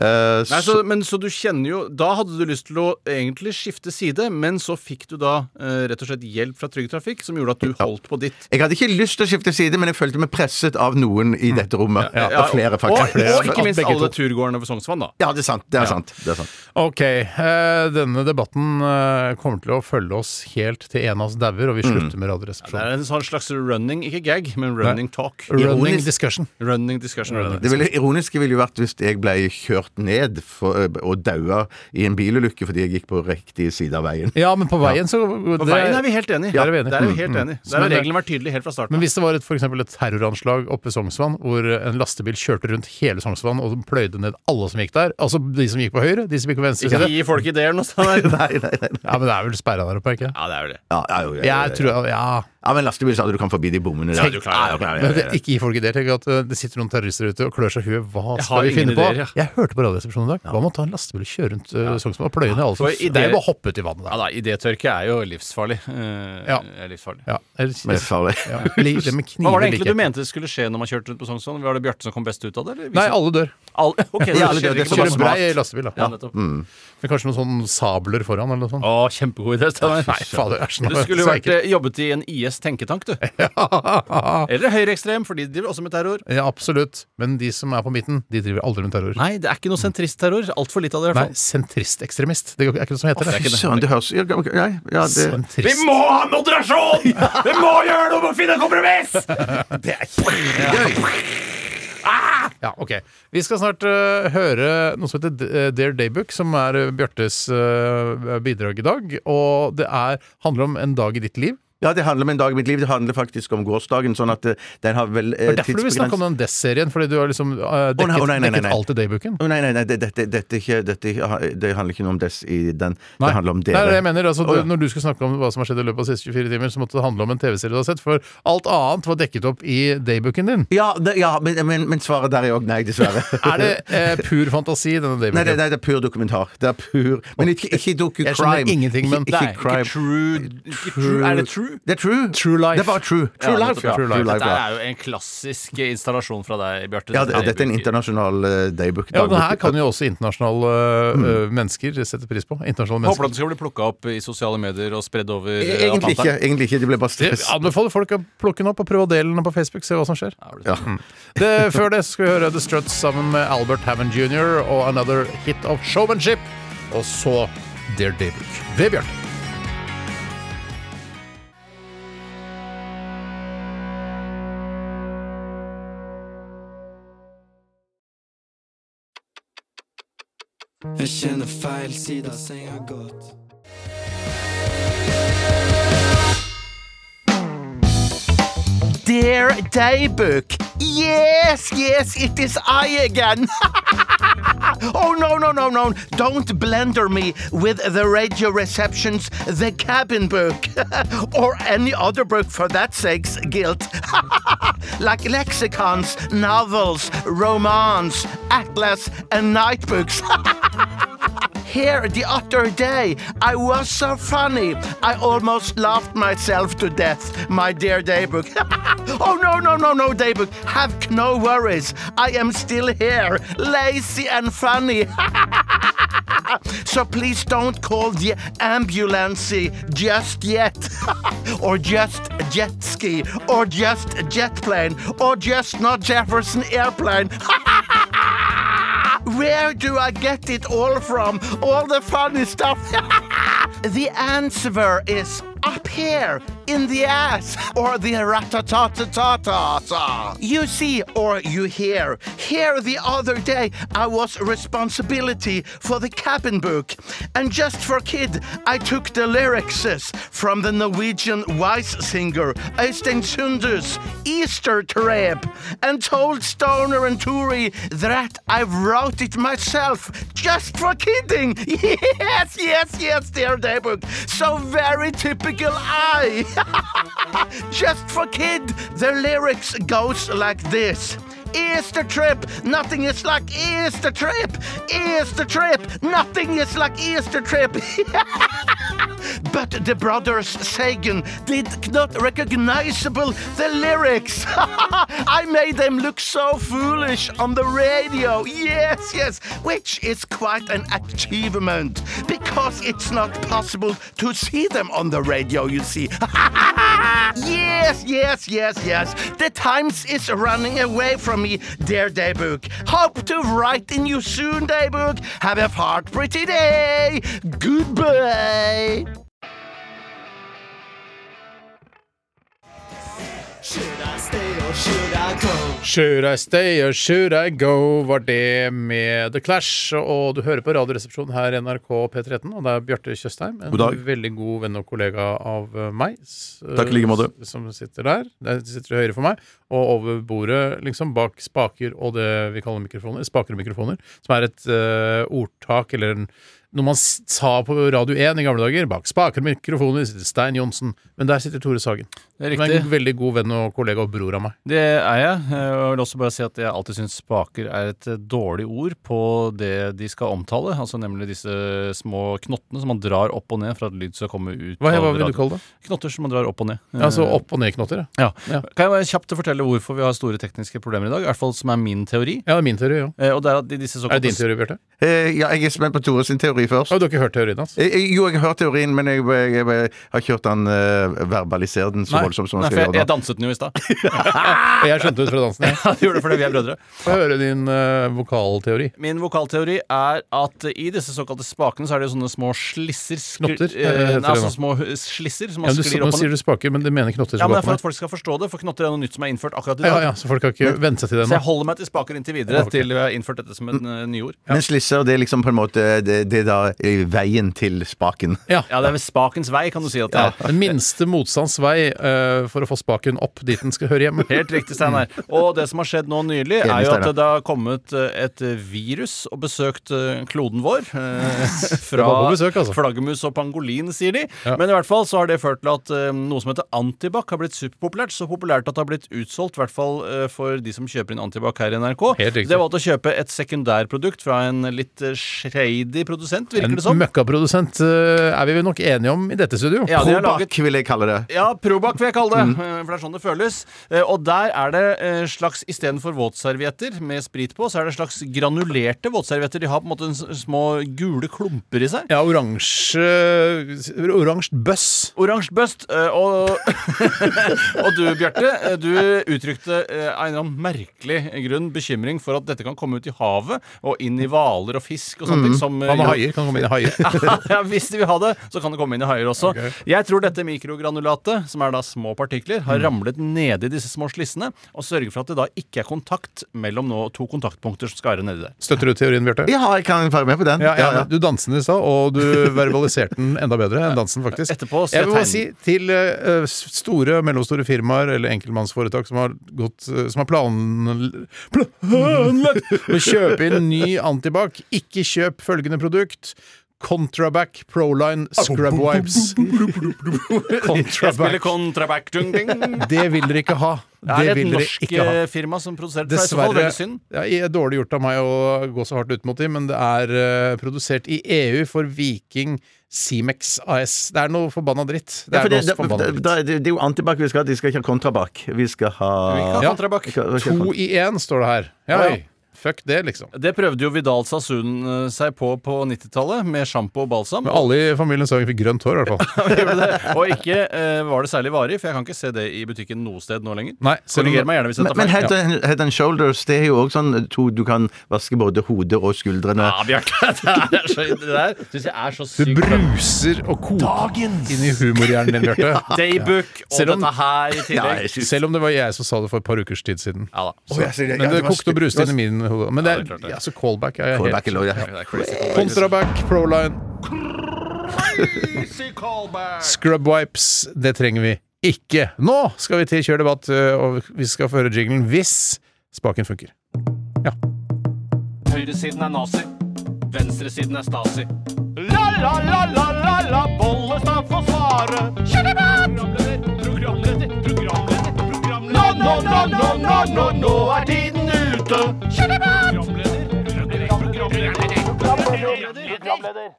Speaker 6: Eh,
Speaker 5: Nei, så, men så du kjenner jo Da hadde du lyst til å egentlig skifte side, men så fikk du da eh, rett og slett hjelp fra Trygg Trafikk, som gjorde at du holdt på ditt.
Speaker 6: Jeg hadde ikke lyst til å skifte side, men jeg følte meg presset av noen i dette rommet. Ja,
Speaker 5: Mm. Ja,
Speaker 6: flere,
Speaker 5: og,
Speaker 6: faktisk.
Speaker 5: og ikke minst
Speaker 4: Begge
Speaker 5: alle
Speaker 4: to.
Speaker 5: turgåerene ved Sognsvann, da.
Speaker 6: Ja, det er sant. Det er sant. Det er sant.
Speaker 4: Ok, eh, denne debatten eh, kommer til å følge oss helt til en av oss dauer, og vi
Speaker 5: Mm.
Speaker 4: slutter med
Speaker 5: Det
Speaker 4: Radioresepsjonen.
Speaker 5: er en sånn slags running, ikke gag, men running talk.
Speaker 4: Running
Speaker 6: ironisk-
Speaker 4: discussion.
Speaker 5: Running discussion.
Speaker 6: Det ville, ironiske ville jo vært hvis jeg ble kjørt ned for, og daua i en bilulykke fordi jeg gikk på riktig side av veien.
Speaker 4: Ja, men på veien så
Speaker 5: På veien er vi helt enige.
Speaker 4: Ja, der er vi enige. Mm.
Speaker 5: Der er vi helt enige. Der
Speaker 4: Men
Speaker 5: har
Speaker 4: det-
Speaker 5: reglene vært tydelige helt fra starten.
Speaker 4: Men hvis det var et, for eksempel et terroranslag oppe i Sognsvann, hvor en lastebil kjørte rundt hele Sognsvann og pløyde ned alle som gikk der, altså de som gikk på høyre, de som gikk på venstre
Speaker 5: Ikke
Speaker 4: side
Speaker 5: gi folk ideer noe sånt. der.
Speaker 6: Nei, nei, nei. nei.
Speaker 4: Ja, men det er vel sperra der oppe, er ikke det?
Speaker 5: Ja, det er jo det.
Speaker 6: Ja, ja, jo, ja, ja,
Speaker 4: Jeg
Speaker 6: ja.
Speaker 4: tror Ja.
Speaker 6: ja, men lastebil sa du kan forbi de bommene der.
Speaker 5: Ja, du klarer det.
Speaker 6: Ja, ja,
Speaker 4: Men
Speaker 6: ja,
Speaker 4: det,
Speaker 6: ja.
Speaker 4: ikke gi folk ideer. Tenk at uh, det sitter noen terrorister ute og klør seg i huet. Hva
Speaker 5: Jeg har
Speaker 4: skal vi
Speaker 5: ingen
Speaker 4: finne på?
Speaker 5: ideer, ja.
Speaker 4: Jeg hørte på Radioresepsjonen i dag. Hva med å ta en lastebil og kjøre rundt uh, Sognsvann og pløye ned alle som
Speaker 5: For
Speaker 4: Det
Speaker 5: ideer-
Speaker 4: er jo bare å hoppe uti vannet
Speaker 5: Ja
Speaker 4: der.
Speaker 5: da, idétørke er jo livsfarlig. Eh,
Speaker 4: Ja.
Speaker 5: er livsfarlig.
Speaker 4: Ja, eller-
Speaker 6: Men det er farlig.
Speaker 4: ja, li- det med
Speaker 5: Hva
Speaker 4: kniver
Speaker 5: var det egentlig
Speaker 4: liker
Speaker 5: du mente skulle skje når man kjørte rundt på Sognsvann? Var det Bjarte som kom best ut av det? Eller?
Speaker 4: Nei, alle dør.
Speaker 5: All... Ok,
Speaker 6: Ja,
Speaker 5: det skjer
Speaker 6: alle dør, det
Speaker 5: ikke
Speaker 6: er
Speaker 5: så
Speaker 4: Kjører
Speaker 6: smart.
Speaker 5: masse bra.
Speaker 4: brei lastebil, da.
Speaker 5: Ja, nettopp.
Speaker 4: Mm. Med kanskje noen sånne sabler foran eller noe sånt.
Speaker 5: Å, kjempegod idé, Steinar.
Speaker 4: Nei, fader, æsj. nå
Speaker 5: Du skulle jo
Speaker 4: er jeg
Speaker 5: vært,
Speaker 4: sveiket.
Speaker 5: eh, jobbet i en IS PSTs tenketank, du.
Speaker 4: Ja,
Speaker 5: Eller høyreekstrem, for de driver også med terror.
Speaker 4: eh, absolutt. Men de som er på midten, de driver aldri med terror.
Speaker 5: Nei, det er ikke noe sentristterror. Altfor lite av det, i
Speaker 4: Nei,
Speaker 5: hvert fall.
Speaker 4: sentristekstremist. Det er ikke noe som heter
Speaker 6: Fy
Speaker 4: det. Sånn
Speaker 6: søren, det høres ja, ja, ja, det,
Speaker 4: Sentrist.
Speaker 5: må ha moderasjon! Vi må gjøre noe for å finne kompromiss!
Speaker 4: Det er kjempegøy! Ja, ok. Vi skal snart øh, høre noe som heter D- eh, Dare Daybook, som er øh, Bjørtes øh, bidrag i dag. Og det er, handler om en dag i ditt liv.
Speaker 6: ja, det handler om en dag i mitt liv. Det handler faktisk om gårsdagen. Sånn at eh, den har vel eh,
Speaker 4: Det er derfor du vil snakke om den Dess-serien, fordi du har liksom øh,
Speaker 6: nei,
Speaker 4: dekket,
Speaker 6: å nei, nei, nei,
Speaker 4: dekket
Speaker 6: nei.
Speaker 4: alt i Daybooken.
Speaker 6: Å, nei, nei, nei, det- dette, dette, er ikke, dette er ikke- det handler ikke noe om dess i den.
Speaker 4: Nei,
Speaker 6: Det handler om
Speaker 4: det
Speaker 6: dere.
Speaker 4: er det jeg mener. Altså,
Speaker 6: Å, ja.
Speaker 4: du, når du skal snakke om hva som har skjedd i løpet av de siste 24 timer, så måtte det handle om en TV-serie du har sett, for alt annet var dekket opp i Daybooken din.
Speaker 6: Ja, det, ja men, men, men svaret der er òg nei, dessverre.
Speaker 4: Er det eh, pur fantasi, denne
Speaker 6: Nei, det,
Speaker 4: Daybooken?
Speaker 6: nei, det er pur dokumentar. Det er pur Men ikke, ikke doku-crime.
Speaker 4: Jeg skjønner ingenting, men-
Speaker 6: ikke,
Speaker 5: Nei,
Speaker 6: ikke crime.
Speaker 5: ikke true, ikke true Er det true?
Speaker 6: Det er true.
Speaker 4: True life.
Speaker 6: Det er bare true. True
Speaker 5: Ja,
Speaker 6: life,
Speaker 5: nettopp,
Speaker 6: ja.
Speaker 4: True life.
Speaker 5: Dette
Speaker 6: ja.
Speaker 5: er jo en klassisk installasjon fra deg, Bjarte.
Speaker 6: Ja, det, dette er en internasjonal uh, daybook.
Speaker 4: Ja, den
Speaker 6: dagbok. Mm.
Speaker 4: her kan jo også internasjonale øh, øh, mennesker sette pris på. Internasjonale mennesker.
Speaker 5: Håper du at den skal bli plukka opp i sosiale medier og spredd over eh,
Speaker 6: E- Egentlig ikke.
Speaker 5: Atlanteren.
Speaker 6: egentlig ikke, Det ble bare
Speaker 4: Jeg
Speaker 6: stress.
Speaker 4: anbefaler folk å plukke den opp og prøve å dele den på Facebook. Se hva som skjer. Mm.
Speaker 5: Ja, det
Speaker 6: Ja.
Speaker 4: Det, før det så skal vi høre The Struts sammen med Albert Hammond jr. og Another Hit of Showmanship. Og så Dear Daybook ved Bjarte.
Speaker 8: Jeg kjenner feil side av senga godt.
Speaker 6: Dear Daybook. Yes, yes, it is I again. oh, no, no, no, no. Don't blender me with the radio receptions, the cabin book, or any other book for that sake's guilt. like lexicons, novels, romance, atlas, and night books. Here the other day, I was so funny. I almost laughed myself to death, my dear Daybook. oh no, no, no, no, Daybook. Have no worries. I am still here, lazy and funny. so please don't call the ambulance just yet. or just jet ski, or just jet plane, or just not Jefferson airplane. Where do I get it all from? All the funny stuff. the answer is up here in the ass or the ratatatatata. You see or you hear. Here the other day I was responsibility for the cabin book and just for kid I took the lyrics from the Norwegian wise singer Øystein Sunder's Easter Trip and told Stoner and Turi that I wrote it myself just for kidding. Yes, yes, yes, dear Daybook. So very typical I. just for kid, the lyrics goes like this. Is the trip, nothing is like is the trip, is the trip, nothing is like is the trip. but the brothers Sagan did not recognizable the lyrics. I made them look so foolish on the radio. Yes, yes, which is quite an achievement because it's not possible to see them on the radio, you see. yes, yes, yes, yes. The times is running away from me, dear Daybook. Hope to write in you soon, Daybook. Have a fart pretty day. Goodbye.
Speaker 4: Should I stay or should I go var det med The Clash. Og du hører på Radioresepsjonen her i NRK P13, og det er Bjarte Tjøstheim. En
Speaker 6: God dag.
Speaker 4: veldig god venn og kollega av eh, meg. s-
Speaker 6: Takk i like måte.
Speaker 4: Eh, s- Som sitter der. Der sitter til høyre for meg. Og over bordet, liksom bak spaker og det vi kaller mikrofoner, spaker og mikrofoner, som er et eh, ordtak eller en noe man s- sa på Radio 1 i gamle dager, bak spaker og mikrofoner sitter Stein Johnsen. Men der sitter Tore Sagen.
Speaker 5: Det er
Speaker 4: Som er en
Speaker 5: riktig.
Speaker 4: veldig god venn og kollega og bror av meg.
Speaker 5: Det er jeg. eh, Og jeg vil også bare si at jeg alltid syns spaker er et eh, dårlig ord på det de skal omtale. Altså nemlig disse små knottene som man drar opp og ned for at lyd skal komme ut.
Speaker 4: Hva,
Speaker 5: av
Speaker 4: hva vil
Speaker 5: radioen.
Speaker 4: du kalle det?
Speaker 5: Knotter som man drar opp og ned.
Speaker 4: Ja, Altså
Speaker 5: Eh,
Speaker 4: opp- og nedknotter? ja.
Speaker 5: Ja. Kan jeg bare kjapt fortelle til hvorfor vi har store tekniske problemer i dag, i hvert fall som er min teori.
Speaker 4: Ja, det er min teori, ja.
Speaker 5: Eh, Og det er at i disse
Speaker 4: Er det
Speaker 5: såkalte
Speaker 4: din teori, Bjarte?
Speaker 6: Eh, ja, jeg er spent på Tore sin teori først.
Speaker 4: Har du har ikke hørt teorien hans?
Speaker 6: Eh, eh, Jo, jeg har hørt teorien, men jeg, jeg, jeg, har ikke hørt han eh, verbalisere den så
Speaker 5: Nei,
Speaker 6: voldsomt som
Speaker 5: nei,
Speaker 6: han
Speaker 5: for jeg,
Speaker 6: skal gjøre.
Speaker 5: jeg
Speaker 6: da.
Speaker 5: danset den jo i stad.
Speaker 4: Og Jeg skjønte det ut fra dansen. jeg.
Speaker 5: Ja, du gjorde det fordi vi er brødre.
Speaker 4: Få høre din eh, vokalteori.
Speaker 5: Min vokalteori er at i disse såkalte spakene så er det jo sånne små slisser skru-
Speaker 4: Knotter,
Speaker 5: eh,
Speaker 4: heter det
Speaker 5: Nei, altså
Speaker 4: nå.
Speaker 5: små hu- slisser som
Speaker 4: Ja,
Speaker 5: man
Speaker 4: men du,
Speaker 5: sklir
Speaker 4: nå
Speaker 5: opp på.
Speaker 4: sier du spaker, men du mener knotter
Speaker 5: Ja,
Speaker 4: som
Speaker 5: men
Speaker 4: går
Speaker 5: det er
Speaker 4: på
Speaker 5: for
Speaker 4: meg.
Speaker 5: at folk skal forstå det, for knotter er noe nytt som er innført akkurat i
Speaker 4: Ja,
Speaker 5: dag.
Speaker 4: ja, så folk har ikke vent seg til det
Speaker 5: Så
Speaker 4: nå.
Speaker 5: jeg holder meg til spaker inntil videre
Speaker 4: Ja, ok.
Speaker 5: til vi har innført dette som en eh, nyord.
Speaker 6: Men slisser, det er liksom på en måte Det, det er da eh, veien til spaken.
Speaker 4: Ja.
Speaker 5: Ja, det er ved spakens vei, kan du si at det er.
Speaker 4: Den minste motstands vei eh, for å få spaken opp dit den skal høre hjemme.
Speaker 5: Helt riktig, Steinar.
Speaker 4: Mm.
Speaker 5: Og det som har skjedd nå nylig,
Speaker 6: Enig,
Speaker 5: er jo at
Speaker 6: Steinar.
Speaker 5: det har kommet eh, et virus og besøkt eh, kloden vår. eh, Fra
Speaker 4: var på besøk, altså.
Speaker 5: flaggermus og pangolin, sier de.
Speaker 4: Ja.
Speaker 5: Men i hvert fall så har det ført til at eh, noe som heter antibac har blitt superpopulært. Så populært at det har blitt utsolgt, i hvert fall eh, for de som kjøper inn antibac her i NRK.
Speaker 4: Helt riktig.
Speaker 5: Det var å kjøpe et sekundærprodukt fra en litt eh, shady produsent,
Speaker 4: En
Speaker 5: virker det sånn? som.
Speaker 4: møkkaprodusent eh, er vi vel nok enige om i dette studio.
Speaker 5: Ja, de har laget
Speaker 6: Probak, vil jeg kalle det.
Speaker 5: Ja, Probac vil jeg kalle
Speaker 4: Mm.
Speaker 5: det. eh, For det er sånn det føles. Eh, Og der er det eh, slags istedenfor våtservietter med sprit på, så er det slags granulerte våtservietter. De har på en måte en s- små gule klumper i seg.
Speaker 4: Ja, oransje Oransje bøss.
Speaker 5: Oransje bøst. eh, Og, og du, Bjarte, eh, du uttrykte eh, av en eller annen merkelig grunn bekymring for at dette kan komme ut i havet og inn i hvaler og fisk og sånne ting. Som, eh,
Speaker 4: Mm. Hva med
Speaker 5: jo-
Speaker 4: haier? Kan komme inn i haier.
Speaker 5: ja, hvis de vil ha det, så kan det komme inn i haier også.
Speaker 4: Ok.
Speaker 5: Jeg tror dette mikrogranulatet, som er da små partikler,
Speaker 4: Mm.
Speaker 5: har ramlet nede i disse små slissene, og sørger for at det da ikke er kontakt mellom nå to kontaktpunkter som skal være nedi der.
Speaker 4: Støtter du teorien, Bjarte?
Speaker 6: Ja, jeg kan være med på den.
Speaker 4: Ja, ja,
Speaker 6: Ja, ja.
Speaker 4: Du danset i stad, og du verbaliserte den enda bedre enn dansen, faktisk.
Speaker 5: Etterpå så
Speaker 4: jeg vil
Speaker 5: jeg
Speaker 4: bare si til eh, s- store og mellomstore firmaer eller enkeltmannsforetak som har, gått, eh, som har plan, planlagt å kjøpe inn ny antibac, ikke kjøp følgende produkt. Contrabac Proline Scrub Wipes.
Speaker 5: Jeg
Speaker 4: Contrabac.
Speaker 5: spiller contraback dung ding.
Speaker 4: Det vil dere ikke ha.
Speaker 5: Det er
Speaker 4: Det
Speaker 5: et
Speaker 4: vil dere
Speaker 5: norsk
Speaker 4: ikke ha.
Speaker 5: eh, firma som produserer det, så i så fall
Speaker 4: Dessverre.
Speaker 5: veldig synd.
Speaker 4: Ja, jeg er dårlig gjort av meg å gå så hardt ut mot dem, men det er eh, produsert i EU for Viking Cemex AS. Det er noe forbanna dritt. Det
Speaker 6: Ja, for
Speaker 4: er
Speaker 6: det,
Speaker 4: noe
Speaker 6: det,
Speaker 4: forbanna
Speaker 6: det,
Speaker 4: dritt.
Speaker 6: det, det er jo antibac vi skal ha. De skal ikke ha kontrabak. Vi skal ha
Speaker 5: Vi kan ha
Speaker 6: Vi skal- vi skal ha
Speaker 4: To i én står det her. Ja,
Speaker 5: Ja, ja.
Speaker 4: oi. Fuck det, liksom.
Speaker 5: Det prøvde jo Vidal Sassoon eh, seg på på 90-tallet, med sjampo og balsam.
Speaker 4: Men alle i familien så egentlig grønt hår, i hvert fall.
Speaker 5: Gjorde det. Og ikke eh, var det særlig varig, for jeg kan ikke se det i butikken noe sted nå lenger.
Speaker 4: Nei, selv om-
Speaker 5: Korriger meg gjerne hvis jeg tar
Speaker 6: Men, men
Speaker 5: feil.
Speaker 6: head, and, head and shoulders, det er jo også sånn to du kan vaske både hodet og skuldrene.
Speaker 5: Ja, Bjarte. Det, er så- det der syns jeg er så
Speaker 4: Du
Speaker 5: sykt.
Speaker 4: bruser og koker inn i humorhjernen din, Bjarte.
Speaker 5: Daybook og
Speaker 4: Selv om-
Speaker 5: dette her i
Speaker 6: Ja,
Speaker 5: tillegg.
Speaker 6: jeg synes-
Speaker 4: Selv om det var jeg som sa det for et par ukers tid siden.
Speaker 5: Ja da.
Speaker 6: Å, jeg synes- ja,
Speaker 4: Men det
Speaker 6: var
Speaker 4: kokte og bruste inn i min hode. Men det
Speaker 5: det er klart
Speaker 4: er
Speaker 5: det.
Speaker 4: ja, så callback er jeg
Speaker 6: Gå back
Speaker 4: helt
Speaker 6: and load, ja.
Speaker 4: Contraback, Proline, Scrub wipes, det trenger vi ikke. Nå skal vi til Kjør debatt, øh, og vi skal få høre jinglen hvis spaken funker.
Speaker 9: Høyresiden er nazi. Venstresiden er stasi. La, la, la, la, la, la, Bollestad får svare. Kjør debatt! Programleder, programleder, programleder. Nå, nå, nå, nå, nå, nå, nå er tiden ute. Kjør debatt! Programleder, programleder, programleder.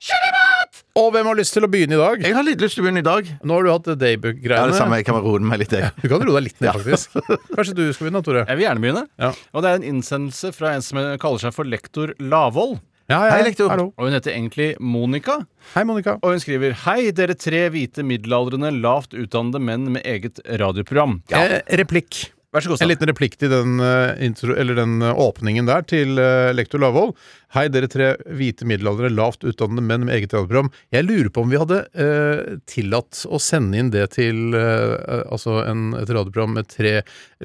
Speaker 4: Og hvem har lyst til å begynne i dag?
Speaker 6: Jeg har litt lyst til å begynne i dag. Ja,
Speaker 4: Nå har du hatt
Speaker 6: det samme.
Speaker 4: daybook-greiene.
Speaker 6: Jeg kan bare roe meg litt, jeg.
Speaker 4: Du kan roe deg litt ned, faktisk. Kanskje du skal begynne, Tore?
Speaker 5: Jeg vil gjerne begynne.
Speaker 4: Ja.
Speaker 5: Og det er en innsendelse fra en som kaller seg for lektor Lavoll.
Speaker 4: Ja,
Speaker 6: Hei, lektor.
Speaker 4: Hallo.
Speaker 5: Og hun heter egentlig Monica.
Speaker 4: Hei, Monica.
Speaker 5: Og hun skriver Hei, dere tre hvite middelaldrende lavt utdannede menn med eget radioprogram.
Speaker 4: Eh, replikk.
Speaker 5: Vær så god,
Speaker 4: En
Speaker 5: Stan.
Speaker 4: liten replikk til den, eh, intro, eller den eh, åpningen der til eh, lektor Lavoll. Hei, dere tre hvite middelaldere, lavt utdannede menn med eget radioprogram. Jeg lurer på om vi hadde eh, tillatt å sende inn det til eh, altså en, et radioprogram med tre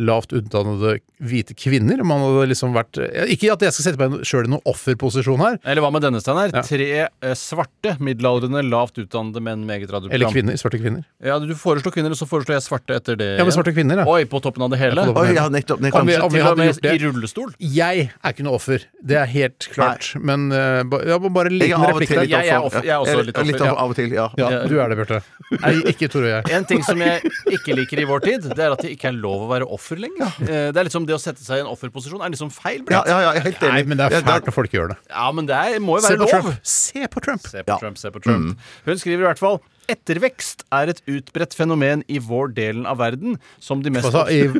Speaker 4: lavt utdannede hvite kvinner? Om han hadde liksom vært eh, Ikke at jeg skal sette meg sjøl i noen offerposisjon her,
Speaker 5: Eller hva med denne, Steinar?
Speaker 4: Ja.
Speaker 5: Tre eh, svarte middelaldrende lavt utdannede menn med eget radioprogram.
Speaker 4: eller kvinner, svarte kvinner.
Speaker 5: Ja, Du foreslo kvinner, og så foreslår jeg svarte etter det.
Speaker 4: Ja, men svarte kvinner, ja.
Speaker 5: Oi, på toppen av det hele?
Speaker 4: Ja, på toppen.
Speaker 6: Oi, ja, nettopp, nettopp.
Speaker 4: Kan vi- om vi
Speaker 5: Til
Speaker 4: hadde
Speaker 5: og med
Speaker 4: gjort det.
Speaker 5: i rullestol?
Speaker 4: Jeg er ikke noe offer, det er helt klart. Men eh, ba, ja, bare en
Speaker 6: Jeg
Speaker 4: liten
Speaker 6: er av og
Speaker 4: replikk
Speaker 6: til
Speaker 4: der.
Speaker 6: litt
Speaker 5: Jeg er
Speaker 6: offer.
Speaker 5: off- jeg er også
Speaker 6: Eller-
Speaker 5: litt offer,
Speaker 6: Litt
Speaker 5: ja.
Speaker 6: av og til, ja.
Speaker 4: Ja,
Speaker 5: Ja.
Speaker 4: du er det, Bjarte. Nei, Ikke Tore og jeg.
Speaker 5: En ting som jeg ikke liker i vår tid, det er at det ikke er lov å være offer lenger. Eh, Det er liksom det å sette seg i en offerposisjon er liksom feil.
Speaker 6: Ja,
Speaker 5: Bjørn.
Speaker 6: ja, ja, jeg er helt enig.
Speaker 4: Nei, men det er
Speaker 6: Ja, da-
Speaker 4: fælt når folk gjør det.
Speaker 5: Ja, men det er, må jo
Speaker 4: Se
Speaker 5: være
Speaker 4: på
Speaker 5: lov.
Speaker 4: Trump! Se på Trump!
Speaker 5: Se på
Speaker 6: Ja.
Speaker 5: Trump, se på
Speaker 4: Mm.
Speaker 5: Trump. Hun skriver i hvert fall Ettervekst er et utbredt fenomen i vår delen av verden som de mest
Speaker 4: Altså, i,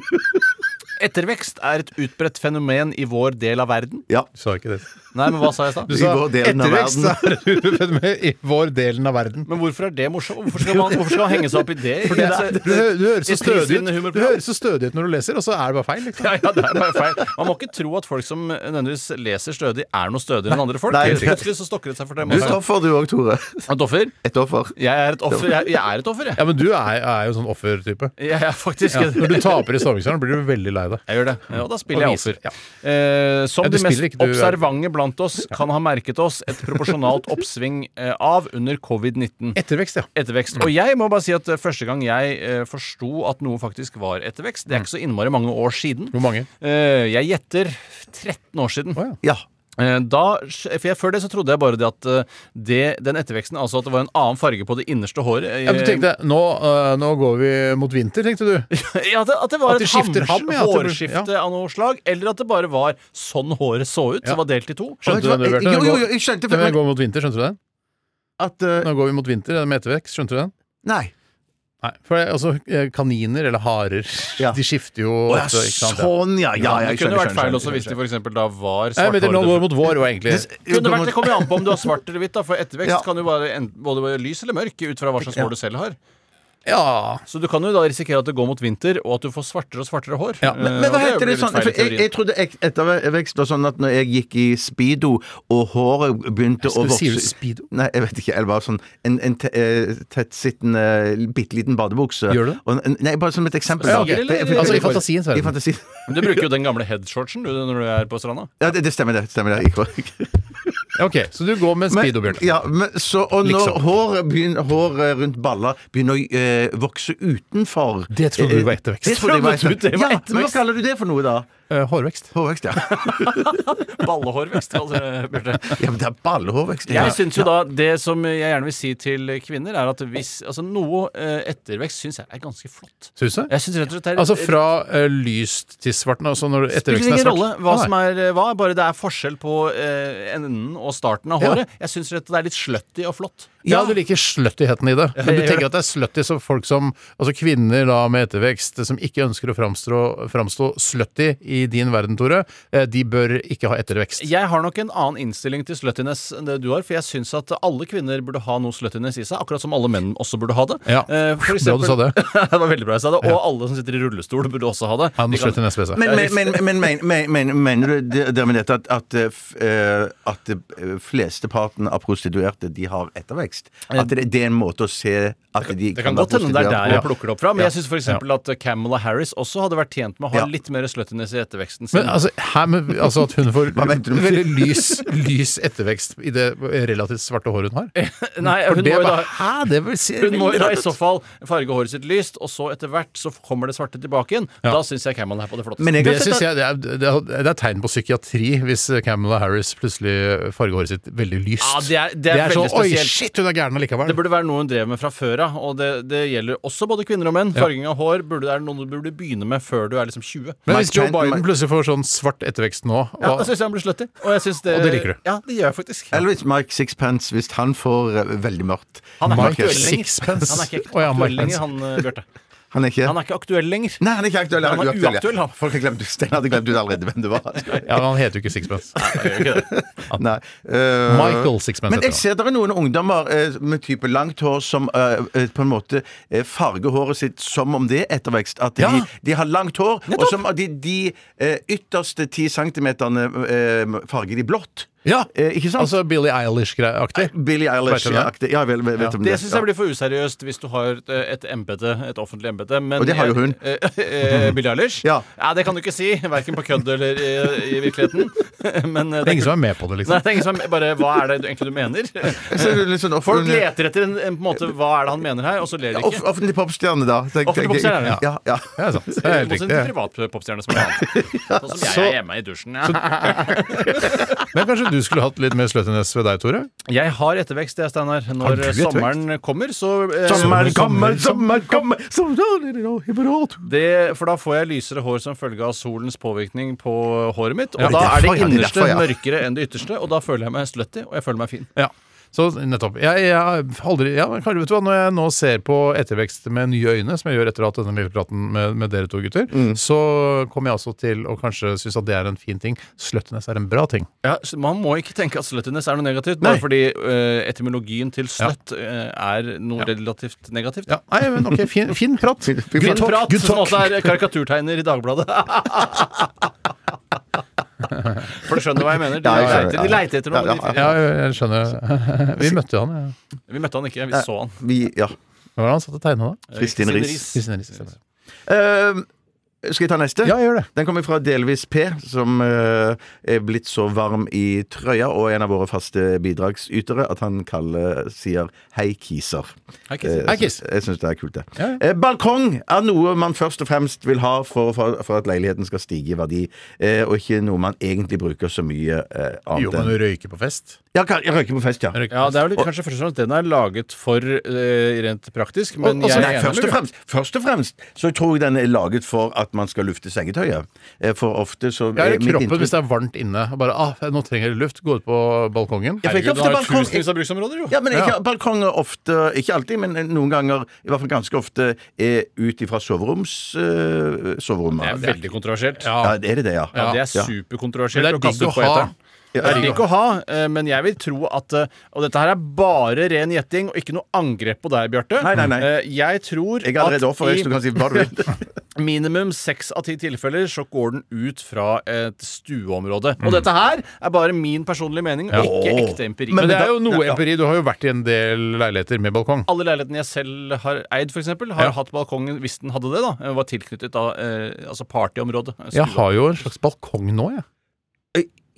Speaker 5: Ettervekst er et utbredt fenomen i vår del av verden.
Speaker 6: Ja.
Speaker 4: Du sa ikke det.
Speaker 5: Nei, men hva sa jeg i stad?
Speaker 4: Du sa
Speaker 6: vår delen av
Speaker 4: ettervekst er
Speaker 6: verden.
Speaker 4: urfenomen i vår delen av verden.
Speaker 5: Men hvorfor er det morsomt? Hvorfor skal man hvorfor skal man henge seg opp i det? Altså,
Speaker 4: For det er, du, hø- du høres så
Speaker 5: Et
Speaker 4: stødig ut
Speaker 5: prisvinnende
Speaker 4: Du
Speaker 5: humorprogram.
Speaker 4: høres så stødig ut når du leser, og så er det bare feil. Liksom.
Speaker 5: Ja, ja, det er bare feil. Man må ikke tro at folk som nødvendigvis leser stødig, er noe stødigere enn andre folk.
Speaker 6: Nei,
Speaker 5: Helt
Speaker 6: det-
Speaker 5: plutselig så stokker det seg for dem.
Speaker 6: Du er et offer, du òg, Tore.
Speaker 5: Et offer?
Speaker 6: Et offer.
Speaker 5: Jeg er et offer, jeg, jeg er et offer, jeg.
Speaker 4: Ja, men du er, er jo sånn offertype.
Speaker 5: Jeg er faktisk
Speaker 4: Ja. Når du
Speaker 5: jeg
Speaker 4: taper i Stavmikseren, blir du veldig lei deg.
Speaker 5: gjør det, og da spiller
Speaker 4: Og
Speaker 5: jeg
Speaker 4: viser,
Speaker 5: offer. Eh, som
Speaker 4: Ja, du
Speaker 5: de mest
Speaker 4: spiller ikke, du er-
Speaker 5: observante blant oss kan ha merket oss et proporsjonalt oppsving eh, av under covid-19.
Speaker 4: Ettervekst, ja.
Speaker 5: ettervekst. Og jeg må bare si at eh, første gang jeg eh, forsto at noe faktisk var ettervekst, det er ikke så innmari mange år siden.
Speaker 4: Mm. Hvor mange?
Speaker 5: Eh, jeg gjetter 13 år siden.
Speaker 4: Å, ja.
Speaker 6: Ja.
Speaker 5: Eh, Da, for jeg, før det så trodde jeg bare det at eh, det, den etterveksten, altså at det var en annen farge på det innerste håret eh,
Speaker 4: Ja, men du tenkte nå, øh, nå går vi mot vinter, tenkte du.
Speaker 5: ja, at, det, at det
Speaker 4: At
Speaker 5: var
Speaker 4: de
Speaker 5: et
Speaker 4: skifter
Speaker 5: hams-
Speaker 4: ham, ja, at det blir-
Speaker 5: hårskifte av noe slag, eller at det bare var sånn håret så ut,
Speaker 4: Ja.
Speaker 5: som var delt i to.
Speaker 4: Skjønte du den,
Speaker 6: Vet du hva?
Speaker 4: Bjarte? Den
Speaker 6: Jo, jo, jo,
Speaker 4: går-
Speaker 6: jeg skjønte
Speaker 4: Den
Speaker 6: for,
Speaker 4: går mot vinter, skjønte du den?
Speaker 6: at eh,
Speaker 4: Nå går vi mot vinter med ettervekst, skjønte du den?
Speaker 6: Nei.
Speaker 4: Nei, for jeg, altså, eh, kaniner eller harer,
Speaker 6: Ja.
Speaker 4: de skifter jo
Speaker 6: Å, ja,
Speaker 4: ofte, ikke sant? Ja.
Speaker 6: sånn, ja. Ja, ja,
Speaker 5: det
Speaker 6: jeg
Speaker 5: kunne
Speaker 6: skjønner.
Speaker 5: vært feil
Speaker 6: skjønner,
Speaker 5: også hvis
Speaker 6: skjønner,
Speaker 5: de f.eks. da var
Speaker 4: Nei, men det nå går
Speaker 5: svarthårede.
Speaker 4: mot vår, var egentlig
Speaker 6: skjønner.
Speaker 5: Kunne vært, det kommer jo an på om du har svart eller hvitt, da, for ettervekst
Speaker 6: Ja.
Speaker 5: kan jo være en, både være lys eller mørk ut fra hva slags hår du selv har.
Speaker 4: Ja.
Speaker 5: Så du kan jo da risikere at det går mot vinter, og at du får svartere og svartere hår.
Speaker 4: Ja,
Speaker 6: Men, men hva heter det sånn? For jeg, jeg trodde ek- ettervekst var sånn at når jeg gikk i speedo, og håret begynte å
Speaker 4: Skal du
Speaker 6: vokse
Speaker 4: si du speedo?
Speaker 6: Nei, jeg vet ikke. Eller bare sånn en, en te- eh, tettsittende, bitte liten badebukse.
Speaker 4: Gjør du det?
Speaker 6: Og en- Nei, bare som et eksempel.
Speaker 5: Ja,
Speaker 6: da.
Speaker 5: ok.
Speaker 6: Det- det-
Speaker 5: Altså, i
Speaker 4: fantasiens verden.
Speaker 6: I fantasien.
Speaker 5: Men du bruker jo den gamle headshortsen du, når du er på stranda.
Speaker 6: Ja, det, det stemmer, det. stemmer det. Ikke,
Speaker 4: Ja, Ok, så du går med speedo, Bjørn.
Speaker 6: ja, men, så, og når
Speaker 4: Liksom.
Speaker 6: håret, begynner, håret rundt baller begynner å eh, vokse utenfor eh,
Speaker 4: Det trodde du var ettervekst.
Speaker 6: Det trodde jeg var
Speaker 5: Trodde du det var
Speaker 6: ettervekst. Ja, men hva
Speaker 5: ettervekst?
Speaker 6: kaller du det for noe, da?
Speaker 4: Eh, hårvekst.
Speaker 6: Hårvekst, ja.
Speaker 5: Ballehårvekst, altså, Bjørte.
Speaker 6: ja men det er ballehårvekst.
Speaker 5: Jeg synes jo da, Det som jeg gjerne vil si til kvinner, er at hvis altså, noe eh, ettervekst syns jeg er ganske flott.
Speaker 4: Syns du?
Speaker 5: Jeg synes rett og slett det er
Speaker 4: Altså fra eh, lyst til svart nå, så når
Speaker 5: Spiller
Speaker 4: etterveksten er
Speaker 5: ingen
Speaker 4: svart.
Speaker 5: rolle hva
Speaker 4: Nei.
Speaker 5: som er eh, hva, bare det er forskjell på eh, enden og starten av
Speaker 6: Ja.
Speaker 5: håret. Jeg syns rett og slett det er litt slutty og flott.
Speaker 4: Ja, du liker sluttyheten i det. Men du
Speaker 5: jeg gjør
Speaker 4: tenker at det er slutty som folk som Altså kvinner da med ettervekst som ikke ønsker å framstå, framstå slutty i din verden, Tore, eh, de bør ikke ha ettervekst.
Speaker 5: Jeg har nok en annen innstilling til sluttiness enn det du har, for jeg syns at alle kvinner burde ha noe sluttiness i seg, akkurat som alle menn også burde ha det.
Speaker 4: Ja.
Speaker 5: Eh, for
Speaker 4: Bra du sa det.
Speaker 5: det var veldig bra jeg sa det. Og alle som sitter i rullestol, burde også ha det.
Speaker 4: Han
Speaker 5: De kan-
Speaker 4: slutter neste bese.
Speaker 6: Men, men, men, men, men, men, men mener du det- dermed dette at, at, eh, f- eh, at eh, flesteparten av prostituerte de har ettervekst? At det, det er en måte å se at de
Speaker 5: Det kan godt hende det er der jeg plukker det opp fra, men
Speaker 4: Ja.
Speaker 5: jeg syns f.eks. at Camela Harris også hadde vært tjent med å ha
Speaker 6: Ja.
Speaker 5: litt mer sluttiness i etterveksten sin.
Speaker 4: Men altså, hæ, men, altså at hun får
Speaker 6: Hva mente du?
Speaker 4: veldig lys, lys ettervekst i det relativt svarte håret hun har?
Speaker 5: Nei, hun
Speaker 4: Det
Speaker 5: må
Speaker 4: er
Speaker 5: jo da
Speaker 4: bare, hæ, det vil si
Speaker 5: hun må jo da i så fall farge håret sitt lyst, og så etter hvert så kommer det svarte tilbake igjen. Da syns jeg Camela er på det flotteste.
Speaker 6: Men jeg
Speaker 4: Det
Speaker 6: har sett
Speaker 4: synes
Speaker 6: at-
Speaker 4: jeg det er, det er- det er tegn på psykiatri hvis Camilla Harris plutselig farger håret sitt veldig lyst.
Speaker 5: Ja, det er- det er veldig
Speaker 4: sånn, Oi,
Speaker 5: spesielt."
Speaker 4: shit, hun er gæren allikevel.
Speaker 5: Det burde være noe hun drev med fra før av, og det, det gjelder også både kvinner og menn. Farging av hår burde, det er noe du burde begynne med før du er liksom 20.
Speaker 4: Men hvis Joe
Speaker 6: Mike Trent-
Speaker 4: Biden plutselig får sånn svart ettervekst nå
Speaker 5: ja,
Speaker 4: hva-
Speaker 5: altså- da syns jeg han blir slutty. Og, jeg synes det,
Speaker 4: Og det liker du.
Speaker 5: Ja, det gjør jeg faktisk.
Speaker 6: Elvis Mike Sixpence, hvis han får eh, veldig mørkt
Speaker 5: Han er
Speaker 4: Mike
Speaker 5: ikke aktuell lenger.
Speaker 4: Sixpence.
Speaker 5: Han er ikke
Speaker 4: Å, ja,
Speaker 5: aktuell
Speaker 4: Mike
Speaker 5: lenger, han eh, Bjarte.
Speaker 6: Han er ikke
Speaker 5: Han er ikke aktuell lenger.
Speaker 6: Nei, han er ikke aktuell.
Speaker 5: Han er
Speaker 6: uaktuell, ja.
Speaker 5: uaktuell, han.
Speaker 6: Folk har glemt, Stein hadde glemt ut allerede hvem det var.
Speaker 4: Ja, men han heter jo ikke Sixpence.
Speaker 6: Nei. eh,
Speaker 4: Michael Sixpence
Speaker 6: Men
Speaker 4: heter
Speaker 6: jeg ser det er noen ungdommer eh, med type langt hår som eh, eh, på en måte eh, farger håret sitt som om det er ettervekst. At
Speaker 4: Ja.
Speaker 6: de, de har langt hår, og som de, de eh, ytterste ti centimeterne eh, farger de blått.
Speaker 4: Ja,
Speaker 6: Eh, ikke sant?
Speaker 4: Altså Billie Eilish-aktig.
Speaker 6: Billie
Speaker 4: Vet du det?
Speaker 6: Eilish-aktig. Ja, vel, vet om
Speaker 5: Det
Speaker 6: det.
Speaker 5: syns jeg blir for useriøst hvis du har et, et embete, et offentlig embete. men-
Speaker 6: Og det har jo hun.
Speaker 5: Eh, eh, Billie Eilish?
Speaker 6: Ja.
Speaker 5: Det kan du ikke si, verken på kødd eller i, i virkeligheten. Men eh,
Speaker 4: Det er ingen
Speaker 5: kult.
Speaker 4: som er med på det,
Speaker 5: Nei,
Speaker 4: liksom.
Speaker 5: det er ingen som er bare Hva er det du egentlig du mener?
Speaker 6: Ja. Så er det litt sånn
Speaker 5: Folk
Speaker 6: offentlig,
Speaker 5: leter etter en, en på en måte Hva er det han mener her, og så ler de
Speaker 6: off,
Speaker 5: ikke.
Speaker 6: offentlig popstjerne, da. tenk-
Speaker 5: Offentlig popstjerne, ja.
Speaker 6: tenker jeg. ja. ja.
Speaker 4: Det er sant. Det er
Speaker 5: I
Speaker 4: helt
Speaker 5: motsetning til
Speaker 4: riktig.
Speaker 5: privat popstjerne som er annet. Sånn som jeg er hjemme i dusjen. Ja.
Speaker 4: Men kanskje du skulle hatt litt mer sløttenes ved deg, Tore?
Speaker 5: Jeg har ettervekst, jeg, Steinar.
Speaker 6: du
Speaker 5: Når
Speaker 6: ettervekst?
Speaker 5: sommeren kommer, så eh,
Speaker 6: Sommeren kommer, sommeren kommer
Speaker 5: det, For da får jeg lysere hår som følge av solens påvirkning på håret mitt. Og
Speaker 6: Ja,
Speaker 5: da
Speaker 6: det er
Speaker 5: er det
Speaker 6: derfor, ja, det er
Speaker 5: innerste
Speaker 6: derfor, ja.
Speaker 5: mørkere enn det ytterste, og da føler jeg meg slutty, og jeg føler meg fin.
Speaker 4: Ja. Så nettopp. Jeg, jeg har aldri ja, men kanskje, vet du hva, Når jeg nå ser på Ettervekst med nye øyne, som jeg gjør etter å ha hatt denne lille praten med, med dere to gutter, så kommer jeg også til å kanskje synes at det er en fin ting. Sluttiness er en bra ting.
Speaker 5: Ja, så man må ikke tenke at sluttiness er noe negativt, bare
Speaker 4: Nei.
Speaker 5: fordi eh, etymologien til slutt eh, er noe relativt negativt.
Speaker 4: Ja, nei, men ok, Fin, fin prat.
Speaker 6: fin
Speaker 5: Good
Speaker 4: talk,
Speaker 5: prat,
Speaker 4: good
Speaker 5: som
Speaker 4: talk.
Speaker 5: også er karikaturtegner i Dagbladet. For du skjønner hva jeg mener? De,
Speaker 6: Ja, jeg skjønner,
Speaker 5: leiter, de leiter etter
Speaker 6: ja.
Speaker 5: noe. men de
Speaker 6: Ja,
Speaker 5: finner-
Speaker 4: Ja, jeg, jeg skjønner. Vi møtte jo han. Ja.
Speaker 5: Vi møtte han ikke, vi så han. Eh,
Speaker 6: Vi, ja.
Speaker 4: Hva var det han satt og tegna da?
Speaker 5: Kristin
Speaker 6: Kristin Riis.
Speaker 5: Riis.
Speaker 4: Kristine Riis.
Speaker 6: Eh, skal jeg ta neste?
Speaker 4: Ja, gjør det.
Speaker 6: Den kommer fra Delvis P, som eh, er blitt så varm i trøya og er en av våre faste bidragsytere at han kaller, sier 'hei, kiser'. Eh,
Speaker 5: Hei, Kristin.
Speaker 4: Hei, Kis.
Speaker 6: Jeg syns det er kult, det.
Speaker 4: Ja,
Speaker 6: Eh, Balkong er noe man først og fremst vil ha for, for, for at leiligheten skal stige i verdi, eh, og ikke noe man egentlig bruker så mye eh,
Speaker 4: Jo,
Speaker 6: annet
Speaker 4: men
Speaker 6: enn
Speaker 4: du røyker på fest.
Speaker 6: Ja, kan- jeg røyker på fest, ja.
Speaker 4: Røyker
Speaker 5: Ja,
Speaker 4: på
Speaker 5: det er vel kanskje først og fremst den er laget for eh, rent praktisk, men
Speaker 6: Og- og så-
Speaker 5: jeg
Speaker 6: nei,
Speaker 5: er enig
Speaker 6: først, og
Speaker 5: med deg.
Speaker 6: fremst, først og fremst så tror jeg den er laget for at man skal lufte sengetøyet. Eh, For ofte så eh,
Speaker 4: Ja, eller
Speaker 6: mitt
Speaker 4: kroppen
Speaker 6: inntrykk-
Speaker 4: hvis det er varmt inne. Og bare, ah, nå trenger jeg luft. Gå ut på balkongen.
Speaker 6: Ja, for ikke
Speaker 5: Herregud, du
Speaker 6: ofte
Speaker 5: har jo
Speaker 6: balkong-
Speaker 5: tusenvis av bruksområder, jo.
Speaker 6: Ja, men ikke, balkonger ofte, ikke alltid, men noen ganger, i hvert fall ganske ofte, er ut ifra soveroms, øh,
Speaker 5: Det er
Speaker 6: soverommet.
Speaker 5: veldig kontroversielt.
Speaker 6: Ja, det er det det, ja.
Speaker 5: Ja, det er
Speaker 6: Ja.
Speaker 5: superkontroversielt
Speaker 4: Men det er
Speaker 5: å kaste
Speaker 4: digg
Speaker 5: ut
Speaker 4: å
Speaker 5: på
Speaker 4: ha.
Speaker 5: eteren. Det er digg å ha, eh, men jeg vil tro at eh, Og dette her er bare ren gjetting og ikke noe angrep på deg, Bjarte.
Speaker 6: Nei, nei, nei.
Speaker 5: Eh, Jeg tror
Speaker 6: Jeg er allerede offer, hvis du kan
Speaker 5: at
Speaker 6: si hva du vil.
Speaker 5: i minimum seks av ti tilfeller så går den ut fra et stueområde. Og dette her er bare min personlige mening, og ikke ekte empiri.
Speaker 4: Men
Speaker 5: Men
Speaker 4: det er jo noe
Speaker 6: Ja.
Speaker 4: empiri. Du har jo vært i en del leiligheter med balkong.
Speaker 5: alle leilighetene jeg selv har eid, for eksempel, har
Speaker 4: Ja.
Speaker 5: hatt balkongen, hvis den hadde det, da, eh, var tilknyttet da, eh, altså partyområdet. eh,
Speaker 4: Jeg
Speaker 5: stua.
Speaker 4: har jo en slags balkong nå, jeg.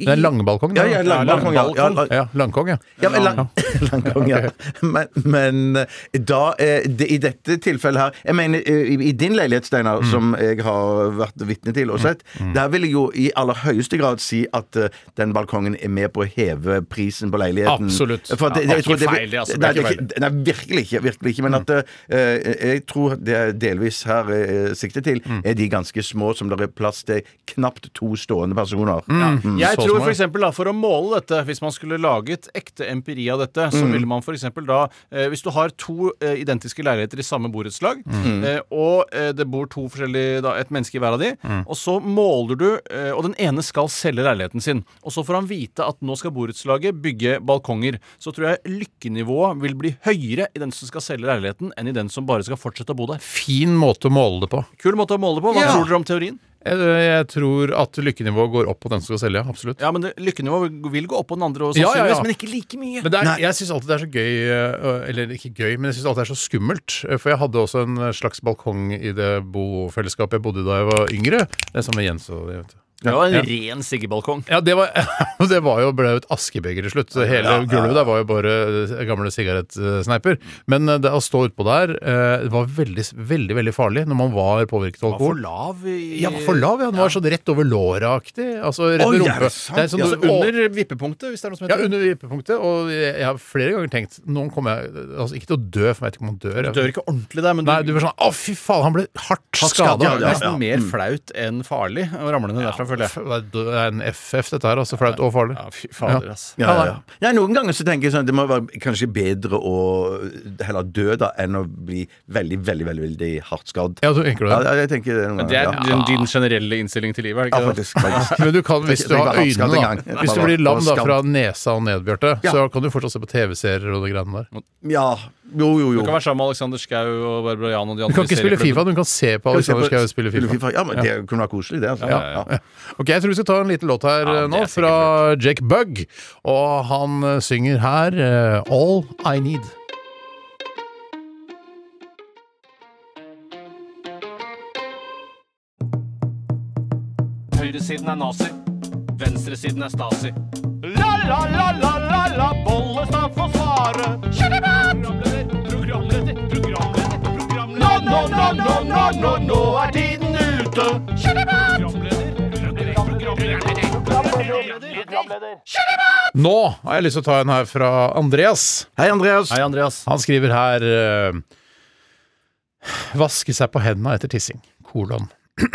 Speaker 4: Det er langbalkong.
Speaker 6: Ja, ja, lang,
Speaker 5: Ja,
Speaker 6: balkong, ja. ja, lang,
Speaker 4: Ja, langkong, ja.
Speaker 6: ja, men lang, langkong, ja. Men, men eh, da, eh, det, i dette tilfellet her Jeg mener, eh, i, i din leilighet,
Speaker 5: Mm.
Speaker 6: Steinar, som jeg har vært vitne til og sett, der vil jeg jo i aller høyeste grad si at eh, den balkongen er med på å heve prisen på leiligheten.
Speaker 4: Absolutt.
Speaker 6: For det,
Speaker 5: Ja,
Speaker 6: jeg
Speaker 5: det er
Speaker 6: tror
Speaker 5: ikke
Speaker 6: det,
Speaker 5: feil, Mm. det, altså. Det er
Speaker 6: Nei,
Speaker 5: ikke
Speaker 6: det er ikke- Nei, virkelig ikke. Virkelig ikke. Men at eh, jeg tror det er delvis her eh, siktet til,
Speaker 5: Mm.
Speaker 6: er de ganske små som det er plass til knapt to stående personer.
Speaker 5: Mm.
Speaker 6: Mm.
Speaker 5: Jeg
Speaker 4: Så smart.
Speaker 5: tror for eksempel, da, For å måle dette, hvis man skulle laget ekte empiri av dette, så
Speaker 4: Mm.
Speaker 5: ville man for eksempel da eh, Hvis du har to eh, identiske leiligheter i samme borettslag,
Speaker 4: Mm.
Speaker 5: eh, og eh, det bor to forskjellige da, et menneske i hver av de,
Speaker 4: Mm.
Speaker 5: og så måler du eh, Og den ene skal selge leiligheten sin. Og så får han vite at nå skal borettslaget bygge balkonger. Så tror jeg lykkenivået vil bli høyere i den som skal selge leiligheten, enn i den som bare skal fortsette å bo der.
Speaker 4: Fin måte å måle det på.
Speaker 5: Kul måte å måle på. Hva
Speaker 6: Ja.
Speaker 5: tror dere om teorien?
Speaker 4: Jeg, jeg tror at lykkenivået går opp på den som skal selge. Absolutt.
Speaker 5: Ja, men det- Lykkenivået vil gå opp på den andre, også,
Speaker 4: Ja, ja, ja.
Speaker 5: sannsynligvis, men ikke like mye.
Speaker 4: Men det er, jeg syns alltid det er så gøy øh, Eller ikke gøy, men jeg syns alltid det er så skummelt. øh, For jeg hadde også en øh, slags balkong i det bofellesskapet jeg bodde i da jeg var yngre. Det er sammen med Jens og de, vet du.
Speaker 5: Det var en ren Sigge-balkong.
Speaker 4: Ja, det var, det var jo ble jo et askebeger til slutt. Så Hele gulvet der var jo bare eh, gamle sigarettsneiper. Men eh, det å stå utpå der eh, det var veldig, veldig veldig farlig når man var påvirket av alkohol.
Speaker 5: lav i
Speaker 4: Ja, for lav, ja. Den var sånn rett over låra-aktig. Altså rett
Speaker 6: Oi,
Speaker 4: ved
Speaker 6: er
Speaker 4: rumpa.
Speaker 6: det sant?
Speaker 4: Det er sånn,
Speaker 5: Altså,
Speaker 4: du- å-
Speaker 5: under vippepunktet, hvis det er noe som
Speaker 4: ja,
Speaker 5: heter det.
Speaker 4: under vippepunktet. Og jeg, jeg har flere ganger tenkt Noen kommer jeg altså, Ikke til å dø, for jeg vet ikke om man dør. Jeg.
Speaker 5: Dør ikke ordentlig der, men du,
Speaker 4: Nei, du blir sånn Å, fy faen, han ble hardt
Speaker 5: har skadet.
Speaker 4: skada.
Speaker 5: Det er nesten mer
Speaker 4: Mm.
Speaker 5: flaut enn farlig å ramle ned derfra, føler jeg.
Speaker 4: Det er en FF, dette her. Altså flaut og farlig.
Speaker 5: Ja, fy fader, ass.
Speaker 6: Ja, ja, ja. Nei, noen ganger så tenker jeg sånn at det må være kanskje bedre å heller dø da enn å bli veldig, veldig veldig, veldig hardt skadd.
Speaker 4: Ja, så tenker du
Speaker 6: Ja,
Speaker 4: det.
Speaker 6: ja, jeg tenker det noen
Speaker 5: Det er
Speaker 6: ganger.
Speaker 5: din, din generelle innstilling til livet, er det
Speaker 6: Ja,
Speaker 5: ikke det?
Speaker 6: faktisk. faktisk.
Speaker 4: Men du kan, hvis
Speaker 6: Tenk-
Speaker 4: du har
Speaker 6: tenk hva han skal
Speaker 4: øynene,
Speaker 6: den
Speaker 4: da.
Speaker 6: gangen.
Speaker 4: Hvis du blir lam da
Speaker 6: Skadd.
Speaker 4: fra nesa og ned, Bjarte,
Speaker 6: Ja.
Speaker 4: så kan du fortsatt se på TV-serier og de greiene der.
Speaker 6: Ja. Jo, jo, jo.
Speaker 5: Du kan være sammen med Alexander Schou og Barbara Jan og de
Speaker 4: Du
Speaker 5: andre
Speaker 4: kan ikke
Speaker 5: i
Speaker 4: spille Fifa,
Speaker 5: serieklubben.
Speaker 4: du kan se på
Speaker 6: Skal vi se
Speaker 4: Alexander
Speaker 6: på-
Speaker 4: Schou spille Fifa.
Speaker 6: Ja, men Det kunne vært koselig, det. altså.
Speaker 5: Ja, ja, ja.
Speaker 6: Ja.
Speaker 4: Ok, Jeg tror vi skal ta en liten låt her
Speaker 5: Ja,
Speaker 4: eh,
Speaker 5: men
Speaker 4: nå,
Speaker 5: det er sikkert
Speaker 4: fra Jake Bugg. Og han eh, synger her eh, All I Need.
Speaker 9: Høyresiden er nazi. Venstresiden er stasi. La, la, la, la, la, la, Bollestad får svare. Programleder, programleder, programleder, programleder. Nå, nå, nå, nå, nå, nå, nå er tiden ute. Programleder, programleder, programleder, programleder.
Speaker 4: Nå har jeg lyst til å ta en her fra Andreas.
Speaker 6: Hei, Andreas.
Speaker 5: Hei, Andreas.
Speaker 4: Han skriver her eh, Vaske seg på hendene etter tissing. Kolon.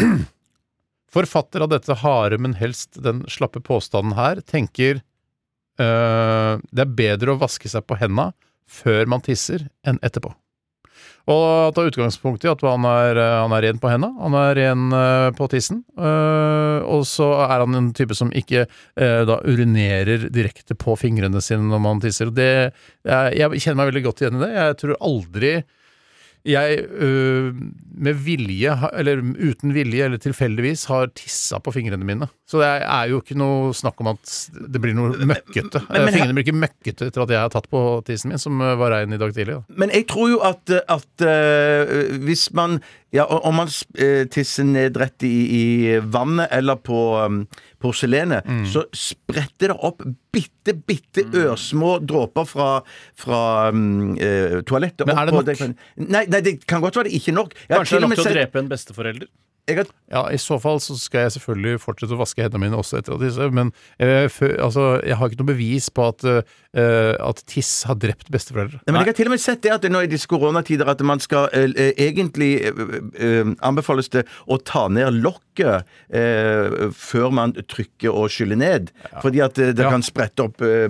Speaker 4: Forfatter av dette harde, men helst den slappe påstanden her, tenker eh, det er bedre å vaske seg på henda før man tisser enn etterpå. Og ta utgangspunkt i at han er, eh, han er ren på henda, han er ren eh, på tissen. eh, og så er han en type som ikke eh, da urinerer direkte på fingrene sine når man tisser. Og det, jeg, jeg kjenner meg veldig godt igjen i det. Jeg tror aldri jeg øh, med vilje, ha- eller uten vilje, eller tilfeldigvis, har tissa på fingrene mine. Så det er jo ikke noe snakk om at det blir noe møkkete. Eh, fingrene blir ikke møkkete etter at jeg har tatt på tissen min, som øh, var rein i dag tidlig. Da.
Speaker 6: Men jeg tror jo at, at eh, hvis man ja, Om man eh, tisser ned rett i, i vannet eller på um, porselenet,
Speaker 5: Mm.
Speaker 6: så spretter det opp bitte, bitte ørsmå dråper fra, fra um, eh, toalettet.
Speaker 4: Men er det
Speaker 6: opp på
Speaker 4: nok?
Speaker 6: nei, nei, det kan godt være det ikke er nok. Jeg har
Speaker 5: Kanskje det er
Speaker 6: til og
Speaker 5: nok
Speaker 6: med
Speaker 5: til å
Speaker 6: sett-
Speaker 5: drepe en besteforelder?
Speaker 6: jeg har
Speaker 4: Ja, I så fall så skal jeg selvfølgelig fortsette å vaske hendene mine også etter å tisse, men øh, fø- altså, jeg har ikke noe bevis på at, øh, at tiss har drept besteforeldre.
Speaker 6: Nei, men Jeg har til og med sett det at nå i disse koronatider at man skal eh, eh, egentlig eh, eh, anbefales det å ta ned lokket eh, før man trykker og skyller ned. Fordi at eh, det
Speaker 4: Ja.
Speaker 6: kan sprette opp eh,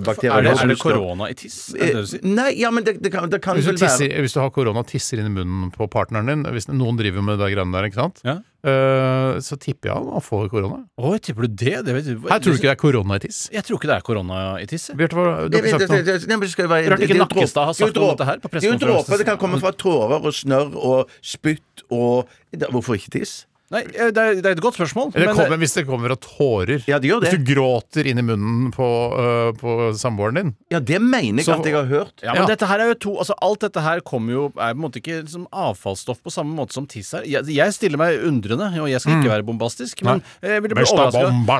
Speaker 5: Er
Speaker 6: bakterier.
Speaker 5: det,
Speaker 6: som
Speaker 5: er det
Speaker 6: står-
Speaker 5: korona i tiss? Er det det du
Speaker 6: Eh,
Speaker 5: sier?
Speaker 6: Nei, ja, men det, det kan, det kan
Speaker 4: Hvis du,
Speaker 6: vel være
Speaker 4: tisser, hvis du har korona og tisser inn i munnen på partneren din, hvis noen driver med det greiene der, ikke sant?
Speaker 5: Ja.
Speaker 4: Øh, så tipper jeg han får korona.
Speaker 5: Oi, tipper du det? det vet,
Speaker 4: Her tror du ikke det er korona i tiss?
Speaker 5: Jeg tror ikke det er korona i tiss. jeg.
Speaker 4: Bjarte, hva- du har
Speaker 6: Nei,
Speaker 4: ikke
Speaker 6: men det-
Speaker 4: sagt noe.
Speaker 6: det- det- nei, men det skal jo være-
Speaker 5: Rart ikke
Speaker 6: det- det er jo dråper-
Speaker 5: Nakkestad har
Speaker 6: det er jo
Speaker 5: sagt noe om
Speaker 6: dråper.
Speaker 5: dette her på
Speaker 6: Det er jo
Speaker 5: pressekonferansen.
Speaker 6: dråper. Det kan komme fra tårer og snørr og spytt og da, Hvorfor ikke tiss?
Speaker 5: Nei, eh, det er, det er et godt spørsmål.
Speaker 4: Eller
Speaker 5: men- eh,
Speaker 4: kommer, hvis det kommer av tårer.
Speaker 6: Ja, det gjør det.
Speaker 4: Hvis du gråter inn i munnen på, øh, på samboeren din.
Speaker 6: Ja, det mener jeg
Speaker 4: Så-
Speaker 6: at jeg har hørt.
Speaker 5: Ja, men
Speaker 4: Ja.
Speaker 5: dette her er jo to altså Alt dette her kommer jo er på en måte ikke liksom avfallsstoff på samme måte som tiss her. Jeg, jeg stiller meg undrende, og jeg skal ikke være bombastisk, men jeg ville bli overraska.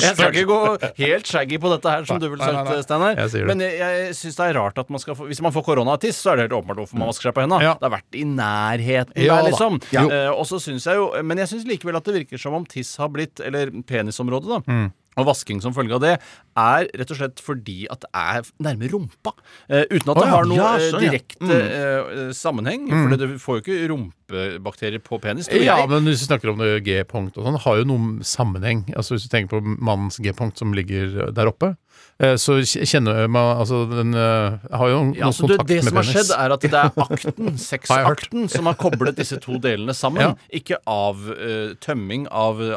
Speaker 5: Jeg skal ikke gå helt shaggy på dette her, som du ville
Speaker 4: nei, nei,
Speaker 5: sagt,
Speaker 4: nei.
Speaker 5: Steinar.
Speaker 4: Jeg sier det.
Speaker 5: Men jeg, jeg syns det er rart at man skal få Hvis man får korona av tiss, så er det helt åpenbart hvorfor man vasker seg på henda.
Speaker 4: Mm. Ja.
Speaker 5: Det har vært i nærheten
Speaker 4: Ja da.
Speaker 5: der, liksom.
Speaker 4: Jo.
Speaker 5: Eh, og så syns jeg jo Men jeg syns likevel at det virker som om tiss har blitt Eller penisområdet, da.
Speaker 4: Mm.
Speaker 5: Og vasking som følge av det er rett og slett fordi at det er nærme rumpa. Eh, uten at
Speaker 4: Å ja,
Speaker 5: det
Speaker 4: Mm.
Speaker 5: har noe
Speaker 6: ja,
Speaker 5: eh,
Speaker 6: sånn, ja.
Speaker 5: direkte eh, sammenheng. For du får jo ikke rumpebakterier på penis, tror
Speaker 4: Ja,
Speaker 5: jeg.
Speaker 4: men hvis du snakker om det G-punkt og sånn, har jo noen sammenheng. Altså Hvis du tenker på mannens G-punkt som ligger der oppe, eh, så kj- kjenner man Altså, den eh, har jo noen
Speaker 5: Ja, så du,
Speaker 4: kontakt med
Speaker 5: det som har
Speaker 4: penis.
Speaker 5: skjedd, er altså at det er akten,
Speaker 4: Har jeg hørt.
Speaker 5: sexakten, som har koblet disse to delene sammen.
Speaker 4: Ja.
Speaker 5: Ikke av eh, tømming av eh,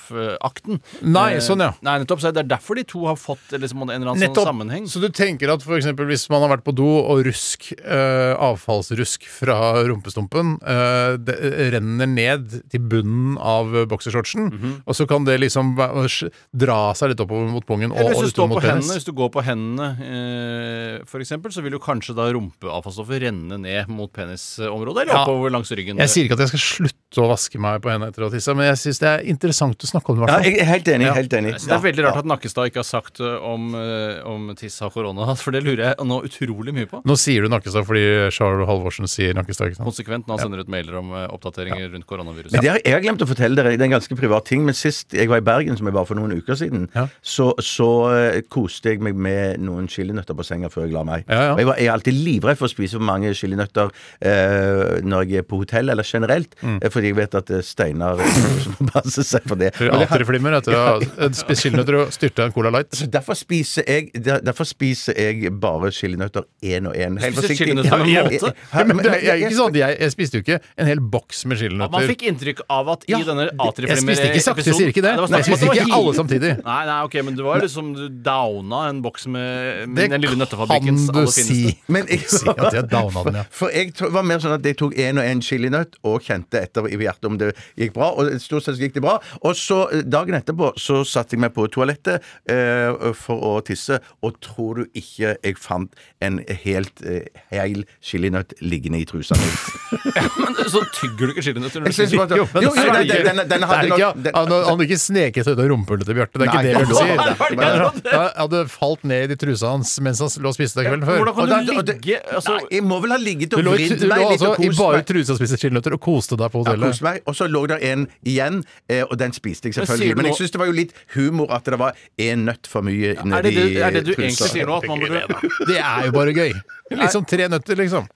Speaker 5: avfallsstoffakten.
Speaker 4: Nei,
Speaker 5: Eh,
Speaker 4: sånn, ja.
Speaker 5: Nei, nettopp, så Det er derfor de to har fått eh, liksom, en eller annen sånn sammenheng.
Speaker 4: Så du tenker at for eksempel hvis man har vært på do og rusk, eh, avfallsrusk fra rumpestumpen, eh, det eh, renner ned til bunnen av eh, boksershortsen,
Speaker 5: Mhm.
Speaker 4: og så kan det liksom væ- å sj- dra seg litt oppover mot pungen og
Speaker 5: Eller hvis du,
Speaker 4: utover
Speaker 5: står på
Speaker 4: mot
Speaker 5: hendene,
Speaker 4: penis.
Speaker 5: hvis du går på hendene eh, f.eks., så vil jo kanskje da rumpeavfallsstoffet renne ned mot penisområdet, eller
Speaker 4: Ja.
Speaker 5: oppover langs ryggen.
Speaker 4: Jeg sier ikke at jeg skal slutte å vaske meg på hendene etter å ha tissa, men jeg syns det er interessant å snakke om det. i hvert
Speaker 6: Ja,
Speaker 4: fall.
Speaker 6: jeg er helt enig. Helt enig.
Speaker 5: Jeg synes Det er veldig rart at Nakkestad ikke har sagt eh, om, eh, om tiss har korona, for det lurer jeg nå utrolig mye på.
Speaker 4: Nå sier du nakkestad fordi Charles Halvorsen sier nakkestad. ikke sant?
Speaker 5: konsekvent når han sender ut mailer om eh, oppdateringer rundt koronaviruset.
Speaker 6: Men det har, jeg har glemt å fortelle dere, det er en ganske privat ting, men sist jeg var i Bergen, som jeg var for noen uker siden,
Speaker 4: Ja.
Speaker 6: så, så eh, koste jeg meg med noen chilinøtter på senga før jeg la meg.
Speaker 4: Ja, ja.
Speaker 6: Og jeg, var, jeg er alltid livredd for å spise for mange chilinøtter eh, når jeg er på hotell, eller generelt,
Speaker 4: Mm.
Speaker 6: eh, fordi jeg vet at eh, Steinar må passe seg for det.
Speaker 4: Tror
Speaker 6: Og det
Speaker 4: jeg alltid flimmer etter å ha spesielt etter å styrte en Cola Light.
Speaker 6: så derfor spiser jeg der- Derfor spiser jeg bare chilinøtter én og én. Helt
Speaker 5: spiser
Speaker 6: forsiktig.
Speaker 5: chilinøtter med
Speaker 6: Ja,
Speaker 5: måte?
Speaker 6: ja,
Speaker 4: Ja, men det, er-
Speaker 6: men-
Speaker 4: jeg, er ikke sånn, at jeg, jeg spiste jo ikke en hel boks med
Speaker 5: Ja, man
Speaker 4: chilinøtter.
Speaker 5: fikk inntrykk av at
Speaker 6: Ja,
Speaker 5: i denne
Speaker 4: Jeg
Speaker 5: A3-premier-episoden
Speaker 4: spiste ikke sakte, jeg sier ikke det.
Speaker 5: Nei,
Speaker 4: Jeg
Speaker 5: var snakk om at
Speaker 4: spiste
Speaker 5: det var
Speaker 4: ikke
Speaker 5: hi-
Speaker 4: alle samtidig.
Speaker 5: Nei, nei, ok, men det var liksom du downa en boks med,
Speaker 4: Det
Speaker 5: med den lille
Speaker 4: kan
Speaker 5: nøttefabrikkens
Speaker 4: du
Speaker 5: aller fineste.
Speaker 4: si.
Speaker 6: Men jeg,
Speaker 4: Si at jeg downa den, ja.
Speaker 6: For jeg to- var mer sånn at jeg tok én og én chilinøtt og kjente etter i hjertet om det gikk bra. Og stort sett gikk det bra. Og så eh, dagen etterpå så satte jeg meg på toalettet eh, for å tisse, og tror du ikke jeg fant en helt eh, hel chilinøtt liggende i trusa mi?
Speaker 5: Men så tygger du ikke chilinøtter når
Speaker 6: Jeg
Speaker 5: du
Speaker 6: synes
Speaker 5: spiser.
Speaker 6: bare at- Jo,
Speaker 4: men
Speaker 6: jo,
Speaker 4: det er
Speaker 6: nei,
Speaker 4: ikke-
Speaker 6: den- den- den
Speaker 4: det
Speaker 6: hadde
Speaker 4: er ikke-
Speaker 6: nok- den-
Speaker 4: Han han hadde ikke sneket seg ut av rumpehullet til Bjarte. Det er
Speaker 6: Nei,
Speaker 4: ikke det
Speaker 6: det
Speaker 4: du
Speaker 6: var-
Speaker 4: sier.
Speaker 6: det var-
Speaker 4: Han hadde- hadde falt ned i trusa hans mens han lå og spiste deg kvelden før.
Speaker 5: Hvordan kan
Speaker 6: Og da-
Speaker 5: du
Speaker 6: og det-
Speaker 5: ligge altså,
Speaker 6: Nei, jeg må vel ha ligget
Speaker 4: Du
Speaker 6: og
Speaker 4: lå, i-
Speaker 6: vridd
Speaker 4: du lå
Speaker 6: meg litt
Speaker 4: altså
Speaker 6: og
Speaker 4: i
Speaker 6: kost
Speaker 4: bare
Speaker 6: meg.
Speaker 4: trusa og spiste chilinøtter og koste deg på
Speaker 6: jeg koste meg. Og så lå det en igjen, eh, og den spiste jeg
Speaker 5: sier
Speaker 6: selvfølgelig.
Speaker 5: du
Speaker 6: Men
Speaker 5: nå-
Speaker 6: jeg syns det var jo litt humor at det var én nøtt for mye
Speaker 5: Er det
Speaker 6: nedi
Speaker 5: det, er det du egentlig
Speaker 6: trusa.
Speaker 5: sier nå? At man burde,
Speaker 4: Det er jo bare gøy. Litt som tre nøtter, liksom.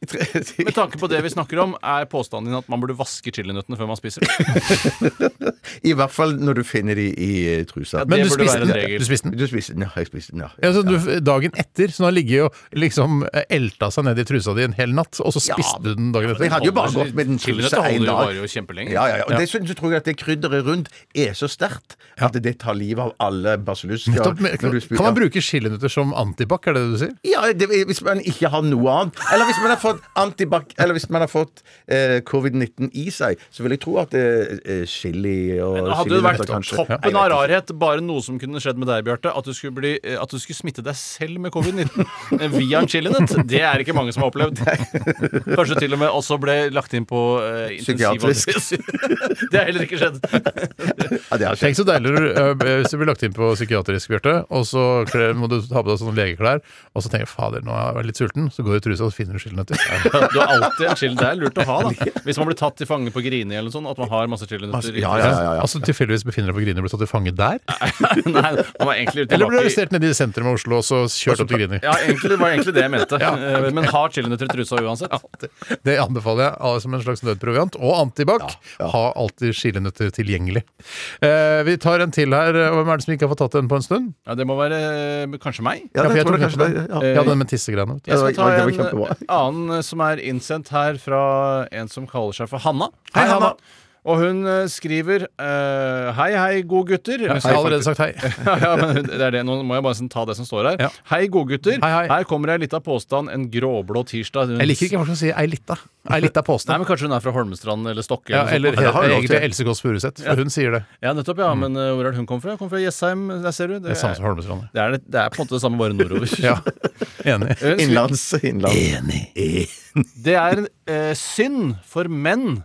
Speaker 5: med tanke på det vi snakker om, er påstanden din at man burde vaske chilinøttene før man spiser?
Speaker 6: I hvert fall når du finner de i eh, trusa.
Speaker 5: det
Speaker 4: Men du
Speaker 5: burde
Speaker 4: spiste
Speaker 5: være en
Speaker 4: den?
Speaker 5: regel.
Speaker 4: Du spiste den?
Speaker 6: Du spiste den? Ja, jeg spiste den, ja.
Speaker 4: Ja, så du, dagen etter, så den har ligget og liksom eh, elta seg ned i trusa di en hel natt, og så spiste du den dagen
Speaker 6: Men jeg
Speaker 4: etter.
Speaker 6: hadde jo bare gått med den
Speaker 5: Chilinøtter
Speaker 6: trusa én
Speaker 5: holder jo
Speaker 6: dag.
Speaker 5: varer jo kjempelenge.
Speaker 6: Ja, ja, ja. Og Dessuten så tror jeg at det krydderet rundt er så sterkt at det tar livet av alle basillusker.
Speaker 4: Nettopp, men-
Speaker 6: når du spiser-
Speaker 4: Kan man bruke chilinøtter som antibac, er det det du sier?
Speaker 6: Ja, det, hvis man ikke har noe annet. Eller hvis man har fått antibac Eller hvis man har fått eh, covid-19 i seg, så vil jeg tro at eh, eh, chili og
Speaker 5: Men Hadde det
Speaker 6: chilinøtter
Speaker 5: vært
Speaker 6: kanskje- Nei, jeg
Speaker 5: toppen
Speaker 6: vet
Speaker 5: av
Speaker 6: ikke.
Speaker 5: rarhet, bare noe som kunne skjedd med deg, Bjarte, at, du skulle bli- eh, at du skulle smitte deg selv med covid-19 eh, via en chilinøtt, det er ikke mange som har opplevd. Kanskje til og med også ble lagt inn på eh,
Speaker 6: Psykiatrisk.
Speaker 5: intensivavdeling. Det har heller ikke skjedd.
Speaker 6: Ja, det har skjedd.
Speaker 4: Tenk så deilig du, ø, ø, hvis du blir lagt inn på psykiatrisk, Bjarte, og så kler- må du ta på deg sånne legeklær, og så tenker du fader, nå er jeg litt sulten, så går du i trusa og så finner du chilinøtter.
Speaker 5: Du har alltid en chili. Det er lurt å ha, da. Hvis man blir tatt til fange på Grini eller noe sånt, at man har masse chilinøtter. i
Speaker 6: Ja, ja, ja, ja.
Speaker 4: Altså tilfeldigvis befinner deg på Grini og blir tatt til fange der?
Speaker 5: trusa. Nei, man var egentlig
Speaker 4: Eller ble du
Speaker 5: tilbake i-
Speaker 4: arrestert nede i sentrum av Oslo og så kjørt opp til Grini?
Speaker 5: ja, egentlig, det var egentlig det jeg mente. Eh, Men ha chilinøtter i trusa uansett.
Speaker 4: Det- Det anbefaler jeg alle som en slags nødproviant. Og antibac. Ha alltid chilinøtter tilgjengelig. Eh, vi tar en til her. og Hvem er det som ikke har fått tatt den på en stund?
Speaker 5: Ja, det må være eh, kanskje meg.
Speaker 4: Ja,
Speaker 6: Ja,
Speaker 4: for
Speaker 6: det
Speaker 4: jeg
Speaker 6: tror
Speaker 4: tok
Speaker 6: jeg kanskje
Speaker 4: den.
Speaker 6: det. Ja.
Speaker 4: Ja, den med tissegreiene. vet du.
Speaker 5: Eh, Jeg skal
Speaker 6: Det
Speaker 5: ta
Speaker 6: var- det var
Speaker 5: en
Speaker 6: kjempebra.
Speaker 5: eh, annen eh, som er innsendt her fra en som kaller seg for Hanna.
Speaker 6: Hei, Hanna.
Speaker 5: Og hun eh, skriver eh, Hei, hei, gode gutter.
Speaker 4: Jeg har allerede sagt hei.
Speaker 5: ja, ja, men hun- det er det. Nå må jeg bare sånn ta det som står her.
Speaker 4: Ja.
Speaker 5: Hei, godgutter.
Speaker 4: Hei, hei.
Speaker 5: Her kommer ei lita påstand en gråblå tirsdag. Hun-
Speaker 4: Jeg liker ikke hva som sier ei lita. Ei lita
Speaker 5: Nei,
Speaker 4: påstand.
Speaker 5: men Kanskje hun er fra Holmestrand eller Stokke?
Speaker 4: Ja,
Speaker 5: noe
Speaker 4: eller
Speaker 5: sånt.
Speaker 6: har jeg lov til.
Speaker 4: egentlig Else Kåss Furuseth, for hun sier det.
Speaker 5: ja, nettopp, ja. Men eh, hvor er det hun kommer fra? Hun Kommer fra Jessheim. Der ser du.
Speaker 4: Mm. Det er samme som Holmestrand.
Speaker 5: det, er, det er på en måte det samme, bare nordover.
Speaker 4: Ja, enig.
Speaker 5: Hun skriver-
Speaker 6: Innlands. innlands.
Speaker 5: Det er en eh, synd for menn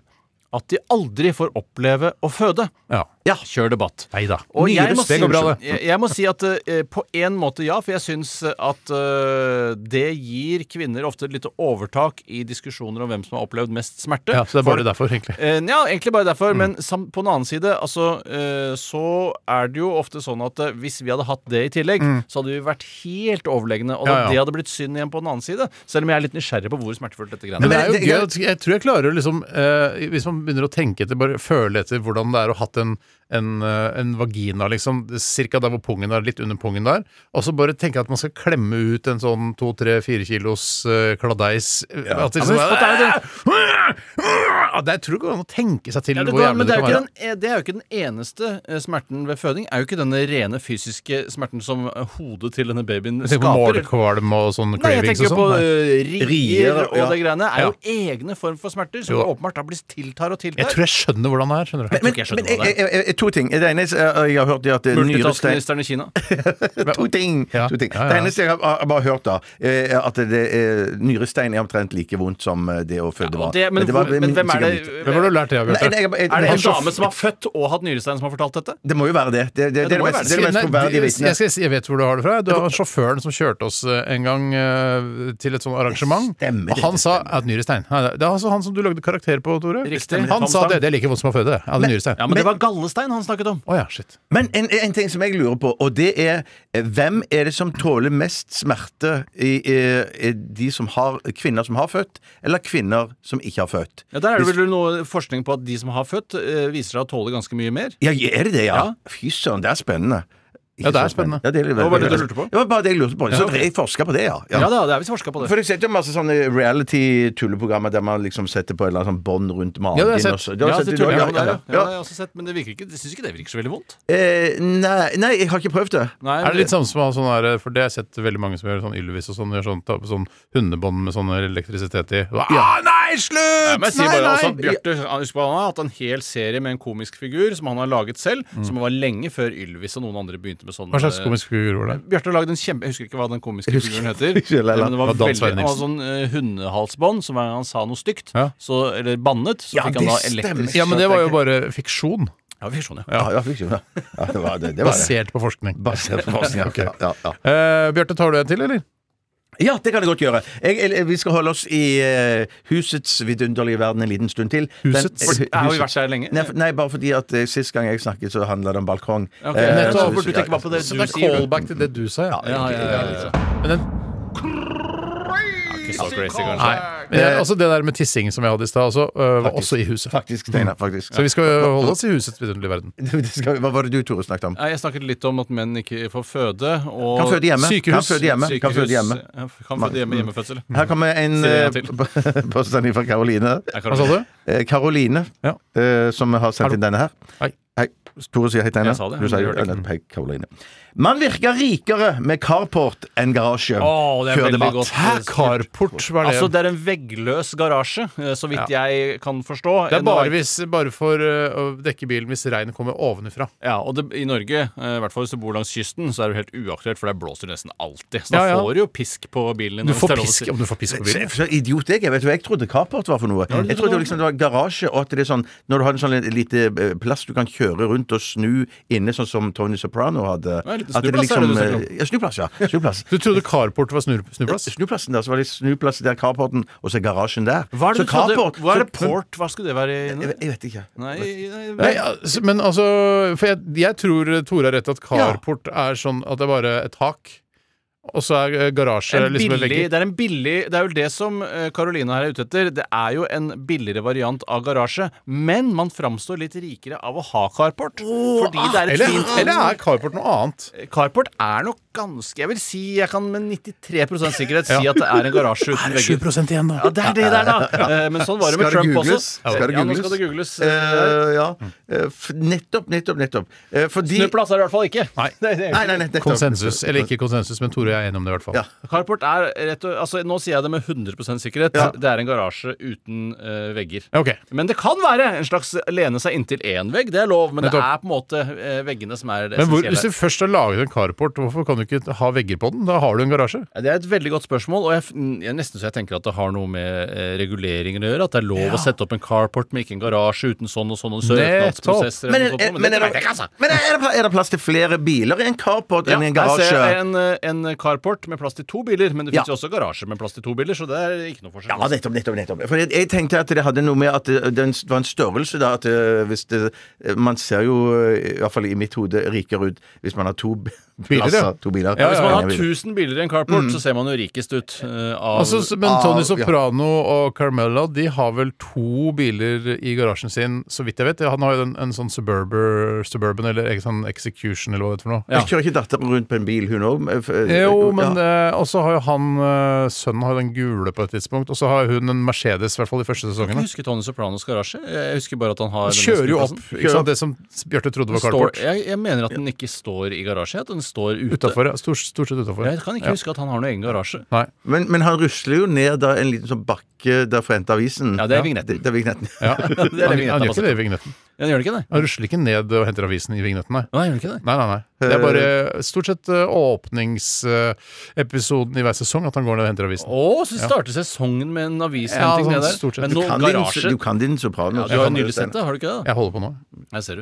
Speaker 5: at de aldri får oppleve å føde.
Speaker 4: Ja.
Speaker 5: Kjør debatt.
Speaker 4: Nei da.
Speaker 5: Og jeg må,
Speaker 4: Nyrus,
Speaker 5: si,
Speaker 4: det går bra, det.
Speaker 5: jeg, jeg må si at eh, på en måte ja, for jeg syns at eh, det gir kvinner ofte et lite overtak i diskusjoner om hvem som har opplevd mest smerte.
Speaker 4: Ja, så det Mm. er bare
Speaker 5: For-
Speaker 4: derfor, egentlig.
Speaker 5: Eh, ja, egentlig bare derfor. Men sam på den annen side, altså, eh, så er det jo ofte sånn at eh, hvis vi hadde hatt det i tillegg, så hadde vi vært helt overlegne.
Speaker 4: Mm.
Speaker 5: Og
Speaker 4: Ja, ja.
Speaker 5: det hadde blitt synd igjen på den annen side. Selv om jeg er litt nysgjerrig på hvor smertefullt dette greiene
Speaker 4: Men det
Speaker 5: er.
Speaker 4: er jo gøy at Jeg tror jeg klarer å liksom eh, Hvis man begynner å tenke etter, bare føle etter hvordan det er å ha hatt en, en, eh, en vagina, liksom, cirka der hvor pungen er, litt under pungen der, og så bare tenke at man skal klemme ut en sånn to-tre-fire kilos eh, kladeis At det liksom
Speaker 5: Ja, men husk på at
Speaker 4: Ja, det tror jeg går an å tenke seg til
Speaker 5: Ja, det,
Speaker 4: hvor
Speaker 5: går, men
Speaker 4: jævlig det kan
Speaker 5: det er, jo ikke
Speaker 4: være.
Speaker 5: den, eh, det er jo ikke den eneste eh, smerten ved føding. er jo ikke denne rene fysiske smerten som eh, hodet til denne babyen
Speaker 4: Jeg tenker på
Speaker 5: skaper.
Speaker 4: målkvalm og sånn
Speaker 5: Nei, jeg
Speaker 4: cravings
Speaker 5: tenker
Speaker 4: og
Speaker 5: på
Speaker 4: sånn. Nei.
Speaker 5: eh,
Speaker 6: Rier,
Speaker 5: rier og
Speaker 6: ja.
Speaker 5: det greiene. er jo egne form for smerter som
Speaker 4: Jo.
Speaker 5: åpenbart da blir tiltar og tiltar.
Speaker 4: Jeg tror jeg skjønner hvordan det er. skjønner du
Speaker 5: Jeg tror ikke jeg skjønner hva det er.
Speaker 6: jeg- jeg- jeg- to ting. Det ene er jeg har hørt det at eh, nyrestein
Speaker 5: Multitaskministeren i Kina.
Speaker 6: To ting.
Speaker 4: Ja.
Speaker 6: To ting.
Speaker 4: Ja, ja, ja.
Speaker 6: Det eneste jeg har, har bare hørt, da, er at det er, nyrestein er omtrent like vondt som eh, det å føde
Speaker 5: Og
Speaker 6: var.
Speaker 5: det, men,
Speaker 6: var-
Speaker 5: hvor, men hvem er det
Speaker 6: sikkert mitt.
Speaker 4: Hvem har du lært det av,
Speaker 6: Nei,
Speaker 4: Bjarte?
Speaker 6: nei, jeg- jeg-
Speaker 5: Er det
Speaker 6: jeg-
Speaker 5: en dame som har født og hatt nyrestein, som har fortalt dette?
Speaker 6: Det må jo være det. Det, det, det,
Speaker 5: det
Speaker 6: er det,
Speaker 5: må jo
Speaker 6: mest-
Speaker 5: være
Speaker 6: det er det
Speaker 4: Nei,
Speaker 6: mest troverdige
Speaker 4: jeg,
Speaker 6: vitnet.
Speaker 4: skal si, jeg vet hvor du har det fra. Det var sjåføren som kjørte oss eh, en gang eh, til et sånt arrangement.
Speaker 6: Det stemmer,
Speaker 4: og han
Speaker 6: det
Speaker 4: sa at nyrestein Nei, Det er altså han som du lagde karakter på, Tore.
Speaker 5: Riktig.
Speaker 4: Han sa det. Det er like vondt som å føde. det. Jeg hadde
Speaker 5: Ja,
Speaker 4: nyrestein.
Speaker 5: men, det var gallestein han snakket om.
Speaker 4: Å ja, shit.
Speaker 6: Men en, en ting som jeg lurer på, og det er eh, hvem er det som tåler mest smerte i, eh, eh, de som har, kvinner som har født, eller kvinner som ikke har født?
Speaker 5: Ja, der er det vel noe forskning på at de som har født, eh, viser seg å tåle ganske mye mer.
Speaker 6: Ja, er det det, ja?
Speaker 5: Ja.
Speaker 6: Fy søren, det er spennende. Ikke
Speaker 4: Ja, det er
Speaker 6: så
Speaker 4: spennende.
Speaker 6: Ja, det, er veldig-
Speaker 5: Hva var det du lurte på?
Speaker 6: Det var bare det jeg lurte på. Så dere jeg forska på det, ja.
Speaker 5: Ja, da, det er visst forska på det.
Speaker 6: For jeg setter jo masse sånne reality-tulleprogrammer der man liksom setter på et eller annet sånn bånd rundt magen.
Speaker 4: Ja, det har jeg sett.
Speaker 6: og så-
Speaker 5: Ja,
Speaker 6: har sett
Speaker 5: det
Speaker 6: det,
Speaker 5: tror jeg
Speaker 6: ja,
Speaker 5: det
Speaker 6: ja,
Speaker 5: er, ja.
Speaker 6: ja.
Speaker 5: Ja, det har jeg også sett, men det virker ikke, jeg syns ikke det virker så veldig vondt.
Speaker 6: Eh, nei, nei, jeg har ikke prøvd det.
Speaker 5: Nei,
Speaker 4: Er det litt samme som å ha sånn her For det har jeg sett veldig mange som gjør sånn Ylvis og sånn. Gjør sånn, tar på sånn hundebånd med sånn elektrisitet i. Ah, nei, slutt!
Speaker 5: Nei, men jeg sier
Speaker 4: Nei,
Speaker 5: bare
Speaker 4: nei!
Speaker 5: også at Bjarte han- husk på, han har hatt en hel serie med en komisk figur som han har laget selv,
Speaker 6: Mm.
Speaker 5: som var lenge før Ylvis og noen andre begynte med sånn
Speaker 4: Hva slags komisk figur var det?
Speaker 5: Bjarte har lagd en kjempe... Jeg husker ikke hva den komiske
Speaker 6: Jeg husker
Speaker 5: figuren heter.
Speaker 6: ikke heller.
Speaker 5: Men
Speaker 4: Det
Speaker 5: det var
Speaker 4: var Dan
Speaker 5: veldig,
Speaker 4: Sverre
Speaker 5: han hadde sånn eh, hundehalsbånd, som hver gang han sa noe stygt,
Speaker 4: Ja.
Speaker 5: så, eller bannet, så
Speaker 6: Ja,
Speaker 5: fikk han
Speaker 6: det
Speaker 5: da
Speaker 6: stemmer.
Speaker 5: elektrisk
Speaker 4: Ja, men det var jo bare fiksjon.
Speaker 5: Ja, vi skjønner.
Speaker 6: Ja, ja, fikk ikke, ja. ja det var det. det, var det.
Speaker 4: Basert på forskning.
Speaker 6: Basert på forskning. ja.
Speaker 4: Ok.
Speaker 6: Ja, ja, ja.
Speaker 4: Eh, Bjarte, tar du en til, eller?
Speaker 6: Ja, det kan jeg godt gjøre. Jeg, eller, vi skal holde oss i eh, husets vidunderlige verden en liten stund til. Den-
Speaker 5: Husets?
Speaker 6: eh,
Speaker 5: For- har vi vært der lenge?
Speaker 6: Nei, for- nei, bare fordi at eh, sist gang jeg snakket, så handla det om balkong.
Speaker 5: Ok,
Speaker 6: Eh,
Speaker 5: nettopp,
Speaker 6: så-
Speaker 5: for du tenker bare på det
Speaker 4: Så
Speaker 5: du
Speaker 4: det er
Speaker 5: sier, du.
Speaker 4: callback til det du sa, ja.
Speaker 5: Ja, ja, ja, ja.
Speaker 4: Men den,
Speaker 5: Ikke så crazy,
Speaker 4: nei.
Speaker 5: kanskje.
Speaker 4: Men jeg, altså det der med tissing som jeg hadde i stad, også, øh, var også i huset.
Speaker 6: Faktisk, Steinar. Faktisk.
Speaker 4: Så vi skal jo holde oss i husets vidunderlige verden.
Speaker 6: Det skal- Hva var det du, Tore, snakket om?
Speaker 5: Nei, Jeg snakket litt om at menn ikke får føde. Og
Speaker 6: Kan føde hjemme.
Speaker 5: Sykehus.
Speaker 6: Kan føde hjemme. Kan føde hjemme.
Speaker 5: Sykehus. Kan føde hjemme hjemmefødsel.
Speaker 6: Her kommer en
Speaker 5: Si det
Speaker 6: eh,
Speaker 5: en gang til.
Speaker 6: p- påstand fra Karoline.
Speaker 4: Hva sa du?
Speaker 6: Eh, Karoline,
Speaker 4: Ja.
Speaker 6: eh, som har sendt inn denne her.
Speaker 4: Hei.
Speaker 6: Tore sier hei, Steinar.
Speaker 5: Jeg sa det,
Speaker 6: Du
Speaker 5: men
Speaker 6: sa
Speaker 5: det
Speaker 6: jo-
Speaker 5: hørte jeg
Speaker 6: nettopp, hei, Karoline. Man virker rikere med carport enn garasje.
Speaker 5: Å, det er
Speaker 6: Før
Speaker 5: veldig
Speaker 6: debatt.
Speaker 5: godt.
Speaker 4: Hæ, carport, hva er det?
Speaker 5: Altså, det er en veggløs garasje, eh, så vidt jeg kan forstå.
Speaker 4: det er
Speaker 5: Nå
Speaker 4: bare, hvis, bare for øh, å dekke bilen hvis regnet kommer ovenfra.
Speaker 5: Ja, og det, i Norge, eh, i hvert fall hvis du bor langs kysten, så er det jo helt uaktuelt, for der blåser det nesten alltid. Så da
Speaker 4: Ja, ja.
Speaker 5: får du jo pisk på bilen
Speaker 4: Du
Speaker 5: din. hvis
Speaker 4: får
Speaker 5: det er lov å si.
Speaker 4: pisk om du får pisk på bilen.
Speaker 6: Så idiot jeg er. Vet du hva jeg trodde carport var for noe? Jeg trodde liksom det var garasje, og at det er sånn Når du har en sånn lite eh, plass du kan kjøre rundt og snu inne, sånn som Tony Soprano hadde
Speaker 5: Ja, en liten
Speaker 6: At det
Speaker 5: snuplass er det du
Speaker 6: eh,
Speaker 5: snakker
Speaker 6: Ja, snuplass, ja. Snuplass. Eh,
Speaker 4: Du trodde carport var snur- snuplass?
Speaker 6: Snuplassen der, så var det snuplass der carporten, og så er garasjen der.
Speaker 5: Hva er det
Speaker 6: så
Speaker 5: du trodde?
Speaker 6: carport-
Speaker 5: Hva er det
Speaker 6: så-
Speaker 5: port? Hva skulle det være? i
Speaker 6: Jeg,
Speaker 5: Norge?
Speaker 6: jeg vet ikke.
Speaker 5: Nei, nei,
Speaker 4: Nei, altså, men altså For jeg, jeg tror Tore har rett at carport er sånn at det er bare et tak, og så er eh, garasje
Speaker 5: en
Speaker 4: liksom en
Speaker 5: billig,
Speaker 4: vegg.
Speaker 5: det er en billig Det er jo det som eh, Caroline her er ute etter. Det er jo en billigere variant av garasje, men man framstår litt rikere av å ha carport. fordi det er et
Speaker 4: Eller,
Speaker 5: fint eh,
Speaker 4: eller er carport noe annet?
Speaker 5: Carport er nok ganske Jeg vil si jeg kan med 93 sikkerhet si at det er en garasje uten vegger.
Speaker 4: igjen, da.
Speaker 5: Ja, det er det der, da! Eh, Men sånn var det med
Speaker 6: Skal det
Speaker 5: Trump
Speaker 6: googles?
Speaker 5: også.
Speaker 6: Skal det
Speaker 5: Ja, nå
Speaker 6: googles?
Speaker 5: skal det Mm. googles.
Speaker 6: Eh, ja. Eh, f- nettopp, nettopp, nettopp. Eh, fordi
Speaker 5: Snuplass er det i hvert fall ikke.
Speaker 4: Nei.
Speaker 5: Det, det
Speaker 6: Nei, nei, nei, nettopp.
Speaker 4: Konsensus. Eller ikke konsensus, men Tore og jeg er enige om det, i hvert fall.
Speaker 6: Ja.
Speaker 5: Carport er rett og Altså, nå sier jeg det med 100 sikkerhet. Det er en garasje uten eh, vegger.
Speaker 4: Ok.
Speaker 5: Men det kan være en slags lene seg inntil én vegg, det er lov, men det
Speaker 4: Nettopp.
Speaker 5: er på en måte eh, veggene som er det
Speaker 4: Men hvor, hvis
Speaker 5: essensielle.
Speaker 4: du først har laget en carport, hvorfor kan du ikke ha vegger på den? Da har du en garasje.
Speaker 5: Ja, Det er et veldig godt spørsmål, og jeg, f- mm, jeg nesten så jeg tenker at det har noe med eh, reguleringer å gjøre. At det er lov å sette opp en carport, men ikke en garasje uten sånn og sånn og søknadsprosesser.
Speaker 6: Men,
Speaker 5: eller noe
Speaker 6: er,
Speaker 5: sånt,
Speaker 6: er, men, er,
Speaker 5: dette vet
Speaker 6: det,
Speaker 5: jeg ikke, altså.
Speaker 6: men er, det, pla- er det plass til flere biler i en carport enn i
Speaker 5: Ja,
Speaker 6: en
Speaker 5: her ser
Speaker 6: garasje?
Speaker 5: jeg en, eh, en carport med plass til to biler, men det
Speaker 6: Ja.
Speaker 5: finnes jo også garasjer med plass til to biler, så det er ikke noe forskjell.
Speaker 6: Ja, nettopp, nettopp, nettopp. For jeg, jeg tenkte at det hadde noe med at det, den s- var en størrelse da, at eh, hvis det, eh, man ser jo, eh, i hvert fall i mitt hode, rikere ut hvis man har to b-
Speaker 4: Biler,
Speaker 6: plasser.
Speaker 4: ja.
Speaker 6: To biler.
Speaker 5: Ja, hvis man har
Speaker 6: Mange biler.
Speaker 5: 1000 biler i en carport, så ser man jo rikest ut eh, av
Speaker 4: Mm. Altså, s- men
Speaker 6: av-
Speaker 4: Tony
Speaker 6: ja.
Speaker 4: Soprano og Carmella de har vel to biler i garasjen sin, så vidt jeg vet. Han har jo en, en sånn Suburber, Suburban eller en sånn Execution eller hva det er for noe.
Speaker 5: Ja.
Speaker 6: Jeg kjører ikke datteren rundt på en bil, hun òg.
Speaker 4: Jo, men eh, også har jo han eh, Sønnen har jo den gule på et tidspunkt, og så har hun en Mercedes, i hvert fall de første
Speaker 5: Jeg
Speaker 4: sesongene.
Speaker 5: husker Tony Sopranos garasje. Jeg husker bare at han har
Speaker 4: Han
Speaker 5: denne
Speaker 4: kjører jo
Speaker 5: snuplassen.
Speaker 4: opp ikke sant? det som Bjarte trodde var
Speaker 5: Står,
Speaker 4: carport.
Speaker 5: jeg, jeg mener at den ikke står i garasje, at den står ute.
Speaker 4: Utenfor, ja. Stort, stort sett utafor.
Speaker 5: Jeg kan ikke huske at han har noen egen garasje.
Speaker 4: Nei.
Speaker 6: Men, men han rusler jo ned da, en liten sånn bakke der forente avisen.
Speaker 5: Ja, det er vignetten.
Speaker 6: Det, det er vignetten.
Speaker 4: Ja. Han,
Speaker 5: det er det vignetten
Speaker 4: han
Speaker 5: er
Speaker 4: gjør ikke
Speaker 5: basert
Speaker 4: det i vignetten.
Speaker 5: Ja, den gjør det ikke det?
Speaker 4: Han rusler ikke ned og henter avisen i vignetten, nei.
Speaker 5: Nei, gjør den ikke det?
Speaker 4: Nei, nei, nei. Det er bare stort sett eh, åpningsepisoden i hver sesong at han går ned og henter avisen.
Speaker 5: Å, så starter sesongen med en
Speaker 4: Ja,
Speaker 5: avishenting
Speaker 4: sånn
Speaker 5: ned
Speaker 4: stort
Speaker 5: der.
Speaker 4: sett.
Speaker 5: Men
Speaker 4: Du
Speaker 5: nå
Speaker 6: Kan din-
Speaker 5: garasje
Speaker 6: Du kan din soprano.
Speaker 5: ja, Du har jo nylig sett det, har du ikke det?
Speaker 4: Jeg holder på nå.
Speaker 5: Her ser du.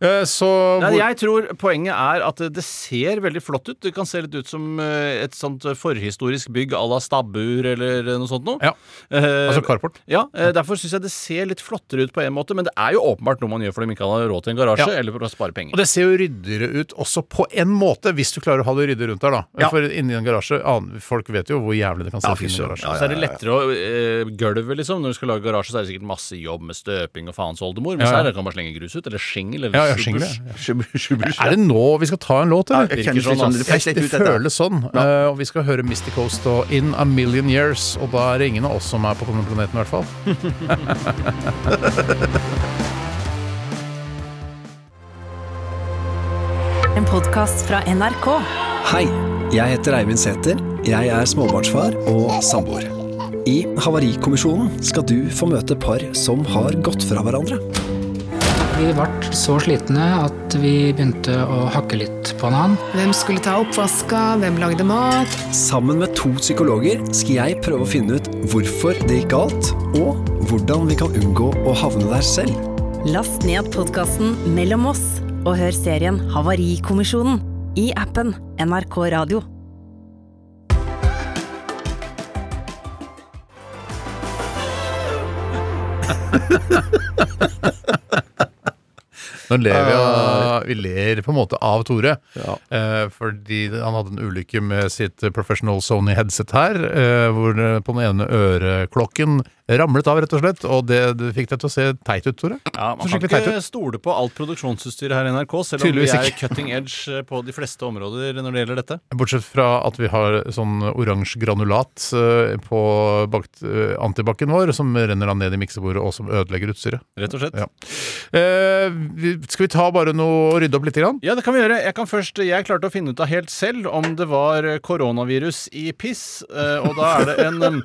Speaker 4: Eh, Så
Speaker 5: Nei,
Speaker 4: hvor-
Speaker 5: jeg tror poenget er at det ser veldig flott ut. Det kan se litt ut som eh, et sånt forhistorisk bygg à la stabbur eller noe sånt noe.
Speaker 4: Ja.
Speaker 5: Eh,
Speaker 4: Altså carport.
Speaker 5: Ja, eh, Derfor syns jeg det ser litt flottere ut på en måte, men det er jo åpenbart noe man gjør fordi man ikke har råd til en garasje
Speaker 4: Ja.
Speaker 5: eller for å spare
Speaker 4: Og
Speaker 5: penger.
Speaker 4: det ser jo ryddigere ut også på en måte, hvis du klarer å ha det ryddig rundt der, da. For inni en garasje an- Folk vet jo hvor jævlig det kan se
Speaker 6: Ja,
Speaker 4: ut
Speaker 6: fy
Speaker 4: inni en
Speaker 6: søren.
Speaker 4: garasje.
Speaker 5: Så
Speaker 6: Ja,
Speaker 5: Altså, er det lettere å eh, Gulvet, liksom. Når du skal lage garasje, så er det sikkert masse jobb med støping og faens oldemor. Mens
Speaker 4: Ja, ja.
Speaker 5: her kan man slenge grus ut. Eller shingel. Eller
Speaker 4: Ja, ja,
Speaker 5: subbush.
Speaker 4: skjønner jeg.
Speaker 6: Er
Speaker 4: Er det nå vi skal ta en låt, eller?
Speaker 6: Jeg
Speaker 5: Virker
Speaker 6: kjenner litt
Speaker 5: sånn,
Speaker 6: sånn,
Speaker 5: ass.
Speaker 6: det fester
Speaker 4: Det
Speaker 6: litt ut dette.
Speaker 4: føles sånn. Eh, og vi skal høre Misty Coast og In A Million Years. Og da er det ingen av oss som er på denne planeten, i hvert fall.
Speaker 1: En podkast fra NRK.
Speaker 10: Hei, jeg heter Eivind Sæther. Jeg er småbarnsfar og samboer. I Havarikommisjonen skal du få møte par som har gått fra hverandre.
Speaker 11: Vi ble så slitne at vi begynte å hakke litt på hverandre.
Speaker 12: Hvem skulle ta oppvaska? Hvem lagde mat?
Speaker 10: Sammen med to psykologer skal jeg prøve å finne ut hvorfor det gikk galt, og hvordan vi kan unngå å havne der selv.
Speaker 1: Last ned podkasten Mellom oss og hør serien Havarikommisjonen i appen NRK Radio.
Speaker 4: Nå ler vi
Speaker 6: Eh.
Speaker 4: av Vi ler på en måte av Tore. Eh, fordi han hadde en ulykke med sitt professional Sony headset her, eh, hvor det på den ene øreklokken ramlet av, rett og slett. Og det, det fikk deg til å se teit ut, Tore.
Speaker 5: Ja, Man
Speaker 4: Så
Speaker 5: kan
Speaker 4: skikkelig teit
Speaker 5: ikke
Speaker 4: ut.
Speaker 5: stole på alt produksjonsutstyret her i NRK, selv om vi
Speaker 4: Tydeligvis
Speaker 5: er
Speaker 4: ikke.
Speaker 5: cutting edge eh, på de fleste områder når det gjelder dette.
Speaker 4: Bortsett fra at vi har sånn oransje granulat eh, på bakt, eh, antibac-en vår, som renner da ned i miksebordet, og som ødelegger utstyret.
Speaker 5: Rett og slett.
Speaker 4: Ja. Eh, vi- skal vi ta bare noe og rydde opp litt? Grann?
Speaker 5: Ja, det kan vi gjøre. Jeg kan først, jeg klarte å finne ut av helt selv om det var eh, koronavirus i piss. eh, Og da er det en, em,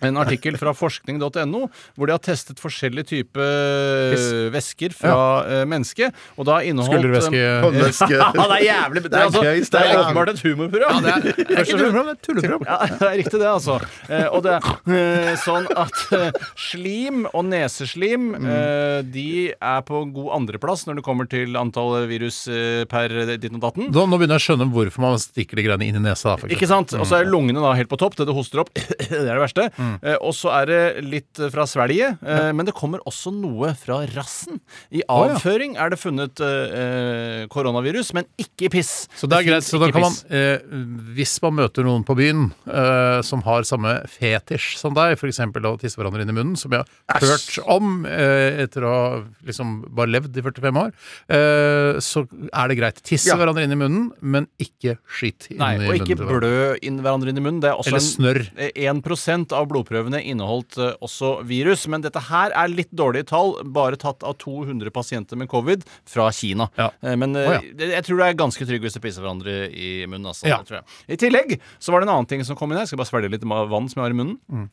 Speaker 5: en artikkel fra forskning.no hvor de har testet forskjellige typer væsker fra eh, mennesket. Og da inneholdt
Speaker 4: Skuldervæske.
Speaker 5: em,
Speaker 4: Håndvæske.
Speaker 5: Ja, det er jævlig
Speaker 4: Det
Speaker 5: Det
Speaker 4: er
Speaker 5: er, altså,
Speaker 4: gøy,
Speaker 5: det er
Speaker 4: Stein.
Speaker 5: åpenbart et humorprogram.
Speaker 4: Ja, det er- det er ikke et humorprogram, det er et tulleprogram.
Speaker 5: Ja, det er riktig det, altså. Eh, Og det er eh, sånn at eh, slim og neseslim
Speaker 4: Mm.
Speaker 5: eh, de er på god andreplass når det kommer til antall virus eh, per ditten og datten.
Speaker 4: Da, nå begynner jeg å skjønne hvorfor man stikker de greiene inn i nesa. da, faktisk.
Speaker 5: Ikke sant? Og så er
Speaker 4: Mm.
Speaker 5: lungene da helt på topp, det det hoster opp. Det er det verste. Eh, og så er det litt eh, fra svelget, eh, men det kommer også noe fra rassen. I
Speaker 4: Å, ja.
Speaker 5: avføring er det funnet eh, eh, koronavirus, men ikke i piss.
Speaker 4: Så det er greit,
Speaker 5: finnes
Speaker 4: så da
Speaker 5: ikke
Speaker 4: kan man,
Speaker 5: piss.
Speaker 4: eh, hvis man møter noen på byen eh, som har samme fetisj som deg, f.eks. å tisse hverandre inn i munnen, som jeg har hørt om eh, etter å ha liksom bare levd i 45 år, eh, så er det greit. Tisse
Speaker 5: Ja.
Speaker 4: hverandre inn i munnen, men ikke skit inn
Speaker 5: Nei,
Speaker 4: i
Speaker 5: og
Speaker 4: munnen.
Speaker 5: ikke
Speaker 4: til hverandre.
Speaker 5: blø inn hverandre inn i munnen. Det er også
Speaker 4: Eller
Speaker 5: En, 1 av blodprøvene inneholdt eh, også virus. Men dette her er litt dårlige tall, bare tatt av 200 pasienter med covid fra Kina. Eh, Men eh,
Speaker 4: Å, ja.
Speaker 5: det- jeg tror du er ganske trygg hvis du pisser hverandre i munnen. Altså,
Speaker 4: Ja.
Speaker 5: det tror jeg. I tillegg så var det en annen ting som kom inn her. Jeg skal bare svelge litt ma- vann som jeg har i munnen.
Speaker 4: Mm.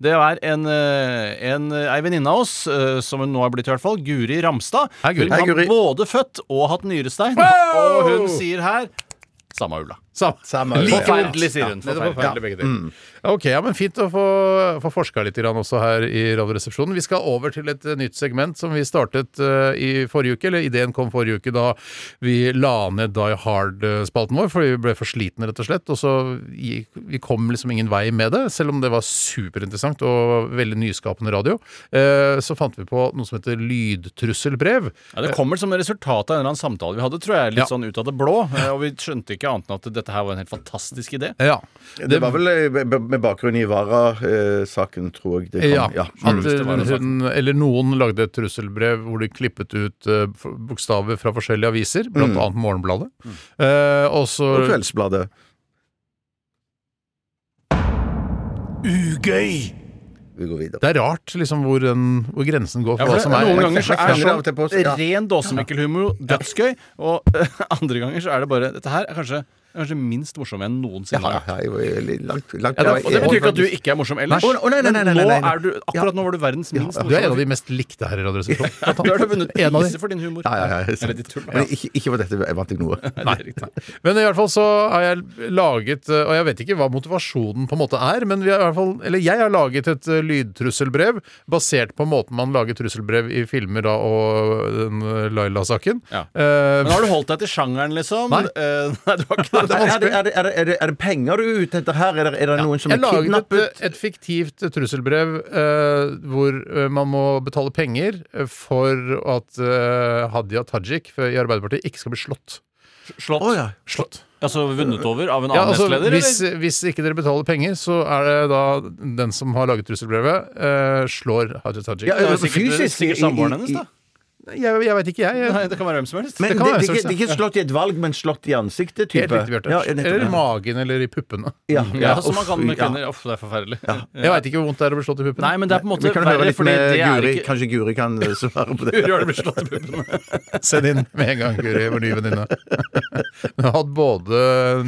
Speaker 5: Det er en, eh, en, eh, ei venninne av oss, eh, som hun nå har blitt i hvert fall, Guri Ramstad.
Speaker 4: Hei, Guri.
Speaker 5: Hun har
Speaker 4: Hei, Guri.
Speaker 5: både født og hatt nyrestein,
Speaker 4: Wow!
Speaker 5: og hun sier her samme ulla.
Speaker 4: Samme,
Speaker 5: ulla.
Speaker 4: Like vondt.
Speaker 5: Forferdelig, sier hun.
Speaker 4: Ja, det er
Speaker 5: Forferdelig.
Speaker 4: forferdelig, begge deler. Ok, ja, men Fint å få, få forska litt grann også her i Radioresepsjonen. Vi skal over til et eh, nytt segment som vi startet eh, i forrige uke. Eller ideen kom forrige uke da vi la ned Die Hard-spalten vår fordi vi ble for slitne, rett og slett. Og så gikk, vi kom liksom ingen vei med det, selv om det var superinteressant og veldig nyskapende radio. Eh, så fant vi på noe som heter lydtrusselbrev.
Speaker 5: Ja, det kommer som resultat av en eller annen samtale vi hadde, tror jeg, litt
Speaker 4: Ja.
Speaker 5: sånn ut av det blå. eh, Og vi skjønte ikke annet enn at dette her var en helt fantastisk idé.
Speaker 4: Ja.
Speaker 6: Det, var vel eh, b- b- med bakgrunn i Vara-saken, tror jeg. Det kom.
Speaker 4: Ja, at eh,
Speaker 6: Mm.
Speaker 4: hun, eller noen lagde et trusselbrev hvor de klippet ut eh, f- bokstaver fra forskjellige aviser, blant
Speaker 6: Mm.
Speaker 4: annet Morgenbladet. Eh, og så
Speaker 6: Og Kveldsbladet.
Speaker 4: Ugøy!
Speaker 6: Vi går videre.
Speaker 4: Det er rart liksom hvor, den, hvor grensen går
Speaker 5: Ja,
Speaker 4: for
Speaker 5: for
Speaker 4: hva som er
Speaker 5: noen ganger så er
Speaker 4: Ja.
Speaker 5: det sånn ren dåsemikkelhumor, dødsgøy, og eh, andre ganger så er det bare Dette her er kanskje, kanskje minst morsom jeg noensinne har vært. Ja, det, og det betyr ikke at du ikke er morsom ellers.
Speaker 6: Å, å, nei, nei, nei, nei,
Speaker 5: Men
Speaker 6: nei,
Speaker 5: nå
Speaker 6: nei.
Speaker 5: er du, akkurat nå var du verdens minst
Speaker 4: Du
Speaker 5: morsomme.
Speaker 4: er en av de mest likte her i Radioresepsjonen.
Speaker 5: Ja, du har da vunnet
Speaker 4: En av de.
Speaker 5: priser for din humor.
Speaker 6: Ja, ja, ja, sant.
Speaker 5: Eller ditt tull.
Speaker 6: Men ikke, ikke for dette vant jeg noe.
Speaker 4: Men i hvert fall så har jeg laget eh, Og jeg vet ikke hva motivasjonen på en måte er, men vi har i hvert fall, eller jeg har laget et eh, lydtrusselbrev basert på måten man lager trusselbrev i filmer da og den eh, Laila-saken. Eh,
Speaker 5: Men har du holdt deg til sjangeren, liksom?
Speaker 4: Nei.
Speaker 5: Eh, nei du har ikke
Speaker 6: Er det, er, det, er, det, er, det, er, det, er det penger du er ute etter her? Er det, er det noen som
Speaker 4: jeg
Speaker 6: er
Speaker 4: laget
Speaker 6: kidnappet?
Speaker 4: et, et fiktivt trusselbrev eh, hvor eh, man må betale penger eh, for at eh, Hadia Tajik for- i Arbeiderpartiet ikke skal bli slått.
Speaker 5: Slått?
Speaker 4: Slått.
Speaker 5: Altså vunnet over av en
Speaker 4: Ja,
Speaker 5: annen
Speaker 4: altså,
Speaker 5: nestleder?
Speaker 4: hvis,
Speaker 5: eller?
Speaker 4: hvis ikke dere betaler penger, så er det da den som har laget trusselbrevet, eh, slår Hadia Tajik.
Speaker 6: Ja, Det er jo sikkert- fysisk sikkert i- i- samboeren hennes, da.
Speaker 4: Jeg, jeg veit ikke, jeg.
Speaker 5: Nei, det kan være hvem som helst.
Speaker 6: Men
Speaker 4: det
Speaker 6: det,
Speaker 4: kan
Speaker 6: det,
Speaker 4: være
Speaker 6: det,
Speaker 4: sånn,
Speaker 6: det er ikke slått i et valg, men slått i ansiktet? Type.
Speaker 4: Helt riktig, Bjarte.
Speaker 6: Ja, nettopp,
Speaker 4: eller i
Speaker 6: ja.
Speaker 4: magen eller i puppene.
Speaker 6: Ja,
Speaker 5: Ja, som man
Speaker 6: uff,
Speaker 5: kan med
Speaker 6: ja.
Speaker 5: kvinner. Uff, det er forferdelig.
Speaker 4: Jeg veit ikke hvor vondt det er å bli slått i puppene.
Speaker 5: Nei, men det er på en måte
Speaker 6: Vi kan høre
Speaker 5: verre,
Speaker 6: litt
Speaker 5: fordi
Speaker 6: med
Speaker 5: det er
Speaker 6: Guri.
Speaker 5: ikke
Speaker 6: Kanskje Guri kan eh, svare på det.
Speaker 5: Guri har det blitt slått i puppene.
Speaker 4: Send inn med en gang, Guri, vår nye venninne. Hun har hatt både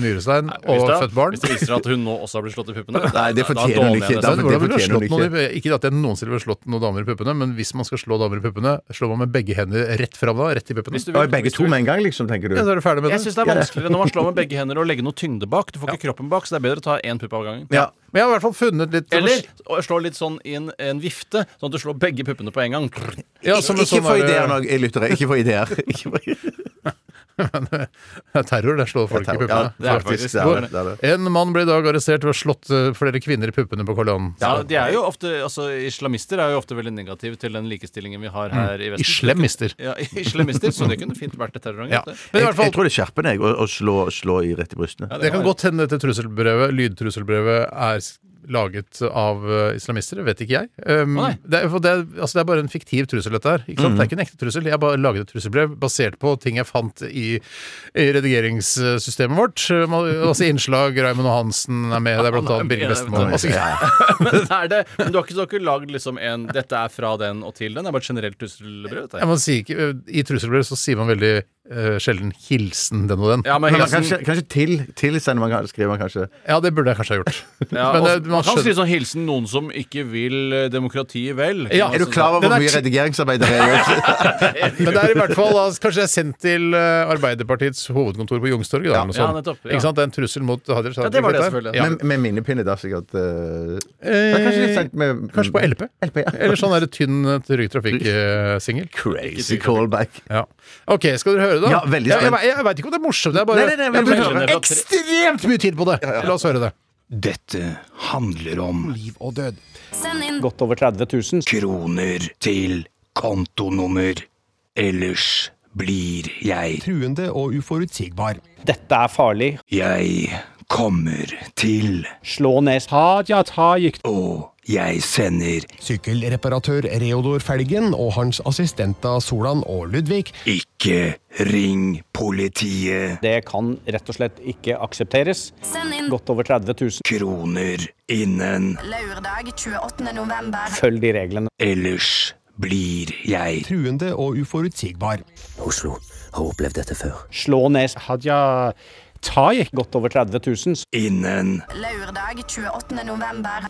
Speaker 4: nyrestein
Speaker 5: Hvis
Speaker 4: og
Speaker 5: det-
Speaker 4: født barn.
Speaker 5: Hvis det viser seg at hun nå også har blitt slått i puppene
Speaker 6: Nei, det
Speaker 5: da- da
Speaker 6: fortjener hun
Speaker 5: dåner jeg
Speaker 6: ikke.
Speaker 5: nesten.
Speaker 4: Men
Speaker 6: men
Speaker 4: hvordan ville
Speaker 6: det
Speaker 4: du
Speaker 6: fortjener
Speaker 4: slått
Speaker 6: hun
Speaker 4: noen i, ikke at jeg noensinne ville slått noen damer i puppene, men hvis man skal slå damer i puppene, slår man med begge hender rett fram da? Rett i puppene?
Speaker 5: Hvis du
Speaker 6: Ja,
Speaker 5: vil.
Speaker 6: begge to med en gang, liksom, tenker du?
Speaker 4: Ja, så er du ferdig med
Speaker 5: Jeg
Speaker 4: det.
Speaker 5: syns det er vanskeligere når man slår med begge hender og legger noe tyngde bak. Du får ikke kroppen bak, så det er bedre å ta én pupp av gangen.
Speaker 6: Ja.
Speaker 4: Men jeg har i hvert fall funnet litt sånn-
Speaker 5: Eller å slå litt sånn inn en vifte, sånn at du slår begge puppene på en gang.
Speaker 4: ja, som en
Speaker 6: Ikke
Speaker 4: sånn
Speaker 6: få
Speaker 4: der-
Speaker 6: ideer nå, jeg lytter. Ikke få ideer. Ikke få-
Speaker 4: Men eh, det er terror. Der slår folk i
Speaker 5: terror.
Speaker 4: puppene.
Speaker 5: Ja, det er faktisk- det er det, det er
Speaker 4: En mann ble i dag arrestert ved å ha slått eh, flere kvinner i puppene på kolonnen.
Speaker 5: Ja, de er jo ofte, altså Islamister er jo ofte veldig negative til den likestillingen vi har her
Speaker 4: Mm.
Speaker 5: i Vesten.
Speaker 4: Islamister.
Speaker 5: Ja, islamister, så det kunne fint vært et terrorangrep. det.
Speaker 6: Jeg, jeg tror det skjerper deg å, å slå, slå i rett i brystene.
Speaker 4: det, kan godt hende dette trusselbrevet, lydtrusselbrevet er s- laget av eh, islamister, det vet ikke jeg. Um,
Speaker 5: Å, nei.
Speaker 4: det, er, for det, er, altså, det er bare en fiktiv trussel, dette her. Ikke sant?
Speaker 5: Mhm.
Speaker 4: Det er ikke en ekte trussel. Jeg har bare laget et trusselbrev basert på ting jeg fant i, i redigeringssystemet vårt. Um, Altså innslag, Raymond Johansen er med, det er blant annet Birger Vestmoen. Altså,
Speaker 5: Men, er det, men du har ikke, du har ikke lagd liksom en 'dette er fra den og til den'? Det er bare et generelt trusselbrev? dette her.
Speaker 4: Ja, man sier ikke, eh, I trusselbrev så sier man veldig eh, sjelden 'hilsen den og den'.
Speaker 5: Ja, men
Speaker 6: Men man kanskje, kanskje til, til sender man, skriver man kanskje.
Speaker 4: Ja, det burde jeg kanskje ha gjort.
Speaker 5: Ja,
Speaker 4: Men,
Speaker 5: og,
Speaker 4: eh,
Speaker 5: man,
Speaker 4: man
Speaker 5: kan
Speaker 4: skjønner-
Speaker 5: skrive sånn hilsen noen som ikke vil eh, demokratiet vel.
Speaker 4: Ja.
Speaker 5: Kan man
Speaker 4: Er du
Speaker 5: sånn-
Speaker 6: Klar over
Speaker 4: Den
Speaker 6: hvor
Speaker 4: er
Speaker 6: mye
Speaker 4: ti-
Speaker 6: redigeringsarbeid det er gjort.
Speaker 4: Men det er i hvert fall da, kanskje jeg er sendt til eh, Arbeiderpartiets hovedkontor på Youngstorget. da, eller noe
Speaker 5: Ja,
Speaker 4: sånt.
Speaker 5: nettopp, ja.
Speaker 4: Ikke sant? Det er en trussel mot Hadia Tajik.
Speaker 5: Ja, det var det,
Speaker 4: dette her.
Speaker 5: selvfølgelig.
Speaker 4: Ja.
Speaker 6: Med, med minnepinne, da, sikkert. eh,
Speaker 4: Eh,
Speaker 6: det er kanskje litt sent med
Speaker 4: Kanskje på LP.
Speaker 6: LP, ja.
Speaker 4: Eller sånn der tynn eh, Trygg Trafikk-singel.
Speaker 6: Crazy callback.
Speaker 4: Ja. OK, skal dere høre det? da?
Speaker 6: Ja, veldig
Speaker 4: jeg
Speaker 6: spent.
Speaker 4: jeg, jeg veit ikke om det er morsomt. Det er bare,
Speaker 6: Nei, nei, nei, men
Speaker 4: jeg bruker
Speaker 6: vi hører
Speaker 4: ekstremt mye tid på det! La oss høre det.
Speaker 13: Dette handler om
Speaker 4: Liv og død.
Speaker 13: Send inn godt over 30 000 kroner til kontonummer. Ellers blir jeg Truende og uforutsigbar. Dette er farlig. Jeg kommer til Slå ned Hadia Tajik. Og jeg sender
Speaker 14: Sykkelreparatør Reodor Felgen og hans assistenter Solan og Ludvig
Speaker 13: Ikke ring politiet. Det kan rett og slett ikke aksepteres.
Speaker 15: Send inn
Speaker 13: Godt over 30 000 kroner innen
Speaker 15: lørdag 28. november.
Speaker 13: Følg de reglene. Ellers blir jeg
Speaker 14: truende og uforutsigbar.
Speaker 13: Oslo har opplevd dette før. Slå ned Hadia Tajik. Godt over 30 000. Innen
Speaker 15: Lørdag 28. november.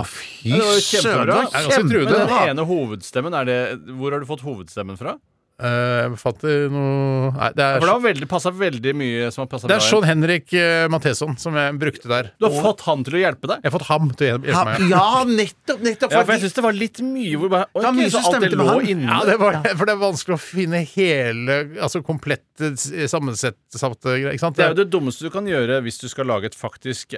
Speaker 4: Fy
Speaker 5: Ja, det var jo
Speaker 4: søren!
Speaker 5: kjempebra.
Speaker 4: Det er ganske
Speaker 5: Men
Speaker 4: truende.
Speaker 5: Den ene hovedstemmen, er det, hvor har du fått hovedstemmen fra?
Speaker 4: Eh, Jeg fatter noe Nei, det
Speaker 5: For
Speaker 4: er
Speaker 5: det har veldig, passet veldig mye som har passet
Speaker 4: Det er
Speaker 5: bra
Speaker 4: Sean Henrik eh, Matheson som jeg brukte der.
Speaker 5: Du har fått han til å hjelpe deg?
Speaker 4: Jeg har fått ham til å hjelpe
Speaker 5: Ha-
Speaker 4: meg.
Speaker 5: ja,
Speaker 6: nettopp! nettopp
Speaker 5: Ja, for jeg syns det var litt mye hvor bare
Speaker 6: Det var
Speaker 5: ok, så
Speaker 6: mye som
Speaker 5: alt det
Speaker 6: stemte
Speaker 5: lå
Speaker 6: med han.
Speaker 5: inne.
Speaker 4: Ja, det var, for det er vanskelig å finne hele Altså komplette s- sammensatte greier. Ikke sant?
Speaker 5: Det er jo det dummeste du kan gjøre hvis du skal lage et faktisk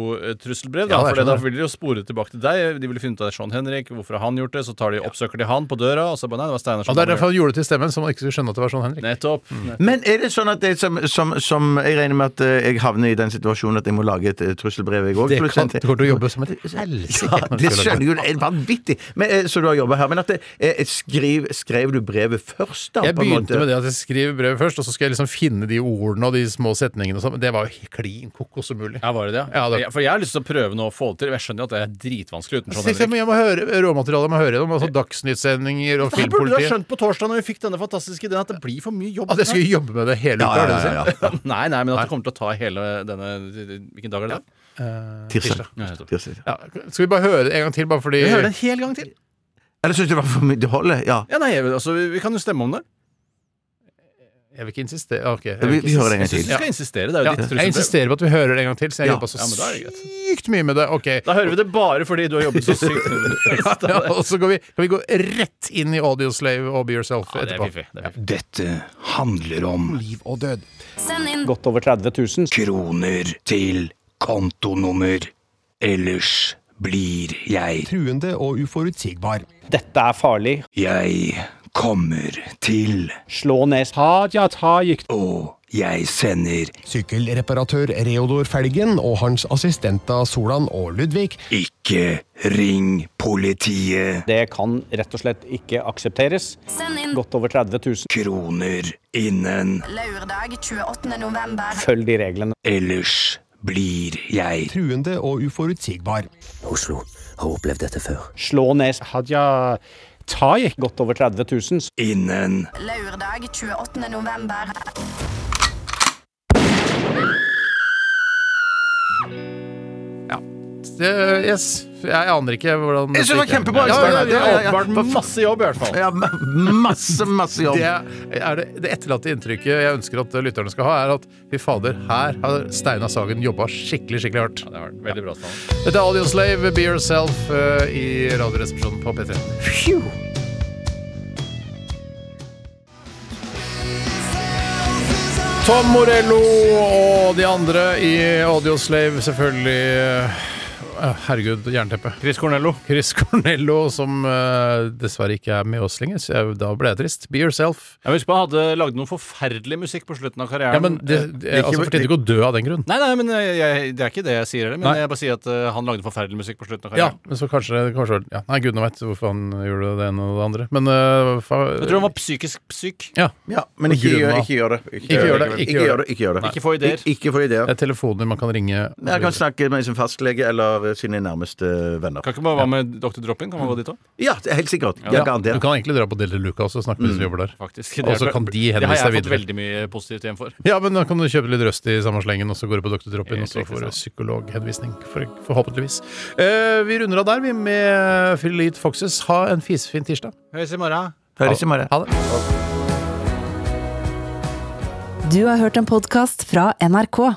Speaker 5: audiotrusselbrev. Da,
Speaker 4: Ja, det er
Speaker 5: for da
Speaker 4: sånn.
Speaker 5: vil de jo spore tilbake til deg. De vil finne ut av Sean Henrik, hvorfor har han gjort det? Så tar de oppsøker de han på døra, og så bare nei, det Mm. var Steinar
Speaker 4: Ja,
Speaker 5: som
Speaker 4: det er
Speaker 5: hadde
Speaker 4: derfor
Speaker 5: gjort
Speaker 4: han gjorde det til stemmen, så man ikke skulle skjønne at det var sånn Henrik.
Speaker 5: det. Nettopp.
Speaker 6: Men er det sånn at det som, som, som Jeg regner med at eh, jeg havner i den situasjonen at jeg må lage et eh, trusselbrev, jeg òg.
Speaker 4: Det kan- du kommer til å jobbe som et helsike.
Speaker 6: Ja, det skjønner jo det er vanvittig! Men, eh, så du har jobba her. Men at det, eh, skriv, skrev du brevet først, da?
Speaker 4: Jeg begynte med det at jeg skriver brevet først, og så skal jeg liksom finne de ordene og de små setningene og sånn. Men Det var jo klin kokos umulig.
Speaker 5: Ja, var det det?
Speaker 4: Ja, det-
Speaker 5: Jeg- For jeg har lyst til å prøve nå å få det til. men Jeg skjønner jo at det er dritvanskelig uten
Speaker 4: Så
Speaker 5: Sean
Speaker 4: tenkte Jeg
Speaker 5: sånn Henrik.
Speaker 4: men jeg må høre råmaterialet jeg må høre gjennom. Altså Dagsnyttsendinger og
Speaker 5: Det her burde du ha
Speaker 4: Filmpolitiet.
Speaker 5: skjønt på torsdag når vi fikk denne fantastiske ideen, at det blir for mye jobb.
Speaker 4: At jeg skulle jobbe med det hele uka?
Speaker 5: Ja,
Speaker 4: er det
Speaker 5: ja,
Speaker 4: det du sier?
Speaker 5: ja, ja, ja. nei, nei, men at det kommer til å ta hele denne Hvilken dag er det? da?
Speaker 4: Eh,
Speaker 6: Tirsdag.
Speaker 5: Ja, nettopp.
Speaker 6: Tirsdag.
Speaker 4: Ja, skal vi bare høre det en gang til, bare fordi
Speaker 5: Vi hører det en hel gang til.
Speaker 6: Eller syns du det var for mye? Det holder? Ja.
Speaker 5: Ja, nei, altså, vi, vi kan jo stemme om det.
Speaker 4: Jeg vil ikke insistere. ok, jeg
Speaker 6: Vi-
Speaker 4: vil ikke
Speaker 6: vi hører det en gang
Speaker 4: insistere.
Speaker 6: til.
Speaker 5: Du skal insistere, det er jo ditt trusselbrev.
Speaker 4: Jeg insisterer på at vi hører det en gang til, så jeg
Speaker 5: Ja.
Speaker 4: jobba så
Speaker 5: Ja, men da er det greit.
Speaker 4: sykt mye med det. Ok.
Speaker 5: Da hører vi det bare fordi du har jobbet så sykt.
Speaker 4: Ja, ja, og så går vi, kan vi gå rett inn i Audioslave og Be Yourself
Speaker 5: Ja, det er
Speaker 4: etterpå.
Speaker 5: fiffig, det er
Speaker 13: Dette handler om
Speaker 14: Liv og død.
Speaker 15: Send inn
Speaker 13: godt over 30 000 kroner til kontonummer. Ellers blir jeg
Speaker 14: Truende og uforutsigbar.
Speaker 13: Dette er farlig. Jeg kommer til Slå ned Hadia Tajik. Og jeg sender
Speaker 14: Sykkelreparatør Reodor Felgen og hans assistenter Solan og Ludvig
Speaker 13: Ikke ring politiet. Det kan rett og slett ikke aksepteres.
Speaker 15: Send inn
Speaker 13: Godt over 30 000 kroner innen
Speaker 15: lørdag 28. november.
Speaker 13: Følg de reglene. Ellers blir jeg
Speaker 14: Truende og uforutsigbar.
Speaker 13: Oslo har opplevd dette før. Slå ned Hadia Tajik. Godt over 30 000. Innen
Speaker 15: Lørdag 28. november.
Speaker 4: Det- Eh, yes. Jeg aner ikke hvordan
Speaker 6: Jeg synes det var
Speaker 4: gikk.
Speaker 6: kjempebra,
Speaker 4: Ja, ja, ja,
Speaker 6: Steinar. Ja, ja, ja.
Speaker 4: det er åpenbart masse jobb, i hvert fall.
Speaker 6: Ja, ma- masse, masse jobb.
Speaker 4: Det, er det, det etterlatte inntrykket jeg ønsker at lytterne skal ha, er at fy fader, her har Steinar Sagen jobba skikkelig, skikkelig hardt.
Speaker 5: det var veldig bra stand.
Speaker 4: Dette er Audio Slave, Be Yourself, eh, i Radioresepsjonen på P3. Tom Morello og de andre i Audioslave, selvfølgelig. eh, Herregud, jernteppe.
Speaker 5: Chris Cornello.
Speaker 4: Chris Cornello, som eh, dessverre ikke er med oss lenger. Så jeg, da ble jeg trist. Be yourself.
Speaker 5: Jeg husker han hadde lagd noe forferdelig musikk på slutten av karrieren.
Speaker 4: Ja, men det, det,
Speaker 5: Eh,
Speaker 4: altså, fortjener ikke å dø av den grunn.
Speaker 5: Nei, nei, men jeg, jeg, det er ikke det jeg sier heller. Men
Speaker 4: Nei.
Speaker 5: jeg bare sier at eh, han lagde forferdelig musikk på slutten av
Speaker 4: Ja,
Speaker 5: karrieren.
Speaker 4: men så kanskje, kanskje ja. Nei, gudene veit hvorfor han gjorde det ene og det andre. Men eh, fa
Speaker 5: Jeg tror han var psykisk syk.
Speaker 4: Ja.
Speaker 6: Ja, men
Speaker 4: Og
Speaker 6: ikke gjør,
Speaker 4: grunna.
Speaker 6: ikke gjør det.
Speaker 4: Ikke gjør det.
Speaker 6: Ikke gjør det. Ikke, gjør det.
Speaker 4: Ikke få ideer.
Speaker 6: Ik- Ikke få ideer.
Speaker 4: Det er telefoner man kan ringe. og så
Speaker 6: Men jeg kan
Speaker 4: videre.
Speaker 6: snakke med sin fastlege eller sine nærmeste venner.
Speaker 5: Kan ikke man være med Dr. Dropin? Kan man gå dit òg?
Speaker 6: Ja, det er helt sikkert. Jeg
Speaker 4: Du
Speaker 6: garantert.
Speaker 4: kan egentlig dra på Deli Luca også og snakke med de som
Speaker 5: Mm.
Speaker 4: jobber der.
Speaker 5: Faktisk.
Speaker 4: Og så
Speaker 5: Det er-
Speaker 4: Altså, kan de
Speaker 5: Det
Speaker 4: henvise
Speaker 5: har
Speaker 4: deg
Speaker 5: jeg fått
Speaker 4: videre.
Speaker 5: veldig mye positivt igjen for.
Speaker 4: Ja, men da kan du kjøpe litt røst i samme slengen, og så går du på Dr. Dropin,
Speaker 5: Helt
Speaker 4: og så
Speaker 5: riktig,
Speaker 4: får du
Speaker 5: sant.
Speaker 4: psykologhenvisning, for, forhåpentligvis. Eh, vi runder av der, vi, med Fillit Foxes. Ha en fisefin tirsdag.
Speaker 5: Høres i morgen.
Speaker 6: Høres i morgen.
Speaker 4: Ha det.
Speaker 1: Du har hørt en podkast fra NRK.